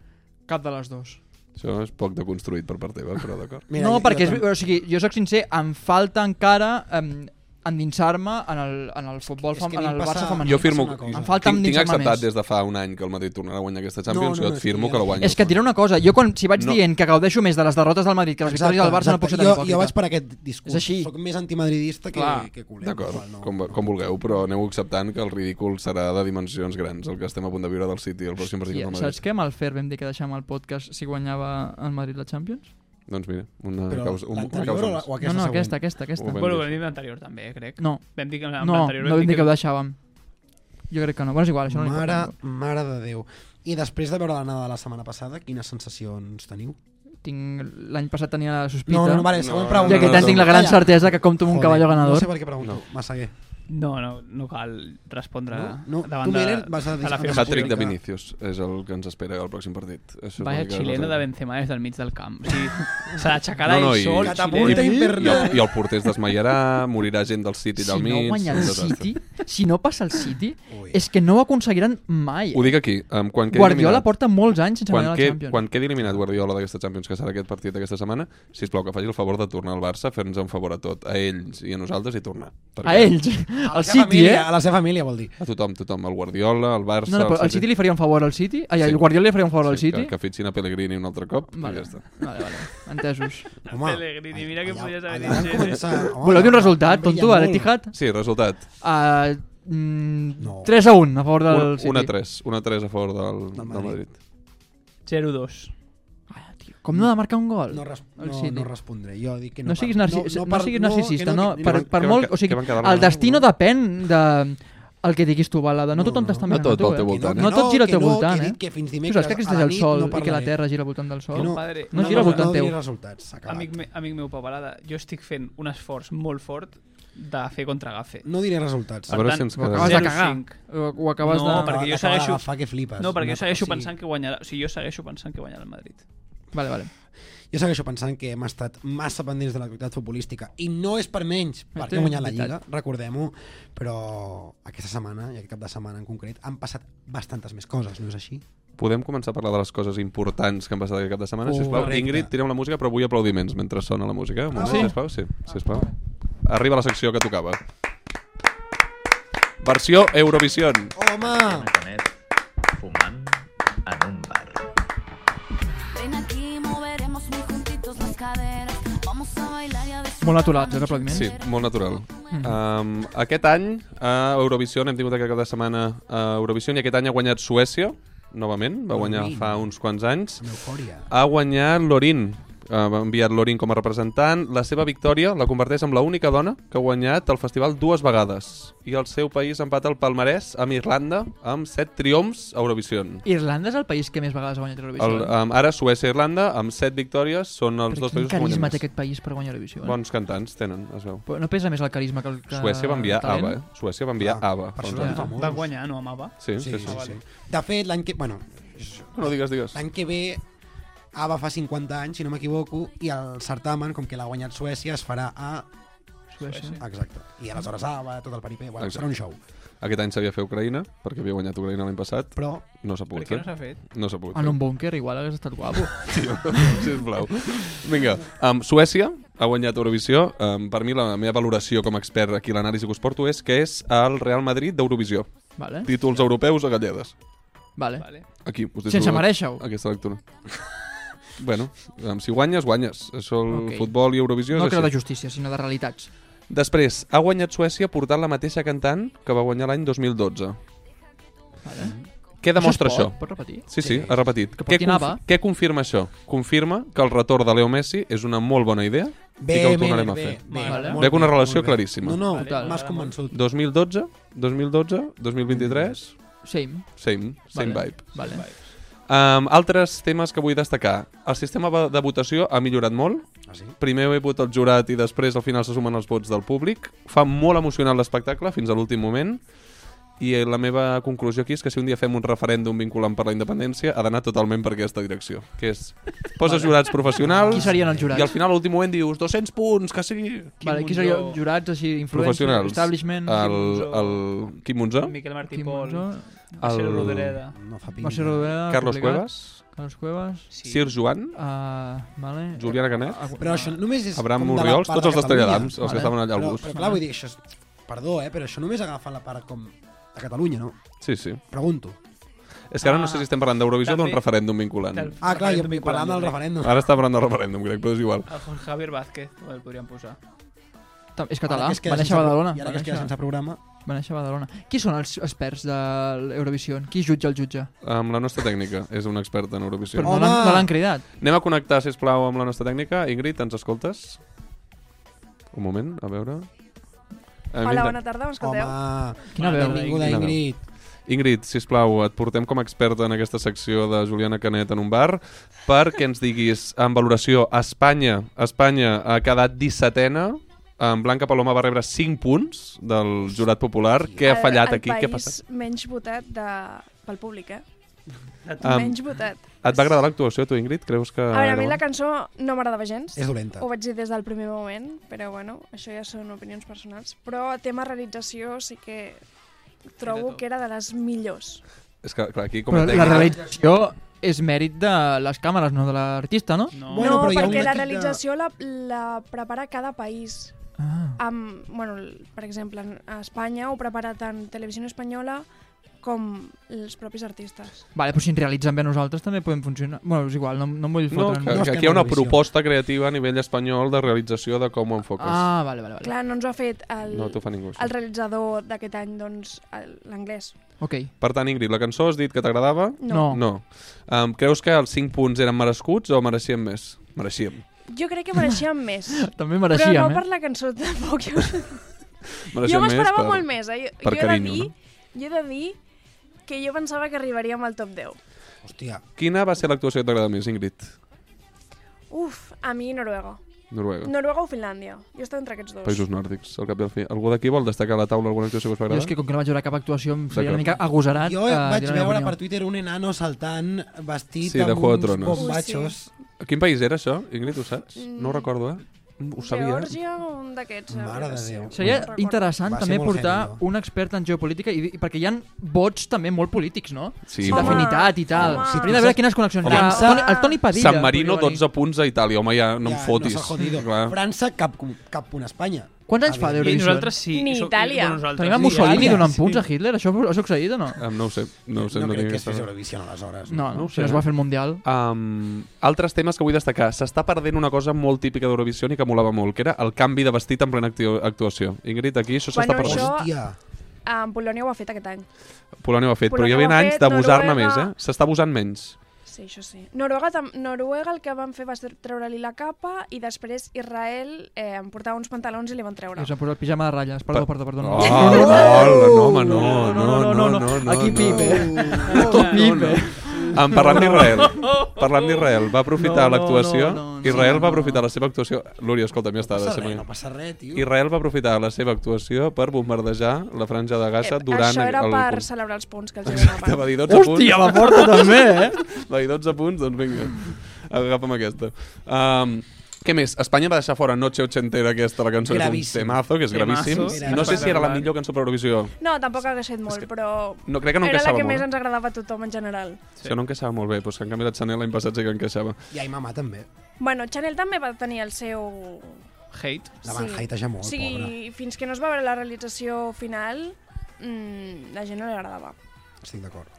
Speaker 1: cap de les dues.
Speaker 2: això és poc de construït per part teva, però d'acord.
Speaker 1: Mira, no,
Speaker 3: jo-
Speaker 1: perquè és,
Speaker 3: jo-
Speaker 1: o sigui, jo sóc sincer, em falta encara em, endinsar-me en el, en el futbol,
Speaker 3: És que
Speaker 1: fem,
Speaker 3: a
Speaker 1: en
Speaker 3: mi em
Speaker 1: el
Speaker 3: passa-
Speaker 1: Barça femení.
Speaker 2: Jo firmo...
Speaker 3: Passa una cosa.
Speaker 1: Em falta
Speaker 2: tinc, tinc
Speaker 1: endinsar-me
Speaker 2: acceptat
Speaker 1: més.
Speaker 2: des de fa un any que el Madrid tornarà a guanyar aquesta Champions,
Speaker 3: No, no,
Speaker 2: jo
Speaker 3: no,
Speaker 2: et firmo
Speaker 3: sí,
Speaker 2: que la
Speaker 3: ja.
Speaker 2: guanyo.
Speaker 1: És que et diré una cosa, jo quan, si vaig
Speaker 2: No.
Speaker 1: no. dient que gaudeixo més de les derrotes del Madrid que les victòries del Barça, no puc ser tan
Speaker 3: jo,
Speaker 1: hipòcrita.
Speaker 3: jo vaig per aquest discurs.
Speaker 1: És així.
Speaker 3: Soc més antimadridista que,
Speaker 1: Clar.
Speaker 3: que culer.
Speaker 2: D'acord,
Speaker 3: igual,
Speaker 2: com, com vulgueu, però aneu acceptant que el ridícul serà de dimensions grans, el que estem a punt de viure del City el pròxim partit
Speaker 1: Hòstia,
Speaker 2: del Madrid.
Speaker 1: saps que amb el Fer vam dir que deixàvem el podcast si guanyava el Madrid la Champions?
Speaker 2: Doncs mira, una
Speaker 3: Però
Speaker 2: causa, un, una
Speaker 3: l'anterior
Speaker 2: causa
Speaker 3: o, la-
Speaker 2: més.
Speaker 3: o
Speaker 1: No,
Speaker 3: aquesta
Speaker 1: no,
Speaker 3: següent?
Speaker 1: aquesta, aquesta, aquesta.
Speaker 2: Ho
Speaker 8: Bueno,
Speaker 2: dir.
Speaker 8: vam dir l'anterior també, eh, crec.
Speaker 1: No,
Speaker 8: Vam dir que en
Speaker 1: no,
Speaker 8: l'anterior
Speaker 1: no vam dir que ho deixàvem. Jo crec que no. Bueno, és igual, això no li
Speaker 3: Mare,
Speaker 1: importa.
Speaker 3: mare de Déu. I després de veure la nada de la setmana passada, quines sensacions teniu?
Speaker 1: Tinc... L'any passat tenia la sospita.
Speaker 3: No, no, no, vale, següent
Speaker 2: No,
Speaker 3: pregunta.
Speaker 1: I aquest any tinc la gran
Speaker 3: Calla.
Speaker 1: certesa que compto amb un
Speaker 3: Joder,
Speaker 1: cavalló
Speaker 3: No
Speaker 1: ganador.
Speaker 3: sé per què pregunto, no. Massaguer.
Speaker 8: No, no, no cal respondre
Speaker 3: No? No,
Speaker 8: davant
Speaker 3: tu, Miller,
Speaker 8: de,
Speaker 3: vas a dir-
Speaker 8: de la
Speaker 3: Hat-trick
Speaker 8: pública.
Speaker 2: Hat-trick de Vinicius és el que ens espera al pròxim partit. Això és
Speaker 8: Vaya
Speaker 2: l'únic que
Speaker 8: xilena
Speaker 2: nosaltres-
Speaker 8: de Benzema des del mig del camp. O sigui, s'ha d'aixecar no,
Speaker 2: No,
Speaker 8: no,
Speaker 2: no,
Speaker 8: el
Speaker 2: i-
Speaker 8: sol,
Speaker 3: Catapulta
Speaker 8: xilena.
Speaker 2: I el,
Speaker 3: infernal.
Speaker 2: I el porter es desmaiarà, morirà gent del City
Speaker 1: Si
Speaker 2: del
Speaker 1: no
Speaker 2: mig...
Speaker 1: guanya
Speaker 2: un
Speaker 1: el
Speaker 2: desastre.
Speaker 1: City, si no passa el City,
Speaker 3: Ui.
Speaker 1: és que no ho aconseguiran mai.
Speaker 2: Ho dic aquí, um, quan quedi
Speaker 1: Guardiola
Speaker 2: eliminat,
Speaker 1: porta molts anys sense
Speaker 2: quan,
Speaker 1: guanyar la
Speaker 2: que,
Speaker 1: Champions.
Speaker 2: quan quedi eliminat Guardiola d'aquesta Champions, que serà aquest partit d'aquesta setmana, si plau que faci el favor de tornar al Barça, fer-nos un favor a tot, a ells i a nosaltres, i tornar.
Speaker 1: A ells, al
Speaker 3: seva
Speaker 1: City,
Speaker 3: família,
Speaker 1: eh?
Speaker 3: A la seva família, vol dir.
Speaker 2: A tothom, tothom, al Guardiola, al Barça...
Speaker 1: No, no, però
Speaker 2: al
Speaker 1: el City li faria un favor al City? Ai,
Speaker 2: Sí.
Speaker 1: el Guardiola li faria un favor al
Speaker 2: sí,
Speaker 1: City?
Speaker 2: Que, que fitxin a Pellegrini un altre cop
Speaker 1: Vale.
Speaker 2: i ja està.
Speaker 1: Vale, vale, entesos.
Speaker 3: Home,
Speaker 8: Pellegrini, mira que podies haver
Speaker 3: allà
Speaker 8: dit,
Speaker 3: van començar- home,
Speaker 1: Voleu dir un
Speaker 3: van
Speaker 1: resultat,
Speaker 3: brillar
Speaker 1: tonto, a
Speaker 3: molt.
Speaker 1: l'Etihad?
Speaker 2: Sí, resultat.
Speaker 1: Uh, mm,
Speaker 3: No.
Speaker 1: 3 a 1 a favor del
Speaker 2: Un-
Speaker 1: City.
Speaker 2: 1-3, 1-3 a favor del, del
Speaker 3: Madrid.
Speaker 2: Madrid.
Speaker 8: 0-2.
Speaker 1: Com no ha de marcar un gol?
Speaker 3: No, res,
Speaker 1: El
Speaker 3: no,
Speaker 1: City.
Speaker 3: no respondré. Jo dic que no.
Speaker 1: No siguis,
Speaker 3: par-
Speaker 1: narci no, no,
Speaker 3: par-
Speaker 1: siguis
Speaker 3: no, que
Speaker 1: narcisista,
Speaker 3: que-
Speaker 1: no,
Speaker 3: que
Speaker 1: per,
Speaker 2: que
Speaker 1: per
Speaker 2: van
Speaker 1: molt...
Speaker 2: quedar-
Speaker 1: O sigui,
Speaker 2: que van quedar
Speaker 1: el
Speaker 2: malament,
Speaker 1: destino depèn de el que diguis tu, Balada. No,
Speaker 3: No,
Speaker 1: tothom
Speaker 3: no,
Speaker 1: t'està
Speaker 3: no.
Speaker 1: mirant
Speaker 2: No
Speaker 1: a
Speaker 2: tot
Speaker 1: tu,
Speaker 2: vol
Speaker 1: eh?
Speaker 2: teu voltant.
Speaker 1: No tot gira al teu
Speaker 3: que no,
Speaker 1: voltant,
Speaker 3: que he
Speaker 1: eh?
Speaker 3: dit Que fins
Speaker 1: Tu
Speaker 3: dimecres
Speaker 1: saps que
Speaker 3: a
Speaker 1: existeix
Speaker 3: la
Speaker 1: el
Speaker 3: nit
Speaker 1: sol
Speaker 3: no
Speaker 1: i que la
Speaker 3: parlaré.
Speaker 1: Terra gira al voltant del sol?
Speaker 3: Que no,
Speaker 8: Compadre,
Speaker 1: no gira al voltant
Speaker 3: no,
Speaker 1: teu.
Speaker 3: diré resultats, s'ha acabat.
Speaker 8: Amic, me, amic meu, Paparada, jo estic fent un esforç molt fort de fer contragafe.
Speaker 3: No diré resultats. Ah,
Speaker 2: A veure si ens
Speaker 1: Ho
Speaker 2: quedem.
Speaker 1: acabes de
Speaker 8: 0-5.
Speaker 1: cagar. Ho, ho acabes
Speaker 8: No,
Speaker 1: de...
Speaker 8: perquè jo
Speaker 3: Acaba
Speaker 8: segueixo-
Speaker 3: d'agafar que flipes.
Speaker 8: No,
Speaker 3: Una
Speaker 8: perquè jo segueixo
Speaker 3: cosa, sí.
Speaker 8: pensant que guanyarà... O sigui, jo segueixo pensant que guanyarà el Madrid.
Speaker 1: Vale, vale.
Speaker 3: Jo segueixo pensant que hem estat massa pendents de l'actualitat futbolística i no és per menys perquè
Speaker 1: Sí,
Speaker 3: ha guanyat la
Speaker 1: veritat.
Speaker 3: Lliga, recordem-ho, però aquesta setmana i aquest cap de setmana en concret han passat bastantes més coses, no és així?
Speaker 2: Podem començar a parlar de les coses importants que han passat aquest cap de setmana,
Speaker 3: Correcte.
Speaker 2: sisplau. Ingrid, tirem la música, però vull aplaudiments mentre sona la
Speaker 1: Ah,
Speaker 2: música. Un moment,
Speaker 3: sí?
Speaker 2: sisplau, sí, sisplau. Arriba la secció que tocava. Versió Eurovision.
Speaker 3: Home!
Speaker 10: Canet fumant en un bar.
Speaker 6: Ven aquí, moveremos muy juntitos las caderas. Vamos a bailar y a
Speaker 1: Molt naturals, els aplaudiments.
Speaker 2: Sí, molt natural.
Speaker 1: Mm-hmm.
Speaker 2: Um, aquest any a Eurovision, hem tingut aquest cap de setmana a Eurovision, i aquest any ha guanyat Suècia, novament, va guanyar fa uns quants anys.
Speaker 3: Amb eufòria.
Speaker 2: ha guanyat eh, Lorin. Ha enviat Lorin com a representant. La seva victòria la converteix en l'única dona que ha guanyat el festival dues vegades. I el seu país empata el palmarès amb Irlanda amb set triomfs a Eurovisió.
Speaker 1: Irlanda és el país que més vegades ha guanyat Eurovisió. eh?
Speaker 2: El, um, ara Suècia i Irlanda amb set victòries són els
Speaker 1: Però
Speaker 2: dos
Speaker 1: quin
Speaker 2: països que guanyen
Speaker 1: carisma té
Speaker 2: més.
Speaker 1: aquest país per guanyar Eurovisió? eh?
Speaker 2: Bons cantants tenen, es veu.
Speaker 1: Però No pesa més el carisma que el que...
Speaker 2: Suècia va enviar
Speaker 1: el talent?
Speaker 2: Ava, eh? Suècia va enviar
Speaker 3: Ah,
Speaker 2: Ava.
Speaker 3: per
Speaker 2: fa uns
Speaker 3: això
Speaker 2: anys.
Speaker 3: són famosos.
Speaker 8: Va guanyar, no amava?
Speaker 2: Sí, sí,
Speaker 3: Sí,
Speaker 2: sí.
Speaker 3: sí, sí. De fet, l'any que... Bueno,
Speaker 2: No digues, digues.
Speaker 3: l'any que ve Ava fa 50 anys, si no m'equivoco, i el certamen, com que l'ha guanyat Suècia, es farà a...
Speaker 1: Suècia.
Speaker 3: Exacte. I aleshores Ava, tot el peripé, bueno,
Speaker 2: Exacte.
Speaker 3: serà un show.
Speaker 2: Aquest any s'havia fer Ucraïna, perquè havia guanyat Ucraïna l'any passat.
Speaker 3: Però
Speaker 2: No s'ha
Speaker 8: Per
Speaker 2: pogut
Speaker 8: què
Speaker 2: fer.
Speaker 8: no s'ha fet?
Speaker 2: No s'ha pogut
Speaker 1: En un búnquer igual hagués estat guapo.
Speaker 2: sisplau. Vinga, um, Suècia ha guanyat Eurovisió. Um, per mi, la meva valoració com a expert aquí, l'anàlisi que us porto, és que és el Real Madrid d'Eurovisió.
Speaker 1: Vale,
Speaker 2: Títols europeus a galledes.
Speaker 1: vale.
Speaker 8: Vale.
Speaker 2: Aquí, us
Speaker 1: Sense mereixer-ho.
Speaker 2: Aquesta lectura. bueno, um, si guanyes, guanyes. Això el
Speaker 1: Ok.
Speaker 2: futbol i Eurovisió
Speaker 1: No
Speaker 2: és
Speaker 1: creu de
Speaker 2: així.
Speaker 1: justícia, sinó de realitats.
Speaker 2: Després, ha guanyat Suècia portant la mateixa cantant que va guanyar l'any 2012.
Speaker 1: Vale.
Speaker 2: Què demostra
Speaker 1: es pot?
Speaker 2: això?
Speaker 1: Pots repetir?
Speaker 2: Sí, sí, ha repetit.
Speaker 1: Que
Speaker 2: Què,
Speaker 1: patinava.
Speaker 2: què confirma això? Confirma que el retorn de Leo Messi és una molt bona idea i que ho tornarem a fer.
Speaker 1: Vale.
Speaker 3: molt
Speaker 2: Veig una
Speaker 3: bé,
Speaker 2: relació
Speaker 3: molt bé.
Speaker 2: claríssima.
Speaker 3: No, no,
Speaker 1: Total.
Speaker 3: m'has convençut.
Speaker 2: 2012, 2012, 2023,
Speaker 1: Same.
Speaker 2: same, same
Speaker 1: vale.
Speaker 2: vibe.
Speaker 1: Vale.
Speaker 2: Um, altres temes que vull destacar. El sistema va- de votació ha millorat molt.
Speaker 3: Ah, sí?
Speaker 2: Primer he votat el jurat i després al final se sumen els vots del públic. Fa molt emocionant l'espectacle fins a l'últim moment. I eh, la meva conclusió aquí és que si un dia fem un referèndum vinculant per la independència ha d'anar totalment per aquesta direcció, que és posa jurats professionals
Speaker 1: Qui serien els
Speaker 2: i al
Speaker 1: jurats?
Speaker 2: final a l'últim moment dius 200 punts, que sigui...
Speaker 1: Qui vale, qui serien els jurats així, influencers,
Speaker 2: Professionals.
Speaker 1: establishment...
Speaker 2: El,
Speaker 8: Monzó.
Speaker 2: el Quim Monzó,
Speaker 8: Miquel Martí
Speaker 1: Quim
Speaker 8: Pol,
Speaker 1: Monzó,
Speaker 8: Marcelo
Speaker 2: El-
Speaker 8: Rodoreda.
Speaker 3: No fa pinta.
Speaker 1: Mercè Rodoreda,
Speaker 2: Carlos
Speaker 1: publicat.
Speaker 2: Cuevas,
Speaker 1: Carlos Cuevas.
Speaker 8: Sí.
Speaker 2: sí. Sir Joan,
Speaker 1: Uh, vale.
Speaker 2: Juliana Canet,
Speaker 1: Ah,
Speaker 3: Però això només és...
Speaker 2: Abraham
Speaker 3: com de la
Speaker 2: Murriols,
Speaker 3: part
Speaker 2: tots els
Speaker 3: de Catalunya.
Speaker 2: d'Estelladams, els
Speaker 1: Vale.
Speaker 2: que estaven allà al
Speaker 3: Però,
Speaker 2: bus.
Speaker 3: però clar, vull dir, això és... Perdó, eh, però això només agafa la part com de Catalunya, no?
Speaker 2: Sí, sí.
Speaker 3: Pregunto.
Speaker 2: És que ara
Speaker 8: Ah,
Speaker 2: no sé si estem parlant d'Eurovisió o d'un
Speaker 8: també-
Speaker 2: referèndum vinculant.
Speaker 8: Del-
Speaker 3: Ah, clar, jo
Speaker 8: Referèndum
Speaker 3: parlant del
Speaker 8: vinculant,
Speaker 3: referèndum.
Speaker 2: Ara està parlant del referèndum, crec, però és igual.
Speaker 8: El Jorge Javier Vázquez, com el podríem posar.
Speaker 1: Ta- És
Speaker 3: Ara
Speaker 1: català,
Speaker 3: que es queda
Speaker 1: va néixer
Speaker 3: sense-
Speaker 1: a Badalona.
Speaker 3: I ara
Speaker 1: va
Speaker 3: que es queda
Speaker 1: néixer-
Speaker 3: sense programa,
Speaker 1: Va néixer a Badalona. Qui són els experts de l'Eurovisió? Qui jutja el jutge?
Speaker 2: Amb la nostra tècnica, és un expert en Eurovisió.
Speaker 1: Però no l'han no l'han cridat.
Speaker 2: Anem a connectar, si plau amb la nostra tècnica. Ingrid, ens escoltes? Un moment, a veure... Eh, Hem
Speaker 11: Hola,
Speaker 2: intent-
Speaker 11: bona tarda, m'escolteu?
Speaker 1: Quina veu? eh?
Speaker 3: Benvinguda,
Speaker 2: Quina veu.
Speaker 3: Ingrid.
Speaker 2: Ingrid, si plau, et portem com a experta en aquesta secció de Juliana Canet en un bar perquè ens diguis en valoració Espanya. Espanya ha quedat 17a. En Blanca Paloma va rebre 5 punts del jurat popular. Què ha
Speaker 11: El-
Speaker 2: fallat
Speaker 11: el
Speaker 2: aquí? Què ha
Speaker 11: país
Speaker 2: passat?
Speaker 11: menys votat de... pel públic, eh?
Speaker 2: Em-
Speaker 11: Menys votat.
Speaker 2: Et va agradar l'actuació, tu, Ingrid? Creus que...
Speaker 11: A veure, a mi
Speaker 2: era
Speaker 11: la
Speaker 2: bona?
Speaker 11: cançó no m'agradava gens.
Speaker 2: És dolenta.
Speaker 11: Ho vaig dir des del primer moment, però bueno, això ja són opinions personals. Però a tema realització sí que trobo que era de les millors.
Speaker 2: És que, clar, aquí com
Speaker 1: Però
Speaker 2: a
Speaker 1: la
Speaker 2: tècnica-
Speaker 1: realització és mèrit de les càmeres, no de l'artista, no?
Speaker 11: No, bueno, no perquè la realització la, la prepara cada país.
Speaker 1: Ah.
Speaker 11: Amb, bueno, l- per exemple, a Espanya ho prepara tant Televisió Espanyola com els propis artistes.
Speaker 1: Vale, però si en realitzen bé nosaltres també podem funcionar. Bueno, és igual, no, no em vull
Speaker 2: No,
Speaker 1: fotre.
Speaker 2: que, que aquí hi ha una proposta creativa a nivell espanyol de realització de com ho enfoques.
Speaker 1: Ah, vale, vale. vale.
Speaker 11: Clar, no ens ho ha fet el,
Speaker 2: No t'ho fa ningú, això.
Speaker 11: el realitzador d'aquest any, doncs, el- l'anglès.
Speaker 1: Ok.
Speaker 2: Per tant, Ingrid, la cançó has dit que t'agradava?
Speaker 11: No.
Speaker 2: no. Um, creus que els 5 punts eren merescuts o mereixíem més? Mereixíem.
Speaker 11: Jo crec que mereixíem més.
Speaker 1: També mereixíem,
Speaker 11: Però
Speaker 1: eh?
Speaker 11: no per la cançó, tampoc. Jo,
Speaker 2: Mereixíem
Speaker 11: jo
Speaker 2: més
Speaker 11: m'esperava
Speaker 2: per-
Speaker 11: molt més, eh? Jo,
Speaker 2: per
Speaker 11: jo,
Speaker 2: carinyo,
Speaker 11: he de dir, jo he de dir que jo pensava que arribaríem al top 10.
Speaker 2: Quina va ser l'actuació que t'agrada més, Ingrid?
Speaker 11: Uf, a mi Noruega.
Speaker 2: Noruega.
Speaker 11: Noruega o Finlàndia. Jo estava entre aquests dos.
Speaker 2: Països nòrdics, al cap i al fi. Algú d'aquí vol destacar a la taula alguna actuació que us va
Speaker 1: Jo
Speaker 2: agradar?
Speaker 1: és que com que no vaig veure cap actuació em seria
Speaker 2: D'acord.
Speaker 1: una mica agosarat.
Speaker 3: Jo
Speaker 1: eh,
Speaker 3: vaig
Speaker 1: dir la meva
Speaker 3: veure
Speaker 1: opinió.
Speaker 3: per Twitter un enano saltant vestit
Speaker 2: Sí, de
Speaker 3: amb
Speaker 2: Juego de
Speaker 3: uns
Speaker 2: Tronos.
Speaker 3: bombachos.
Speaker 2: Quin país era això, Ingrid, ho saps?
Speaker 11: Mm.
Speaker 2: No ho recordo, eh? Ho sabia.
Speaker 11: Geòrgia o un d'aquests. eh?
Speaker 3: Mare de Déu.
Speaker 1: Seria interessant
Speaker 3: Va ser
Speaker 1: també
Speaker 3: molt
Speaker 1: portar
Speaker 3: heavy,
Speaker 1: un expert en geopolítica i, i perquè hi ha vots també molt polítics, no?
Speaker 2: Sí, Home,
Speaker 1: D'afinitat i tal.
Speaker 2: home.
Speaker 1: Sí, Hauria de veure quines connexions hi ha. El Toni, el Toni Padilla.
Speaker 2: San Marino,
Speaker 1: podria venir.
Speaker 2: 12 punts a Itàlia. Home, ja no
Speaker 3: Ja,
Speaker 2: em fotis.
Speaker 3: No s'ha jodido.
Speaker 2: Clar.
Speaker 3: França, cap, cap punt a Espanya.
Speaker 1: Quants anys fa
Speaker 8: I
Speaker 1: d'Eurovisió?
Speaker 8: nosaltres sí.
Speaker 11: Ni
Speaker 8: som-
Speaker 11: Itàlia.
Speaker 8: bueno, nosaltres
Speaker 1: Tenim a
Speaker 8: sí.
Speaker 1: Mussolini
Speaker 8: Itàlia,
Speaker 1: donant
Speaker 8: sí.
Speaker 1: punts a Hitler? Això ha succeït o no?
Speaker 2: Um, no ho sé. No, ho sé,
Speaker 3: No crec
Speaker 2: tinc
Speaker 3: que es fes
Speaker 2: aquesta-
Speaker 3: Eurovision, aleshores.
Speaker 1: No, no, si no es va fer el Mundial.
Speaker 2: Um, altres temes que vull destacar. S'està perdent una cosa molt típica d'Eurovisió i que molava molt, que era el canvi de vestit en plena actio- actuació. Ingrid, aquí això s'està
Speaker 11: Bueno,
Speaker 2: perdent.
Speaker 11: això Ah, en Polònia ho ha fet aquest any.
Speaker 2: Polònia ho ha fet, però hi
Speaker 11: Polònia
Speaker 2: ha
Speaker 11: ho
Speaker 2: ben
Speaker 11: ha
Speaker 2: anys
Speaker 11: fet,
Speaker 2: d'abusar-ne
Speaker 11: Noruega-
Speaker 2: més, eh? S'està abusant menys.
Speaker 11: Sí, això sí. Noruega, tam- Noruega el que van fer va ser treure-li la capa i després Israel eh, em portava uns pantalons i li van treure.
Speaker 1: I us han posat el pijama de ratlles. Perdó, perdó, perdó.
Speaker 2: Oh, hola, no, home, no, no, no, no, no.
Speaker 1: Aquí
Speaker 2: no,
Speaker 1: pipe.
Speaker 2: no.
Speaker 1: Aquí pipe.
Speaker 2: En parlant d'Israel, parlant d'Israel, va
Speaker 1: No, no,
Speaker 2: aprofitar l'actuació.
Speaker 1: no, no, no,
Speaker 2: Israel va
Speaker 1: no.
Speaker 2: aprofitar la seva actuació. Lúria, escolta, ja està.
Speaker 3: passa
Speaker 2: deixem
Speaker 3: res,
Speaker 2: aquí.
Speaker 3: no passa res, tio.
Speaker 2: Israel va aprofitar la seva actuació per bombardejar la franja de Gaza durant
Speaker 11: Eh, Això era
Speaker 2: el...
Speaker 11: per
Speaker 2: punt.
Speaker 11: celebrar els punts que els
Speaker 2: Exacte, va
Speaker 11: donaven.
Speaker 2: dir 12 punts.
Speaker 1: Hòstia, la porta també, eh?
Speaker 2: Va dir 12 punts, doncs vinga. Agafa'm aquesta. Um, què més? Espanya va deixar fora Noche Ochentera, aquesta, la cançó
Speaker 3: Gravíssim.
Speaker 2: és un temazo, que és
Speaker 3: Temazo.
Speaker 2: gravíssim.
Speaker 3: Gravíssim.
Speaker 2: No sé si era la millor cançó per Eurovisió.
Speaker 11: No, tampoc hagués fet molt, però
Speaker 2: no, crec que no
Speaker 11: era la
Speaker 2: encaixava
Speaker 11: que
Speaker 2: molt. eh?
Speaker 11: més ens agradava a tothom en general.
Speaker 2: Sí. Que no encaixava molt bé, però és que en canvi la Chanel l'any passat sí que encaixava.
Speaker 3: I ai, mama, també.
Speaker 11: Bueno, Chanel també va tenir el seu...
Speaker 2: Hate?
Speaker 3: La van hatejar molt,
Speaker 11: o sigui, fins que no es va veure la realització final, mmm, la gent no li agradava.
Speaker 3: Estic d'acord.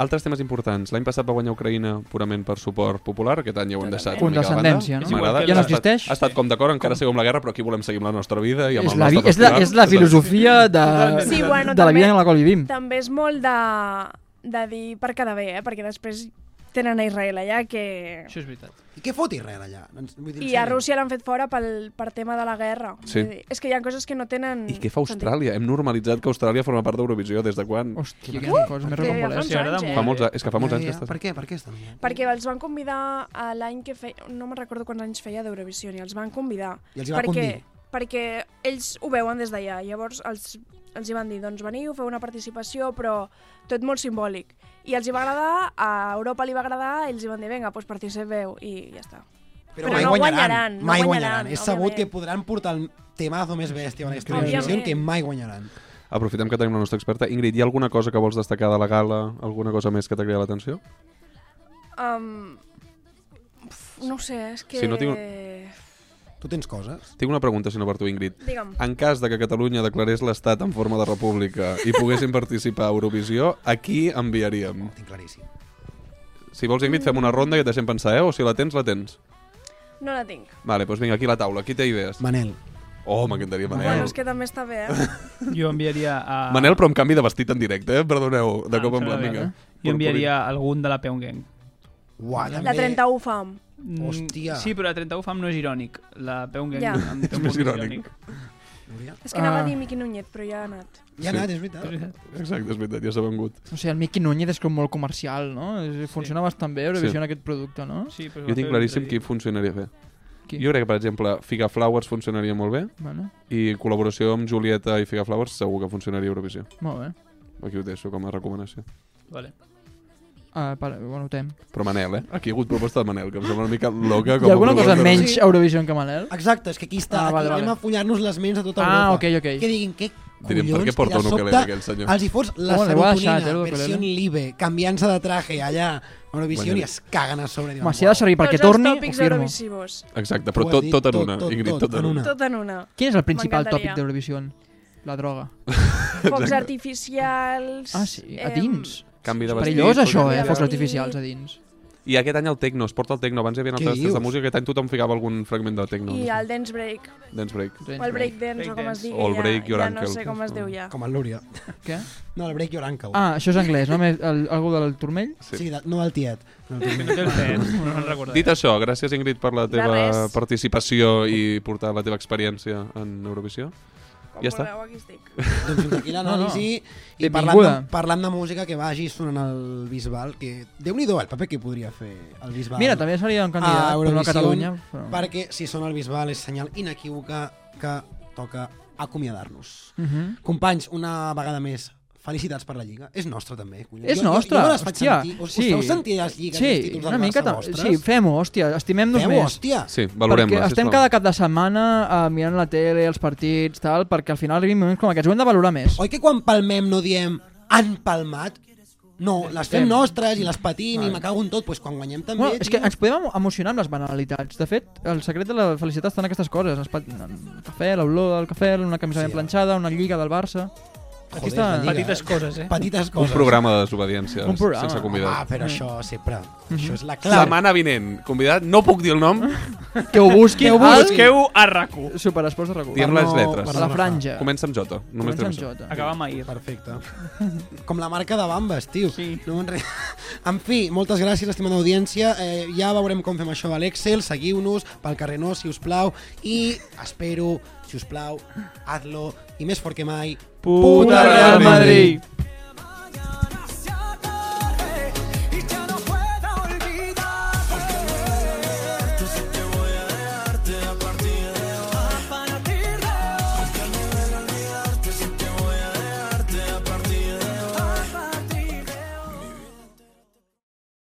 Speaker 2: Altres temes importants. L'any passat va guanyar Ucraïna purament per suport popular, aquest any ja ho hem deixat. una mica de
Speaker 1: Condescendència,
Speaker 2: banda.
Speaker 1: no?
Speaker 2: M'agrada.
Speaker 1: Ja no existeix.
Speaker 2: Ha estat, ha estat com d'acord, encara seguim amb la guerra, però aquí volem seguir amb la nostra vida i amb
Speaker 1: És
Speaker 2: el
Speaker 1: la, vi-
Speaker 2: nostre
Speaker 1: és la,
Speaker 2: festival.
Speaker 1: és la filosofia de,
Speaker 11: Sí, bueno,
Speaker 1: de la vida
Speaker 11: també-
Speaker 1: en la qual
Speaker 2: Mm.
Speaker 1: vivim.
Speaker 11: També és molt de, de dir per cada bé, eh? perquè després tenen a Israel allà que...
Speaker 8: Això és veritat.
Speaker 3: I què fot Israel allà? Ens- Vull
Speaker 11: I a Rússia l'han fet fora pel, per tema de la guerra.
Speaker 2: Sí.
Speaker 11: Vull dir, És que hi ha coses que no tenen...
Speaker 2: I què fa Austràlia? Hem normalitzat que Austràlia forma part d'Eurovisió des de quan?
Speaker 1: Hòstia,
Speaker 11: quina Uh! cosa més Que recombolesa. fa uns
Speaker 2: Fa
Speaker 11: anys, eh?
Speaker 2: molts anys, és que fa molts
Speaker 3: Ja,
Speaker 2: anys que
Speaker 3: ja.
Speaker 2: estàs...
Speaker 3: Per què? Per què estan?
Speaker 11: Perquè els van convidar a l'any que feia... No me'n recordo quants anys feia d'Eurovisió, i els van convidar.
Speaker 3: I els hi va
Speaker 11: perquè,
Speaker 3: condir.
Speaker 11: Perquè ells ho veuen des d'allà. Llavors els, els hi van dir, doncs veniu, feu una participació, però tot molt simbòlic. I els hi va agradar, a Europa li va agradar, ells hi van dir, vinga, doncs participeu, i ja està.
Speaker 3: Però,
Speaker 11: no guanyaran. no
Speaker 3: mai guanyaran. És sabut
Speaker 11: òbviament.
Speaker 3: que podran portar el temazo més bèstia de la història
Speaker 11: Òbviament.
Speaker 3: d'Eurovisió que mai guanyaran.
Speaker 2: Aprofitem que tenim la nostra experta. Ingrid, hi ha alguna cosa que vols destacar de la gala? Alguna cosa més que t'ha cridat l'atenció?
Speaker 11: Um, uf, no ho sé, és que...
Speaker 2: Si no tinc-
Speaker 3: Tu tens coses?
Speaker 2: Tinc una pregunta, si no per tu, Ingrid.
Speaker 11: Digue'm.
Speaker 2: En cas de que Catalunya declarés l'estat en forma de república i poguessin participar a Eurovisió, a qui enviaríem?
Speaker 3: Tinc claríssim.
Speaker 2: Si vols, Ingrid, fem una ronda i et deixem pensar, eh? O si la tens, la tens.
Speaker 11: No la tinc.
Speaker 2: Vale, doncs vinga, aquí a la taula. Qui té idees?
Speaker 3: Manel.
Speaker 2: Oh, m'encantaria
Speaker 11: Bueno,
Speaker 2: Manel.
Speaker 11: és que també està bé, eh?
Speaker 8: Jo enviaria a...
Speaker 2: Manel, però amb canvi de vestit en directe, eh? Perdoneu, de cop en plan, vinga.
Speaker 8: Jo enviaria algun de la Peon Gang.
Speaker 3: Uah,
Speaker 11: La 31 fam.
Speaker 8: Mm, Sí, però la 31 fam no és irònic. La Peon Gang
Speaker 11: Ja.
Speaker 8: em té
Speaker 2: És
Speaker 8: un
Speaker 2: més
Speaker 8: punt
Speaker 2: irònic.
Speaker 11: És que anava
Speaker 1: Ah.
Speaker 11: a dir Miqui Núñez, però ja ha anat.
Speaker 3: Ja ha anat, és veritat.
Speaker 2: Exacte, és veritat, ja s'ha vengut.
Speaker 1: No sé, el Miqui Núñez és com molt comercial, no? És- Funciona bastant bé Eurovision
Speaker 2: Sí.
Speaker 1: aquest producte, no?
Speaker 8: Sí, però
Speaker 2: Jo tinc claríssim qui funcionaria bé.
Speaker 1: Qui?
Speaker 2: Jo crec que, per exemple, Figa Flowers funcionaria molt bé
Speaker 1: Vale.
Speaker 2: i col·laboració amb Julieta i Figa Flowers segur que funcionaria a Eurovisió.
Speaker 1: Molt bé.
Speaker 2: Aquí ho deixo com a recomanació.
Speaker 8: Vale.
Speaker 1: Ah, pare, bueno, ho tem.
Speaker 2: Però Manel, eh? Aquí hi ha hagut proposta de Manel, que em sembla una mica loca.
Speaker 1: Hi ha alguna cosa menys
Speaker 3: Sí.
Speaker 1: sí. Eurovision que Manel?
Speaker 3: Exacte, és que aquí està.
Speaker 1: Ah,
Speaker 3: aquí
Speaker 1: vale,
Speaker 3: anem
Speaker 1: vale.
Speaker 3: a follar-nos les ments a tota
Speaker 1: Ah,
Speaker 3: Europa.
Speaker 1: ok, ok.
Speaker 3: Que diguin, què
Speaker 2: Direm,
Speaker 3: collons,
Speaker 2: per què porta
Speaker 3: i de
Speaker 2: un ukelele
Speaker 3: sobte
Speaker 2: aquell senyor?
Speaker 3: Els hi fots la
Speaker 1: Oh, l'he
Speaker 3: serotonina,
Speaker 1: deixat, eh, l'ukelele.
Speaker 3: versió libe, canviant-se de traje allà, a Eurovisió,
Speaker 2: Bueno.
Speaker 3: i es caguen a sobre. Diuen,
Speaker 1: Home, si ha de servir perquè
Speaker 11: Tots
Speaker 1: torni,
Speaker 11: els
Speaker 1: ho
Speaker 11: tòpics
Speaker 1: firmo.
Speaker 11: eurovisivos.
Speaker 2: Exacte, però
Speaker 3: Ho ha
Speaker 2: tot,
Speaker 3: dit
Speaker 2: tot en
Speaker 3: tot,
Speaker 2: una,
Speaker 3: tot,
Speaker 2: Ingrid, tot, en una.
Speaker 11: Tot en una.
Speaker 1: Quin és el principal
Speaker 11: M'encantaria.
Speaker 1: tòpic d'Eurovision? La droga.
Speaker 11: Focs artificials...
Speaker 1: Ah, sí, a
Speaker 11: em,
Speaker 1: dins.
Speaker 2: Canvi de
Speaker 1: És
Speaker 2: vestit.
Speaker 1: perillós, això,
Speaker 2: fotografia.
Speaker 1: eh? Focs artificials a dins.
Speaker 2: I aquest any el techno, es porta el techno. Abans hi havia
Speaker 3: Què
Speaker 2: altres festes de
Speaker 3: dius?
Speaker 2: música, aquest any tothom ficava algun fragment de techno.
Speaker 11: I
Speaker 2: no sé.
Speaker 11: el dance break.
Speaker 2: Dance break.
Speaker 1: Doncs
Speaker 11: O el break dance, o com es digui.
Speaker 2: O el break
Speaker 11: ja,
Speaker 2: your
Speaker 11: ja
Speaker 2: ankle.
Speaker 11: no sé com es diu ja.
Speaker 3: Com el Lúria.
Speaker 1: Què?
Speaker 3: No, el Break Your Ankle.
Speaker 1: Ah, això és anglès, no? El, el, algú del turmell?
Speaker 3: sí. sí de, no el tiet. No, el
Speaker 8: Que no té el pes, no me'n recordaré.
Speaker 2: Dit això, gràcies Ingrid per la teva
Speaker 11: res.
Speaker 2: participació i portar la teva experiència en Eurovisió.
Speaker 11: Com
Speaker 2: Ja està.
Speaker 11: voleu, aquí estic.
Speaker 3: doncs fins aquí l'anàlisi
Speaker 1: No,
Speaker 3: no,
Speaker 1: no.
Speaker 3: i parlant de,
Speaker 1: Benvinguda.
Speaker 3: parlant de música que vagi sonant el Bisbal, que déu nhi el paper que podria fer el Bisbal.
Speaker 1: Mira, també seria un candidat, però no a
Speaker 3: a Ah, Eurovisió,
Speaker 1: Catalunya, però-
Speaker 3: Perquè si sona el Bisbal és senyal inequívoca que toca acomiadar-nos.
Speaker 1: Mhm.
Speaker 3: Companys, una vegada més, felicitats per la Lliga. És nostra també. Collons.
Speaker 1: És
Speaker 3: Jo- jo-
Speaker 1: nostra,
Speaker 3: Jo, me les faig
Speaker 1: hòstia.
Speaker 3: sentir. Us,
Speaker 1: sí.
Speaker 3: us feu sentir les lligues i els
Speaker 1: sí,
Speaker 3: títols
Speaker 1: una
Speaker 3: del
Speaker 1: mica
Speaker 3: Barça
Speaker 1: ta-
Speaker 3: vostres?
Speaker 1: Sí, fem-ho, hòstia, estimem-nos
Speaker 3: Feu,
Speaker 1: més.
Speaker 3: hòstim.
Speaker 2: Sí, valorem-la,
Speaker 1: Perquè estem
Speaker 2: sisplau.
Speaker 1: cada cap de setmana uh, mirant la tele, els partits, tal, perquè al final arribin moments com aquests, ho hem de valorar més.
Speaker 3: Oi que quan palmem no diem han palmat? No, les fem
Speaker 1: Fem.
Speaker 3: nostres i les patim i me cago en tot. Pues quan guanyem també,
Speaker 1: Bueno, és que
Speaker 3: tio.
Speaker 1: ens podem emo- emocionar amb les banalitats. De fet, el secret de la felicitat està en aquestes coses. Es pot... El cafè, l'olor del cafè, una camisa
Speaker 3: Sí,
Speaker 1: ben
Speaker 3: eh?
Speaker 1: planxada, una lliga del Barça... Aquí
Speaker 3: Joder,
Speaker 1: està...
Speaker 3: la lliga.
Speaker 8: Petites coses, eh?
Speaker 3: Petites
Speaker 2: Un
Speaker 3: coses.
Speaker 2: programa de desobediència,
Speaker 1: Un programa.
Speaker 2: sense convidat.
Speaker 3: Ah, però això sempre.
Speaker 1: Mhm.
Speaker 3: Això és la
Speaker 2: Clar.
Speaker 3: clau.
Speaker 2: Setmana vinent, convidat, no puc dir el nom,
Speaker 1: Ah. Que ho busquin,
Speaker 3: Que ho
Speaker 1: al
Speaker 3: busquin.
Speaker 8: Busqueu a RAC1.
Speaker 1: Superesports de Recu.
Speaker 2: diem
Speaker 3: Per
Speaker 2: les
Speaker 3: no-
Speaker 2: lletres.
Speaker 3: per
Speaker 1: A la franja.
Speaker 2: Comença amb Jota. Només
Speaker 1: Comença amb
Speaker 2: Jota.
Speaker 1: Jota.
Speaker 8: Acaba amb ahir.
Speaker 3: Perfecte. Com la marca de bambes, tio.
Speaker 8: Sí.
Speaker 3: No me'n re... En fi, moltes gràcies, estimada audiència. Eh, ja veurem com fem això a l'Excel. Seguiu-nos pel carrer No, si us plau. I espero, si us plau, hazlo. I més fort que mai,
Speaker 1: Puta Real Madrid.